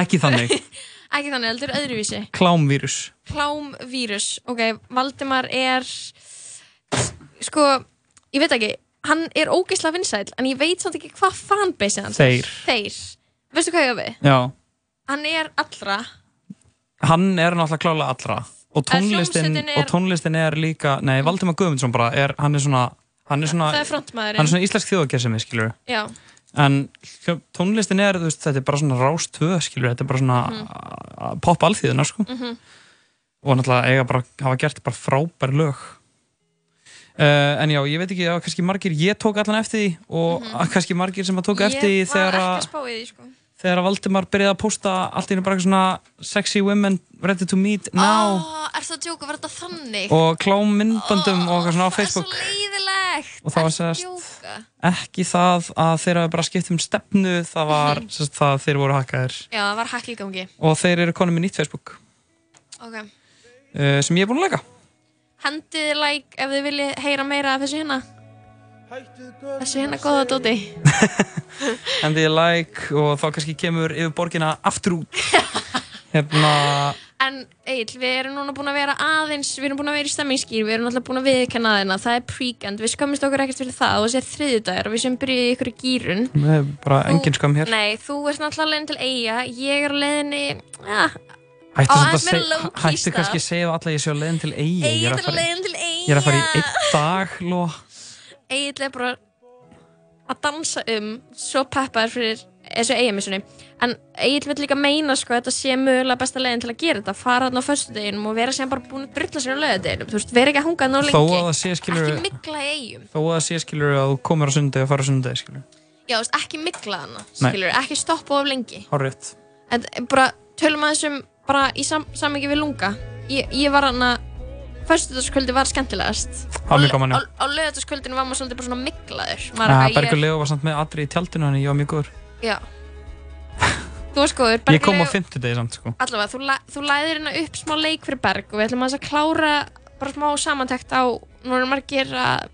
Speaker 4: ekki þannig
Speaker 3: Ekki þannig, heldur öðruvísi
Speaker 4: klámvírus
Speaker 3: klámvírus ok, Valdimar er sko, ég veit ekki hann er ógeðslega vinsæl en ég veit samt ekki hvað fanbase hans er.
Speaker 4: Þeir.
Speaker 3: þeir, veistu hvað ég á við?
Speaker 4: já,
Speaker 3: hann er allra
Speaker 4: hann er náttúrulega klála allra og tónlistin,
Speaker 3: Eh, hljómsveitin er-
Speaker 4: og tónlistin er líka nei, Valdimar Guðmundsson bara er, hann er svona hann er svona,
Speaker 3: það er frontmaðurinn
Speaker 4: hann er svona íslensk þjóðakessimi skilur
Speaker 3: já,
Speaker 4: en hljó- tónlistin er, þú veist, þetta er bara svona rástöð, skilur, þetta er bara svona
Speaker 3: Mhm.
Speaker 4: mm. pop alþýðuna, sko
Speaker 3: mm
Speaker 4: og náttúrulega eiga bara, hafa gert bara frábær lög uh, en já, ég veit ekki, það var kannski margir ég tók allan eftir því og mm kannski margir sem að tók eftir
Speaker 3: Mhm.
Speaker 4: því
Speaker 3: ég var
Speaker 4: þegar
Speaker 3: ekki að
Speaker 4: að
Speaker 3: spá í því sko.
Speaker 4: þegar að Valdimar byrjaði að posta allt í hennu bara eitthvað svona sexy women ready to meet now
Speaker 3: Ó, er það að djóka, var þetta þannig?
Speaker 4: og klám myndböndum og eitthvað svona á Facebook
Speaker 3: Íðilegt,
Speaker 4: og það var sérst
Speaker 3: djóka
Speaker 4: ekki það að þeir hafa bara skipt um stefnu það var
Speaker 3: Mhm.
Speaker 4: sérst það að þeir voru hakkaðir
Speaker 3: já, það var hakk í gangi
Speaker 4: og þeir eru konum með nýtt Facebook
Speaker 3: ok,
Speaker 4: uh, sem ég er búin að leika
Speaker 3: hendið like ef þið viljið heyra meira af þessu hérna þessu hérna góða dóti
Speaker 4: en þið like og þá kannski kemur yfir borgina aftur út hérna,
Speaker 3: En Egil, við erum núna búin að vera aðeins, við erum búin að vera í stemmingsskýr, við erum alltaf búin að viðkenna þeirna, það er pre-end, við skömmist okkur ekkert fyrir það og þessi er þriðjudagur og við sem byrjuð í ykkur gýrun.
Speaker 4: það er eh, bara engin skam hér
Speaker 3: Nei, þú ert náttúrulega leiðin til eiga, ég er á leiðinni, ja,
Speaker 4: hættu,
Speaker 3: á
Speaker 4: samt að
Speaker 3: aðeins meira
Speaker 4: seg-
Speaker 3: low-key
Speaker 4: hættu
Speaker 3: stað.
Speaker 4: kannski að segja alltaf að ég sé á leiðin til eigi
Speaker 3: Egill er á leiðin til
Speaker 4: ég er að fara í einn dag ló.
Speaker 3: Egil er bara að dansa um, svo peppaður fyrir þessu eiginmissunni. En Egil vil líka meina sko að þetta sé mögulega besta leiðin til að gera þetta, fara þarna á föstudeginum og vera sem bara búin að drulla sér á lögadeginum, þú veist, vera ekki að hunga þarna of
Speaker 4: þó að
Speaker 3: lengi,
Speaker 4: það sé skilur
Speaker 3: ekki mikla í eigum.
Speaker 4: þó að það sé skilur að þú komir á sundi og fara á sundi skilur,
Speaker 3: Já, þú veist, ekki mikla hana,
Speaker 4: Nei.
Speaker 3: skilur, ekki stoppa of lengi.
Speaker 4: horrið
Speaker 3: En bara tölum aðeins um, bara í sam samhengi við lunga. Ég, ég var hana, fyrstudagskvöldi var skemmtilegast.
Speaker 4: Það var mjög gaman, já.
Speaker 3: Á, á lögudagskvöldinu var maður svolítið bara svona miklaður. Maður
Speaker 4: Ah,
Speaker 3: eitthvað,
Speaker 4: Bergur Leo var samt með Adri í tjaldinu hann ég var mjög góður
Speaker 3: ég- Já. Þú varst góður,
Speaker 4: ég kom á
Speaker 3: Leo-
Speaker 4: fimmtudegi samt sko
Speaker 3: Allavega, þú, la- þú læðir hérna upp smá leik fyrir Berg og við ætlum aðeins að klára bara smá samantekt á, nú erum margir að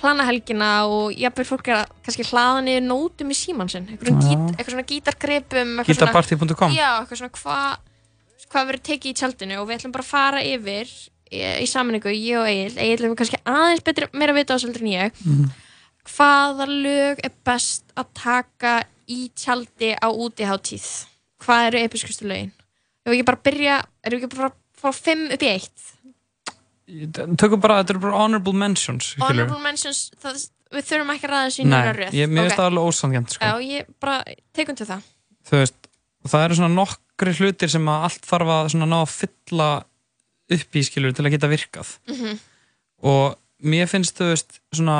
Speaker 3: plana helgina og jafnvel fólk er að kannski hlaða niður nótum í síman sinn, eitthvað,
Speaker 4: Já.
Speaker 3: gít, eitthvað svona gítargripum eitthvað svona-
Speaker 4: Guitarparty.com?
Speaker 3: Já, eitthvað svona hvað hvað verður tekið í tjaldinu og við ætlum bara að fara yfir í, í sammenningu, ég og Egil Egil er kannski aðeins betri, meira vita á þessu heldur en ég
Speaker 13: Mm-hmm.
Speaker 1: Mhm.
Speaker 3: hvaða lög er best að taka í tjaldi á útiháttíð hvað eru episkustu lögin ef ekki bara byrja, erum við ekki bara að fara fimm upp í eitt
Speaker 4: Tökum bara, þetta eru bara honorable mentions skilurðu.
Speaker 3: honorable mentions, það, við þurfum ekki að ræða þessu í nýra
Speaker 4: Nei,
Speaker 3: röð
Speaker 4: ég, mér finnst
Speaker 3: Ok.
Speaker 4: það alveg ósangjant sko.
Speaker 3: Já, ég bara tekum til það
Speaker 4: Þú veist, og það eru svona nokkri hlutir sem að allt þarf að svona ná að fylla upp í skilur til að geta virkað og mér finnst þú veist svona,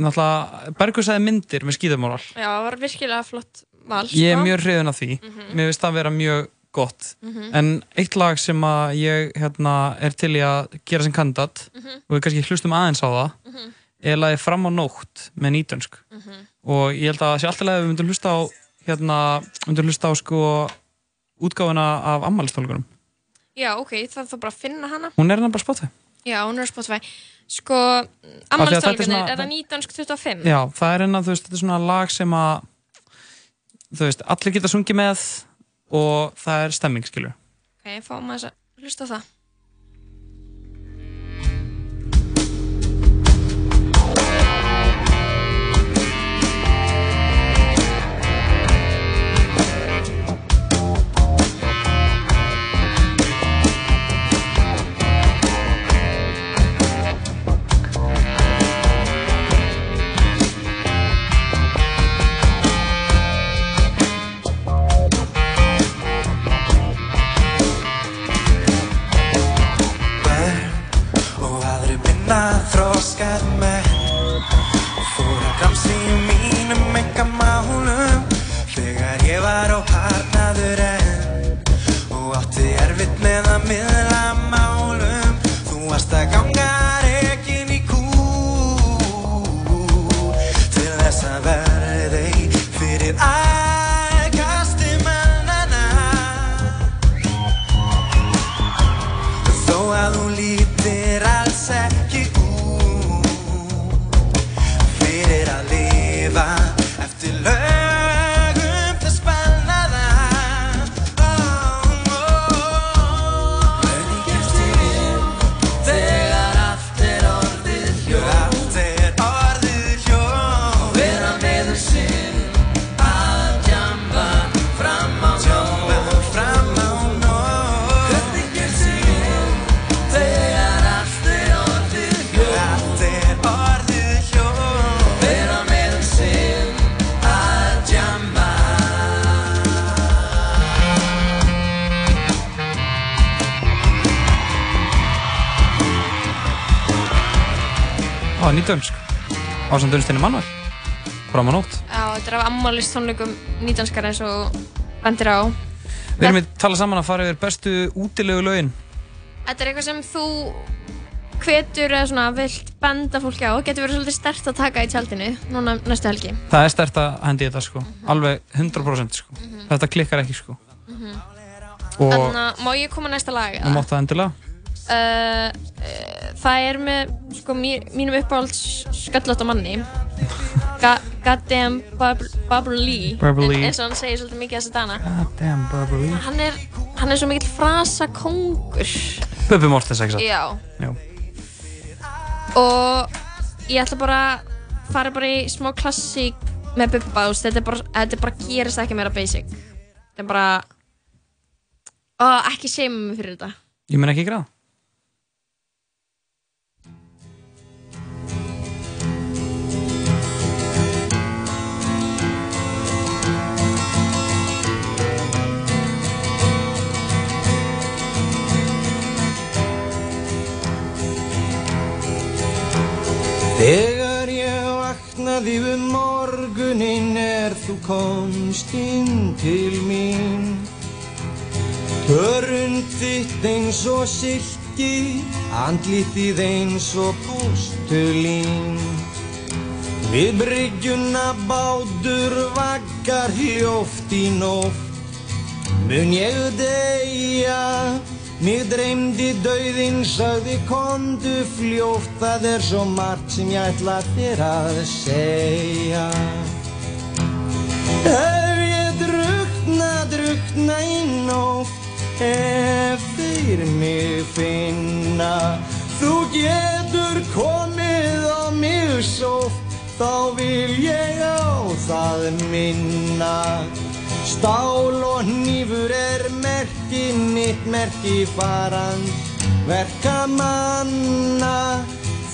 Speaker 4: náttúrulega Bergur sagði myndir með skíðamóral
Speaker 3: Já, það var virkilega flott val
Speaker 4: ég er
Speaker 3: sko.
Speaker 4: mjög hrifin af því mér finnst það vera mjög gott
Speaker 3: Mhm.
Speaker 4: en eitt lag sem að ég hérna, er til í að gera sem kandidat
Speaker 3: Mhm.
Speaker 4: og við kannski hlustum aðeins á það er lagið fram á nótt með nýtönsk
Speaker 3: Mhm.
Speaker 4: og ég held að það sé alltaf leið að við myndum hlusta á hérna, myndum hlusta á sko útgáfuna af ammælstólkunum
Speaker 3: Já, ok, það þarf bara að finna hana
Speaker 4: hún er hérna bara spotið
Speaker 3: Já, hún er á Spotify Sko,
Speaker 4: Af því að þetta er
Speaker 3: ammálstálganir,
Speaker 4: svona-
Speaker 3: er það 1925?
Speaker 4: Já, það er hérna, þú veist, þetta er svona lag sem að þú veist, allir geta sungið með og það er stemming, skilur
Speaker 3: Ok, fáum að hlusta á það
Speaker 13: og aðri minna þróskað með fór að gramsi í mínum enga málum þegar ég var á harnadur enn og átti erfitt með að miðla málum þú varst að ganga rekin í kú til þess að verði fyrir ægasti mannana Þó að þú lítir alls ekki út Fyrir að lifa eftir lögum þess bannaða Ó, ó. Hvernig kemst ég inn þegar allt er orðið hljóð? Allt er orðið hljóð Vera meður sinn að djamba fram á nóg Fram á nóg Hvernig kemst ég inn Þegar allt er orðið hljóð Allt er orðið hljóð Vera með um sinn að djamba
Speaker 4: Á, sko. nýtönsk á samt unnsteinni mannvel fram á nótt
Speaker 3: Já, þetta er af ammálstónleikum nýtanskar eins og bendir á
Speaker 4: Við erum að tala saman að fara yfir bestu útilegu lögin
Speaker 3: Þetta er eitthvað sem þú hvetur eða svona vilt benda fólki á getur verið svolítið stert að taka í tjaldinu núna næstu helgi
Speaker 4: Það er stert að hendi þetta, sko alveg 100% sko Þetta klikkar ekki, sko
Speaker 3: Mhm.
Speaker 4: og
Speaker 3: Þannig að má ég koma næsta lag?
Speaker 4: þú mátt það endilega
Speaker 3: uh, uh, það er með sko, mí, mínum uppáhalds sköllótt á manni Ga- Goddamn Bob, Bob Lee
Speaker 4: Barbara Lee.
Speaker 3: eins og hann segir svolítið mikið þess að dana
Speaker 4: God damn, Beverly
Speaker 3: hann er, hann er svo mikill frasa kongur
Speaker 4: Bubbi Mortens, ekki satt?
Speaker 3: Já.
Speaker 4: Já.
Speaker 3: og ég ætla bara að fara bara í smá klassík með Bubba þú veist, þetta, er bara, þetta bara gerist ekki meira basic þetta er bara og ekki segjum mig fyrir þetta
Speaker 4: Ég mun ekki gráð
Speaker 2: Þegar ég vaknaði við morgunin er þú komst inn til mín Hörund þitt eins og silki, andlitið eins og postulín Við bryggjuna bátur vaggar hljóft í nótt Mun ég deyja, mér dreymdi dauðinn, sagði komdu fljótt Það er svo margt sem ég ætla þér að segja Ef ég drukna, drukna í nótt, ef þeir mig finna núna Þú getur komið á mig sóft Þá vil ég á það minna Stál og hnífur er merki mitt merki faran Verka manna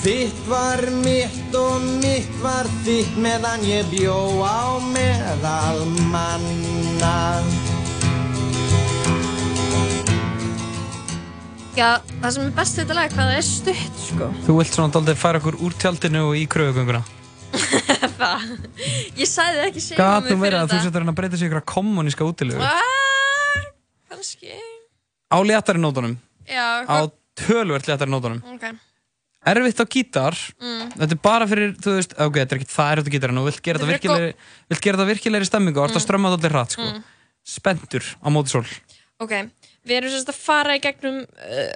Speaker 2: Þitt var mitt og mitt var þitt meðan ég bjó á meðal manna
Speaker 3: Já, það sem er best við þetta lag er hvað það er stutt sko.
Speaker 4: Þú vilt svona daldið færa okkur úr tjaldinu og í kröðugönguna.
Speaker 3: Það- ég sagði það ekki segja
Speaker 4: Gat
Speaker 3: mig
Speaker 4: þú
Speaker 3: fyrir
Speaker 4: verið að þú
Speaker 3: þetta
Speaker 4: setur hann að breyta sig í ykkur kommuníska útilegu?
Speaker 3: Ah, kannski
Speaker 4: Á léttari nótunum.
Speaker 3: Já,
Speaker 4: Á tölvert léttari nótunum.
Speaker 3: ok
Speaker 4: Erfitt á gítar.
Speaker 3: Mm.
Speaker 4: Þetta er bara fyrir, þú veist, ok, þetta er ekki það erfitt á gítar en þú vilt gera
Speaker 3: Þetta er
Speaker 4: þetta
Speaker 3: fyrir
Speaker 4: virkilegri, vilt gera þetta virkilegri stemmingu og ert að
Speaker 3: Mm.
Speaker 4: strömma þetta allir hratt, sko.
Speaker 3: Mm.
Speaker 4: Spendur á móti sól.
Speaker 3: Ok, við erum sérst að fara í gegnum uh,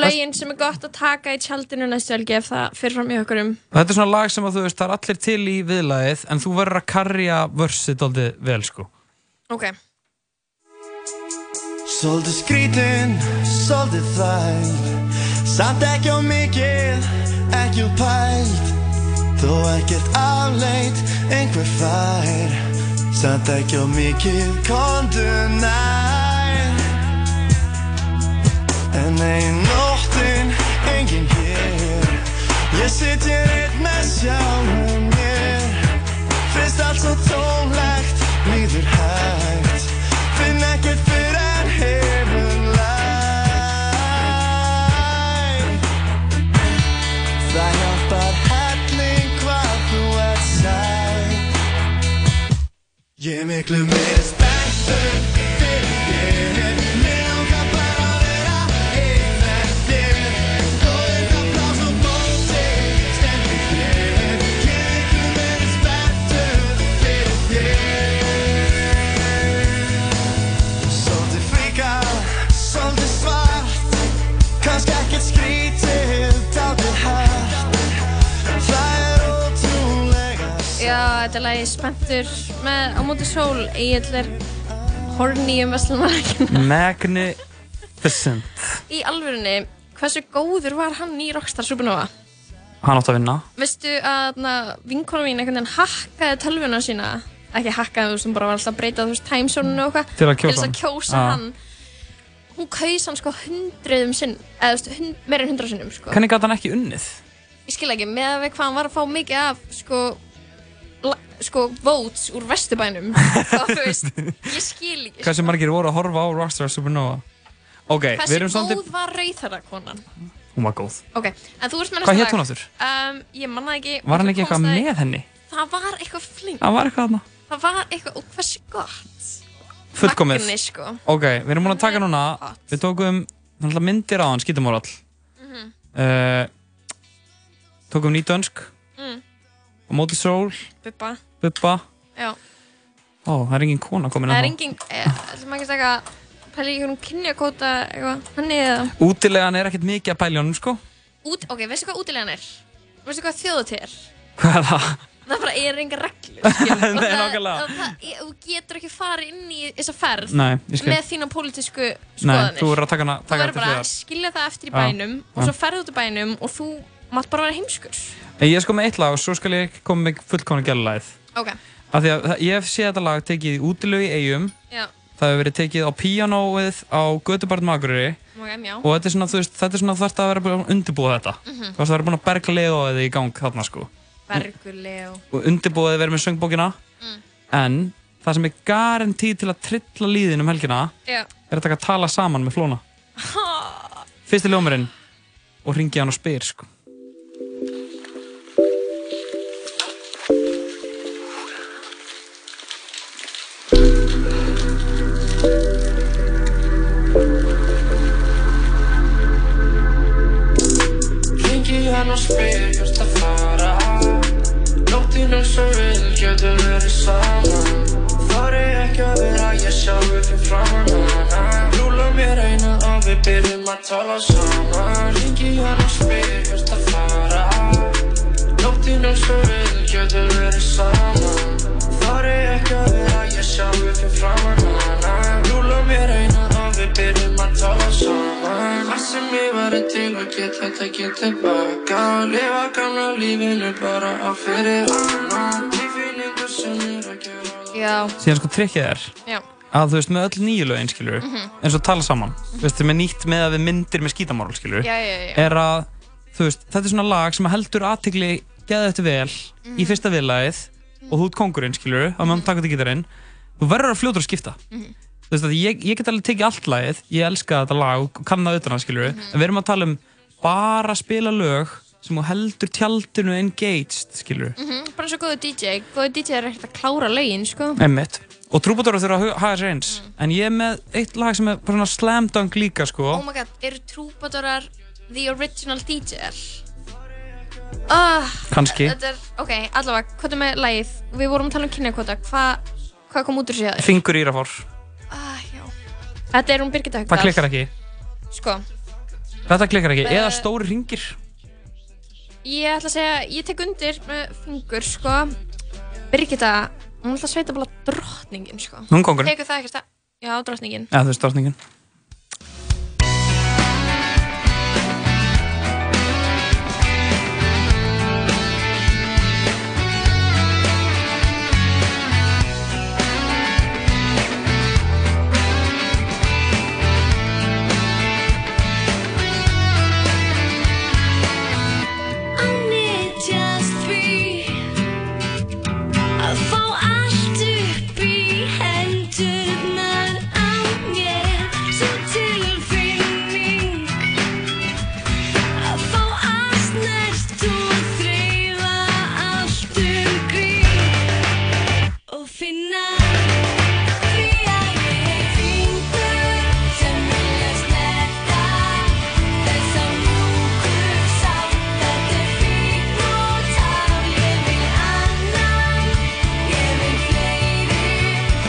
Speaker 3: lögin sem er gott að taka í tjaldinu næstu helgi ef það fyrir fram um í okkurum.
Speaker 4: Og þetta er svona lag sem að þú veist, það er allir til í viðlagið en þú verður að karja vörsið daldið vel, sko.
Speaker 3: Ok,
Speaker 2: Svolítið skrítin, svolítið þæg Samt ekki á mikið, ekki á pælt
Speaker 22: Þó ekkert afleit, einhver fær Samt ekki á mikið, kondu nær En ein nóttin, engin hér Ég sit hér einn með sjálfum mér Finnst allt svo tónlegt, líður hægt Finn ekkert fyrir en hefur lægt Það hjálpar helling hvað þú ert sæl Ég er miklu meira spenntur fyrir þér Mér langar bara að vera einn með þér Góðir applás og móti stendur þér Ég er miklu meira spenntur fyrir þér Svolítið fríka, svolítið svart Kannski ekkert skrítið, dálítið hægt Það er ótrúlega
Speaker 3: já, þetta er lagið Spenntur með Á móti sól. Ég er horni um Vestlumarakin.
Speaker 4: Magnificent.
Speaker 3: Í alvörunni, hversu góður var hann í Rockstar Supernova?
Speaker 4: Hann átt að vinna.
Speaker 3: Veistu að na, vinkona mín einhvern veginn hakkaði tölvuna sína ekki hakkaði, þú veist, hún bara var alltaf að breyta þú veist, timezóninu og eitthvað
Speaker 4: Til að kjósa
Speaker 3: þess
Speaker 4: hann.
Speaker 3: að kjósa
Speaker 4: Ah.
Speaker 3: hann hún kaus hann sko hundruðum sinn eða þú veist, hund, meira en hundra sinnum sko.
Speaker 4: Hvernig gæti hann ekki unnið?
Speaker 3: ég skil ekki, með að við hvað hann var að fá mikið af sko, la, sko votes úr vesturbænum þá þú veist, ég skil ekki
Speaker 4: Hversu margir voru að horfa á Rockstar Supernova? Ok, við
Speaker 3: hversu
Speaker 4: erum
Speaker 3: góð
Speaker 4: svolítið...
Speaker 3: var rauðhæra konan
Speaker 4: Hún var góð.
Speaker 3: ok, en þú veist með
Speaker 4: Hvað
Speaker 3: næsta
Speaker 4: hét hún
Speaker 3: lag.
Speaker 4: aftur?
Speaker 3: Um, ég manna ekki
Speaker 4: Var hann
Speaker 3: ég
Speaker 4: ekki
Speaker 3: komst
Speaker 4: eitthvað
Speaker 3: að-
Speaker 4: með henni?
Speaker 3: það var eitthvað flink
Speaker 4: Það var eitthvað þarna.
Speaker 3: Það var eitthvað, og hversu gott.
Speaker 4: Fullkomið.
Speaker 3: Magni, sko.
Speaker 4: Ok, við erum búin að taka núna... Við tókum náttúrulega myndir á hann, skítumorall.
Speaker 3: Mhm.
Speaker 4: Uh, tókum nýtönsk,
Speaker 3: Mm,
Speaker 4: á móti sól,
Speaker 3: bubba,
Speaker 4: bubba.
Speaker 3: já.
Speaker 4: Ó, það er engin kona komin hérna.
Speaker 3: það
Speaker 4: að
Speaker 3: er engin, ætlum ekki að taka, pæli ekki hvernig kynjakóta, eitthvað, þannig eða.
Speaker 4: Útilegan er ekkert mikið að pæla í honum, sko.
Speaker 3: Út, ok, veistu hvað útilegan er? Veistu hvað þjóðatíð er?
Speaker 4: Hvað er það?
Speaker 3: Það bara er enga reglur, skil. Og
Speaker 4: Nei,
Speaker 3: það-
Speaker 4: nákvæmlega.
Speaker 3: og það- ég- Þú getur ekki farið inn í þessa ferð
Speaker 4: Nei, ég skil.
Speaker 3: með þína pólitísku
Speaker 4: Nei,
Speaker 3: skoðanir.
Speaker 4: þú verður að taka hana,
Speaker 3: Þú
Speaker 4: taka
Speaker 3: verður
Speaker 4: hana til
Speaker 3: bara að
Speaker 4: hliðar.
Speaker 3: skilja það eftir í
Speaker 4: Já,
Speaker 3: bænum og
Speaker 4: já.
Speaker 3: svo ferðu út í bænum og þú mátt bara vera heimskur.
Speaker 4: En ég er sko með eitt lag og svo skal ég koma með fullkomna gælulæð.
Speaker 3: Ok,
Speaker 4: Af því að það- ég hef séð þetta lag tekið í útilegu í eigum,
Speaker 3: já,
Speaker 4: það hefur verið tekið á píanóið á Götubarn Magruri
Speaker 3: ok, já.
Speaker 4: og þetta er svona, þú veist, þetta er svona þarft að vera búin að undirbúa þetta.
Speaker 3: Mhm.
Speaker 4: Þú veist, það er búin að berga legoðið í gang þarna sko.
Speaker 3: Bergur Leo.
Speaker 4: Og undirbúaðið verið með söngbókina,
Speaker 3: Mm.
Speaker 4: en það sem er garantíð til að trilla líðin um helgina
Speaker 3: Já.
Speaker 4: er að taka að tala saman með flóna. Fyrsti ljómurinn og ringi hann og spyr sko.
Speaker 13: Ringi hann og spyr hvert að fara Nóttin er svo við getum verið saman Þar er ekki að vera ég sjá upp í framan hana Rúla mér eina að við byrjum að tala saman Ringi hann og spyr hvert að fara Nóttin er svo við getum verið saman Þar er ekki að vera ég sjá upp í framan hana Rúla mér eina að við byrjum að tala saman Allt sem ég væri til að
Speaker 6: get þetta getur baka Að lifa gamla lífinu bara á fyrir annan Tilfinningu sem er að gera
Speaker 3: Já,
Speaker 4: síðan sko trikkið er
Speaker 3: já,
Speaker 4: að þú veist með öll nýju lögin skilur
Speaker 3: Mhm.
Speaker 4: eins og tala saman þú veist með nýtt með að við myndir með skítamorl skilur
Speaker 3: Já, já, já.
Speaker 4: er að þú veist þetta er svona lag sem heldur aðtegli geða þetta vel
Speaker 3: Mhm.
Speaker 4: í fyrsta viðlagið og þú ert kongurinn skilur að maður taka þetta gítarinn þú verður að fljóta að skipta
Speaker 6: Mhm.
Speaker 4: þú veist að ég, ég get alveg tekið allt lagið ég elska þetta lag og kann það utan að skilur
Speaker 3: Mhm.
Speaker 4: en við erum að tala um bara að spila lög sem þú heldur tjaldinu engaged skilur
Speaker 3: mm bara svo góðu DJ Góðu DJ er ekkert að klára lögin, sko
Speaker 4: Einmitt. Og trúbadóra þurfa að hu- haga sér eins.
Speaker 3: Mm.
Speaker 4: En ég er með eitt lag sem er bara svona slam dunk líka, sko.
Speaker 3: Oh my god, eru trúbadorar the original DJ-ar? Oh,
Speaker 4: Kannski.
Speaker 3: Þetta er, ok, allavega, hvað er með lagið? Við vorum að tala um kynjakvota, hvað hva kom út úr sér?
Speaker 4: Fingur írafór.
Speaker 3: Ah, já. Þetta er hún Birgitta Haugdal.
Speaker 4: Það klikkar ekki.
Speaker 3: Sko,
Speaker 4: Þetta klikkar ekki.
Speaker 3: Eh.
Speaker 4: Eða stóri ringir.
Speaker 3: ég ætla að segja, ég tek undir með fingur, sko. Birgitta, hún ætla að sveita bara drottningin, sko.
Speaker 4: Hún kóngurinn.
Speaker 3: Tekur það ekkert að, já, drottningin.
Speaker 4: Eða þú veist drottningin.
Speaker 1: I need just three Að fá allt upp í hendurnar á mér Svo tilfinning Að fá allt snert og þreifa allt um grín Og finna því að ég er fingur sem vilja snerta þessa múkur sátt að þau fyrir og tár. Ég vil annan, ég vil fleiri,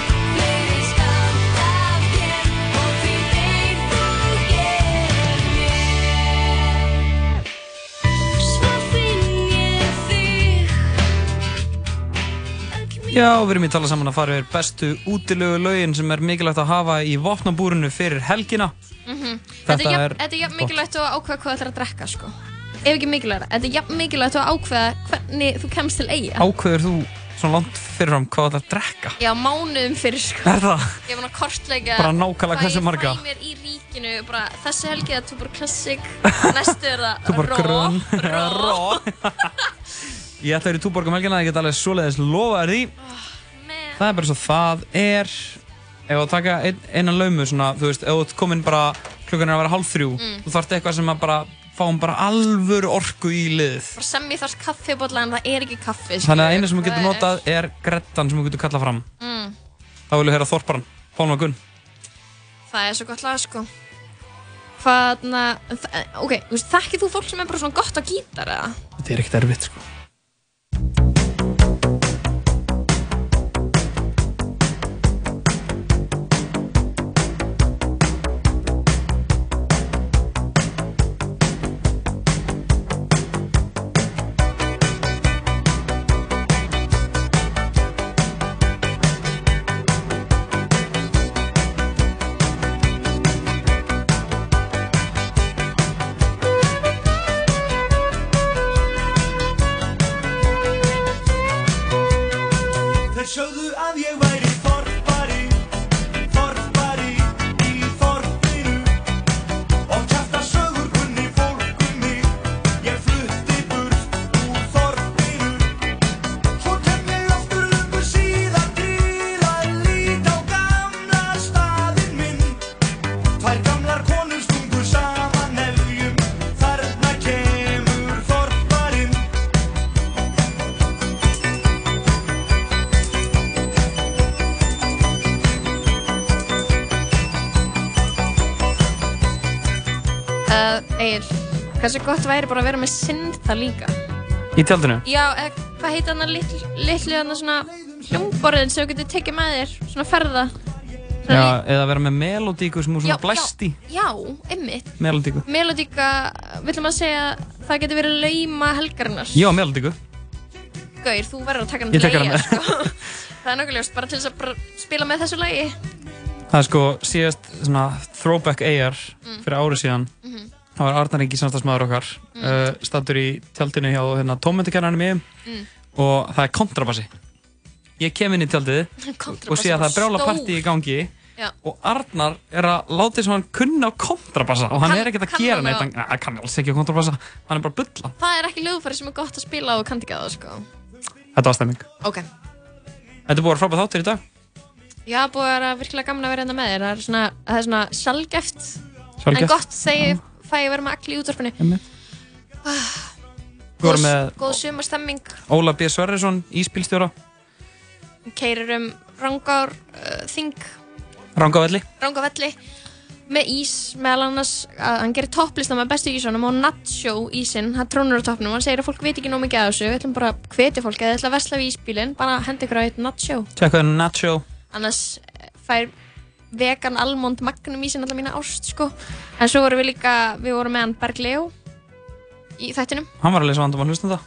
Speaker 1: fleiri skátt af þér og því þeim þú gerir mér. Svo finn ég þig
Speaker 4: Já, við erum í tala saman að fara yfir bestu útilögu lögin sem er mikilvægt að hafa í vopnabúrinu fyrir helgina.
Speaker 3: Mhm.
Speaker 4: Þetta
Speaker 3: Þetta er
Speaker 4: er
Speaker 3: jafn- þetta er jafn
Speaker 4: gott.
Speaker 3: mikilvægt að ákveða hvað það er að drekka, sko. Ef ekki mikilvægt, þetta er jafn mikilvægt að ákveða hvernig þú kemst til eiga.
Speaker 4: Ákveður þú svona langt fyrirfram hvað það er að drekka?
Speaker 3: Já, mánuðum fyrir sko
Speaker 4: Er það?
Speaker 3: Ég var að kortleika
Speaker 4: Bara nákvæmlega
Speaker 3: hvað
Speaker 4: hversu marga?
Speaker 3: ég fæ mér í ríkinu bara, Þessi helgi er Tuborg Classic Næstu er það
Speaker 4: Túborg
Speaker 3: Raw.
Speaker 4: grön. Ró. Ég ætla að vera í túborg um helgina, ég get alveg svoleiðis lofa þér því. það er bara svo það er. Ef þú taka ein, einan laumu svona, þú veist, ef þú ert komin bara, klukkan er að vera hálf þrjú,
Speaker 3: Mm.
Speaker 4: þú þarft eitthvað sem að bara fáum bara alvöru orku í liðið.
Speaker 3: Bara sem ég þarf kaffibotla en það er ekki kaffi
Speaker 4: Þannig að eina sem þú
Speaker 3: Það
Speaker 4: getur
Speaker 3: er-
Speaker 4: notað er grettan sem þú getur kallað fram.
Speaker 3: mm,
Speaker 4: Þá vil ég heyra þorparan, Pálma Gunn.
Speaker 3: Það er svo gott lag sko Hvaðna þa- Ok, þú veist, þekkir þú fólk sem er bara svona gott á gítar eða?
Speaker 4: Þetta er ekkert erfitt, sko.
Speaker 13: Þeir sögðu að ég væri forfari, forfari í forfyru Og kæfta sögur kunni fólk um mig, ég flutti burt úr forfyru Svo kem ég aftur lungu síðan til að líta á gamla staðinn minn Tvær gamlar konur stungu saman nefjum, þarna kemur forfarinn
Speaker 3: Uh, Egil, hversu gott væri bara að vera með syntha líka
Speaker 4: Í tjaldinu?
Speaker 3: Já, eða hvað heitir hann að litlu hann svona hljómborðin sem þú getur tekið með þér, svona ferða
Speaker 4: Já, eða vera með melodíku sem þú svona blæst í.
Speaker 3: Já, já ymmið
Speaker 4: Melodíku.
Speaker 3: Melodíka, villum að segja það getur verið lauma helgarinnar
Speaker 4: Já, melodíku.
Speaker 3: Gaur, þú verður að taka hann
Speaker 4: Ég tek
Speaker 3: leiga,
Speaker 4: hana.
Speaker 3: sko Það er nokkuð ljóst, bara til þess að bara spila með þessu lagi
Speaker 4: Það er sko síðast svona throwback AR
Speaker 3: Mm.
Speaker 4: fyrir árið síðan.
Speaker 3: Mhm.
Speaker 4: það var Arnar Ingi samstagsmaður okkar mm. stattur í tjaldinu hjá hérna, tómyndikennanum mjög
Speaker 3: Mm.
Speaker 4: og það er kontrabassi ég kem inn í tjaldið
Speaker 3: Kontrabassi
Speaker 4: og sé að það
Speaker 3: bara
Speaker 4: er brjála
Speaker 3: stór.
Speaker 4: partí í gangi
Speaker 3: Já.
Speaker 4: og Arnar er að láta sem hann kunna á kontrabassa og hann
Speaker 3: Kann-
Speaker 4: er ekkert að
Speaker 3: kann
Speaker 4: gera
Speaker 3: hann
Speaker 4: neitt
Speaker 3: á-
Speaker 4: hann hann kann alls ekki á kontrabassa, hann er bara að bulla
Speaker 3: Það er ekki lögfæri sem er gott að spila og kannt ekki að það sko.
Speaker 4: þetta var stemming
Speaker 3: Ok.
Speaker 4: þetta er búið að vera frábæð þáttur í dag
Speaker 3: Já, búið að vera virkilega gaman að vera hérna með þér. Það er svona, það er svona sjálfgeft.
Speaker 4: Sjaldgæft.
Speaker 3: En gott þegar ég fæ að vera með allir í útvarpinu.
Speaker 4: Einmitt. við vorum með
Speaker 3: Góð sumarstemming,
Speaker 4: Óla B. Sverrisson, íspílstjóra
Speaker 3: keirir um rangár, uh, þing,
Speaker 4: Rangavelli
Speaker 3: rangavelli með ís, meðal annars að hann gerir topplista með bestu ísunum og nacho ísinn, hann trónur á toppnum hann segir að fólk veit ekki nóg mikið að þessu við ætlum bara að hvetja fólk, eða þið ætla að vesla við ísbílinn bara hendi ykkur á eitt nacho
Speaker 4: tjekka það Nacho
Speaker 3: annars eh, fær vegan almond magnum ísinn alla mína ást sko, en svo vorum við líka við vorum með hann Berg Leo í þættinum
Speaker 4: hann var að lesa vandamál hlustanda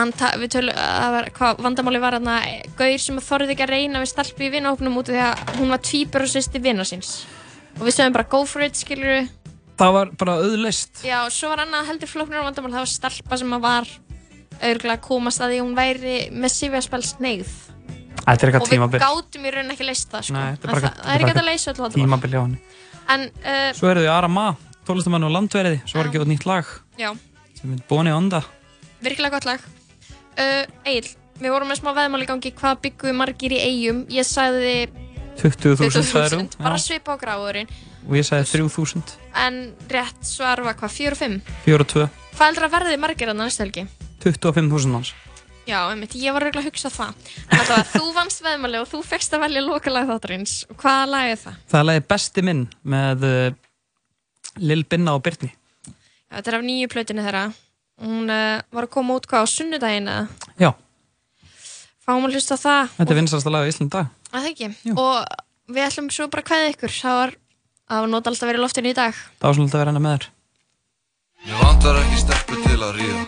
Speaker 3: Anta, við tölum að var, hvað vandamáli var þarna eh, gaur sem þorði ekki að reyna við stelpu í vinahópnum út af því að hún var tvíbur og sýsti vina síns og við sögum bara go for it skilur
Speaker 4: það var bara auðlist
Speaker 3: já og svo var annað heldur flóknar vandamál það var stelpa sem að var auðvitað að komast að því að hún væri með sifjarspels neyð
Speaker 4: þetta er
Speaker 3: og
Speaker 4: eitthvað
Speaker 3: við
Speaker 4: tímabil
Speaker 3: gátum í raun ekki leist það sko.
Speaker 4: Nei,
Speaker 3: En
Speaker 4: þetta er
Speaker 3: það,
Speaker 4: bara eitthvað-
Speaker 3: það er ekki hægt að leysa öll vandamál
Speaker 4: tímabil hjá hann
Speaker 3: en uh,
Speaker 4: svo eruðu Ara Ma, tólistamann og landverði svo var ekki út nýtt lag
Speaker 3: já
Speaker 4: sem er Boni Onda
Speaker 3: virkilega gott lag uh, Egil, við vorum með smá veðmál í gangi hvað byggu margir í eigum ég sagði
Speaker 4: 20.000 sagðir þú?
Speaker 3: 20.000, bara
Speaker 4: Já.
Speaker 3: svipa á gráðurinn
Speaker 4: og ég sagði 3.000,
Speaker 3: en rétt svar var hvað, 4 og 5
Speaker 4: 4 og 2
Speaker 3: hvað heldur að verði margir að næstu helgi?
Speaker 4: 25.000 manns
Speaker 3: Já, einmitt, ég var auðvitað að hugsa það en alltaf að þú vannst veðmáli og þú fegst að velja lokalag þáttarins og hvaða lag er það?
Speaker 4: það er lagið Besti minn með uh, Lil Binna og Byrni
Speaker 3: Já, þetta er af nýju plötinu þeirra hún uh, var að koma út hvað á sunnudaginn eða?
Speaker 4: Já.
Speaker 3: fáum að hlusta á það
Speaker 4: þetta er vinsalasta lag í Ísland dag
Speaker 3: Að Það ekki. Og við ætlum svo bara að kveða ykkur. Það var, það var nota alltaf verið loftinu í dag.
Speaker 4: það var svolítið að vera hennar með þér
Speaker 7: Mér vantar ekki stelpu til að ríða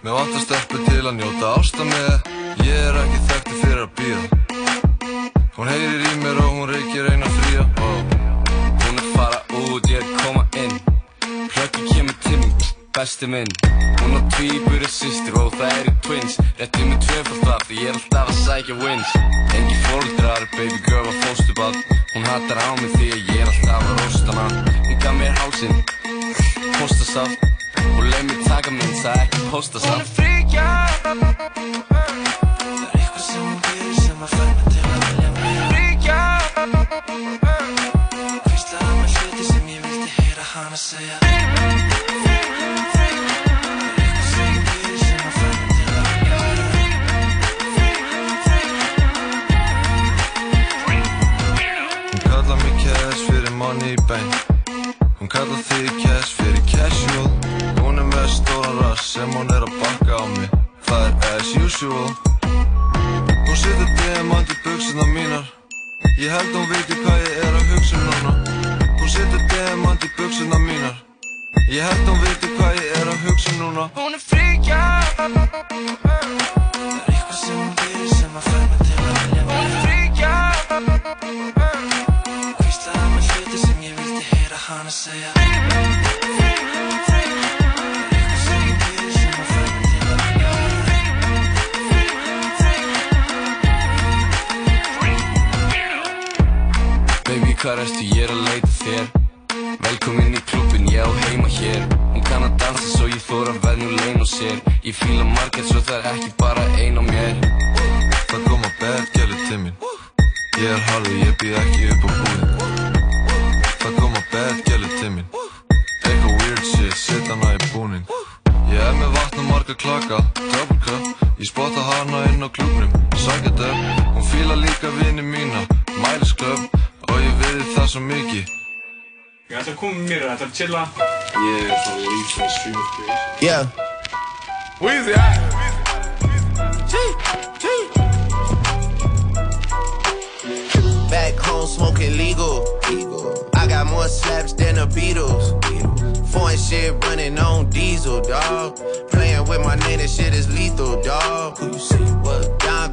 Speaker 7: Mér vantar stelpu til að njóta ásta með Ég er ekki þekkti fyrir að býða Hún heyrir í mér og hún reykir eina fría oh.
Speaker 10: Hún er fara út, ég er koma inn Plöggi kemur til mín, besti minn Hún á tvíburi sýstir og það eru twins Rétti mig tvöfald af því ég er alltaf að sækja wins Engi fóldrar, baby girl og fóstuball Hún hattar á mig því að ég er alltaf að rosta mann Hún gaf mér hálsinn, hóstasaft Og leið mig taka minn, það er ekki
Speaker 7: Hún
Speaker 10: hóstasaft
Speaker 7: er fríkja Það er eitthvað sem hún býður sem að fær mig til að vilja mér Fríkja Hvíslar að mér hluti sem ég vildi heyra hana segja Hún kallar mig cash fyrir money bank Hún kallar þig cash fyrir casual Hún er með stóra rass sem hún er að bakka á mig Það er as usual Hún setur diamant í buksuna mínar Ég held hún viti hvað ég er að hugsa um núna Hún setur diamant í buksuna mínar Ég held hún viti hvað ég er að hugsa um núna Hún er fríkja Það er eitthvað sem hún býður sem að fær mig til að vilja mér Hún er fríkja Hvíslaði að mér hluti sem ég vildi heyra hana segja
Speaker 10: Baby, hvað erstu? Ég er að leita þér Velkomin í klubin, ég á heima hér Hún kann að dansa svo ég þóra verð nú lein og sér Ég fíla margætt svo það er ekki bara ein á mér
Speaker 7: Það koma bad gæli til mín Ég er harður, ég býð ekki upp á búinn Það koma bad gæli til mín Eitthvað weird shit, set hana í búnin Ég er með vatn og marga klaka, double cup Ég spotta hana inn á klubnum, sækja döf Hún fíla líka vini mína, Miles Club Og ég viði það svo mikið
Speaker 23: Ég ætla að koma með mér, ég ætla að chilla. Ég er svona líf sem stream of creation.
Speaker 7: Yeah.
Speaker 23: Weezy, æ!
Speaker 24: Back home smoking legal. I got more slaps than the Beatles. Foreign shit running on diesel, dog. Playing with my name, this shit is lethal, dog. Who you see? What? Don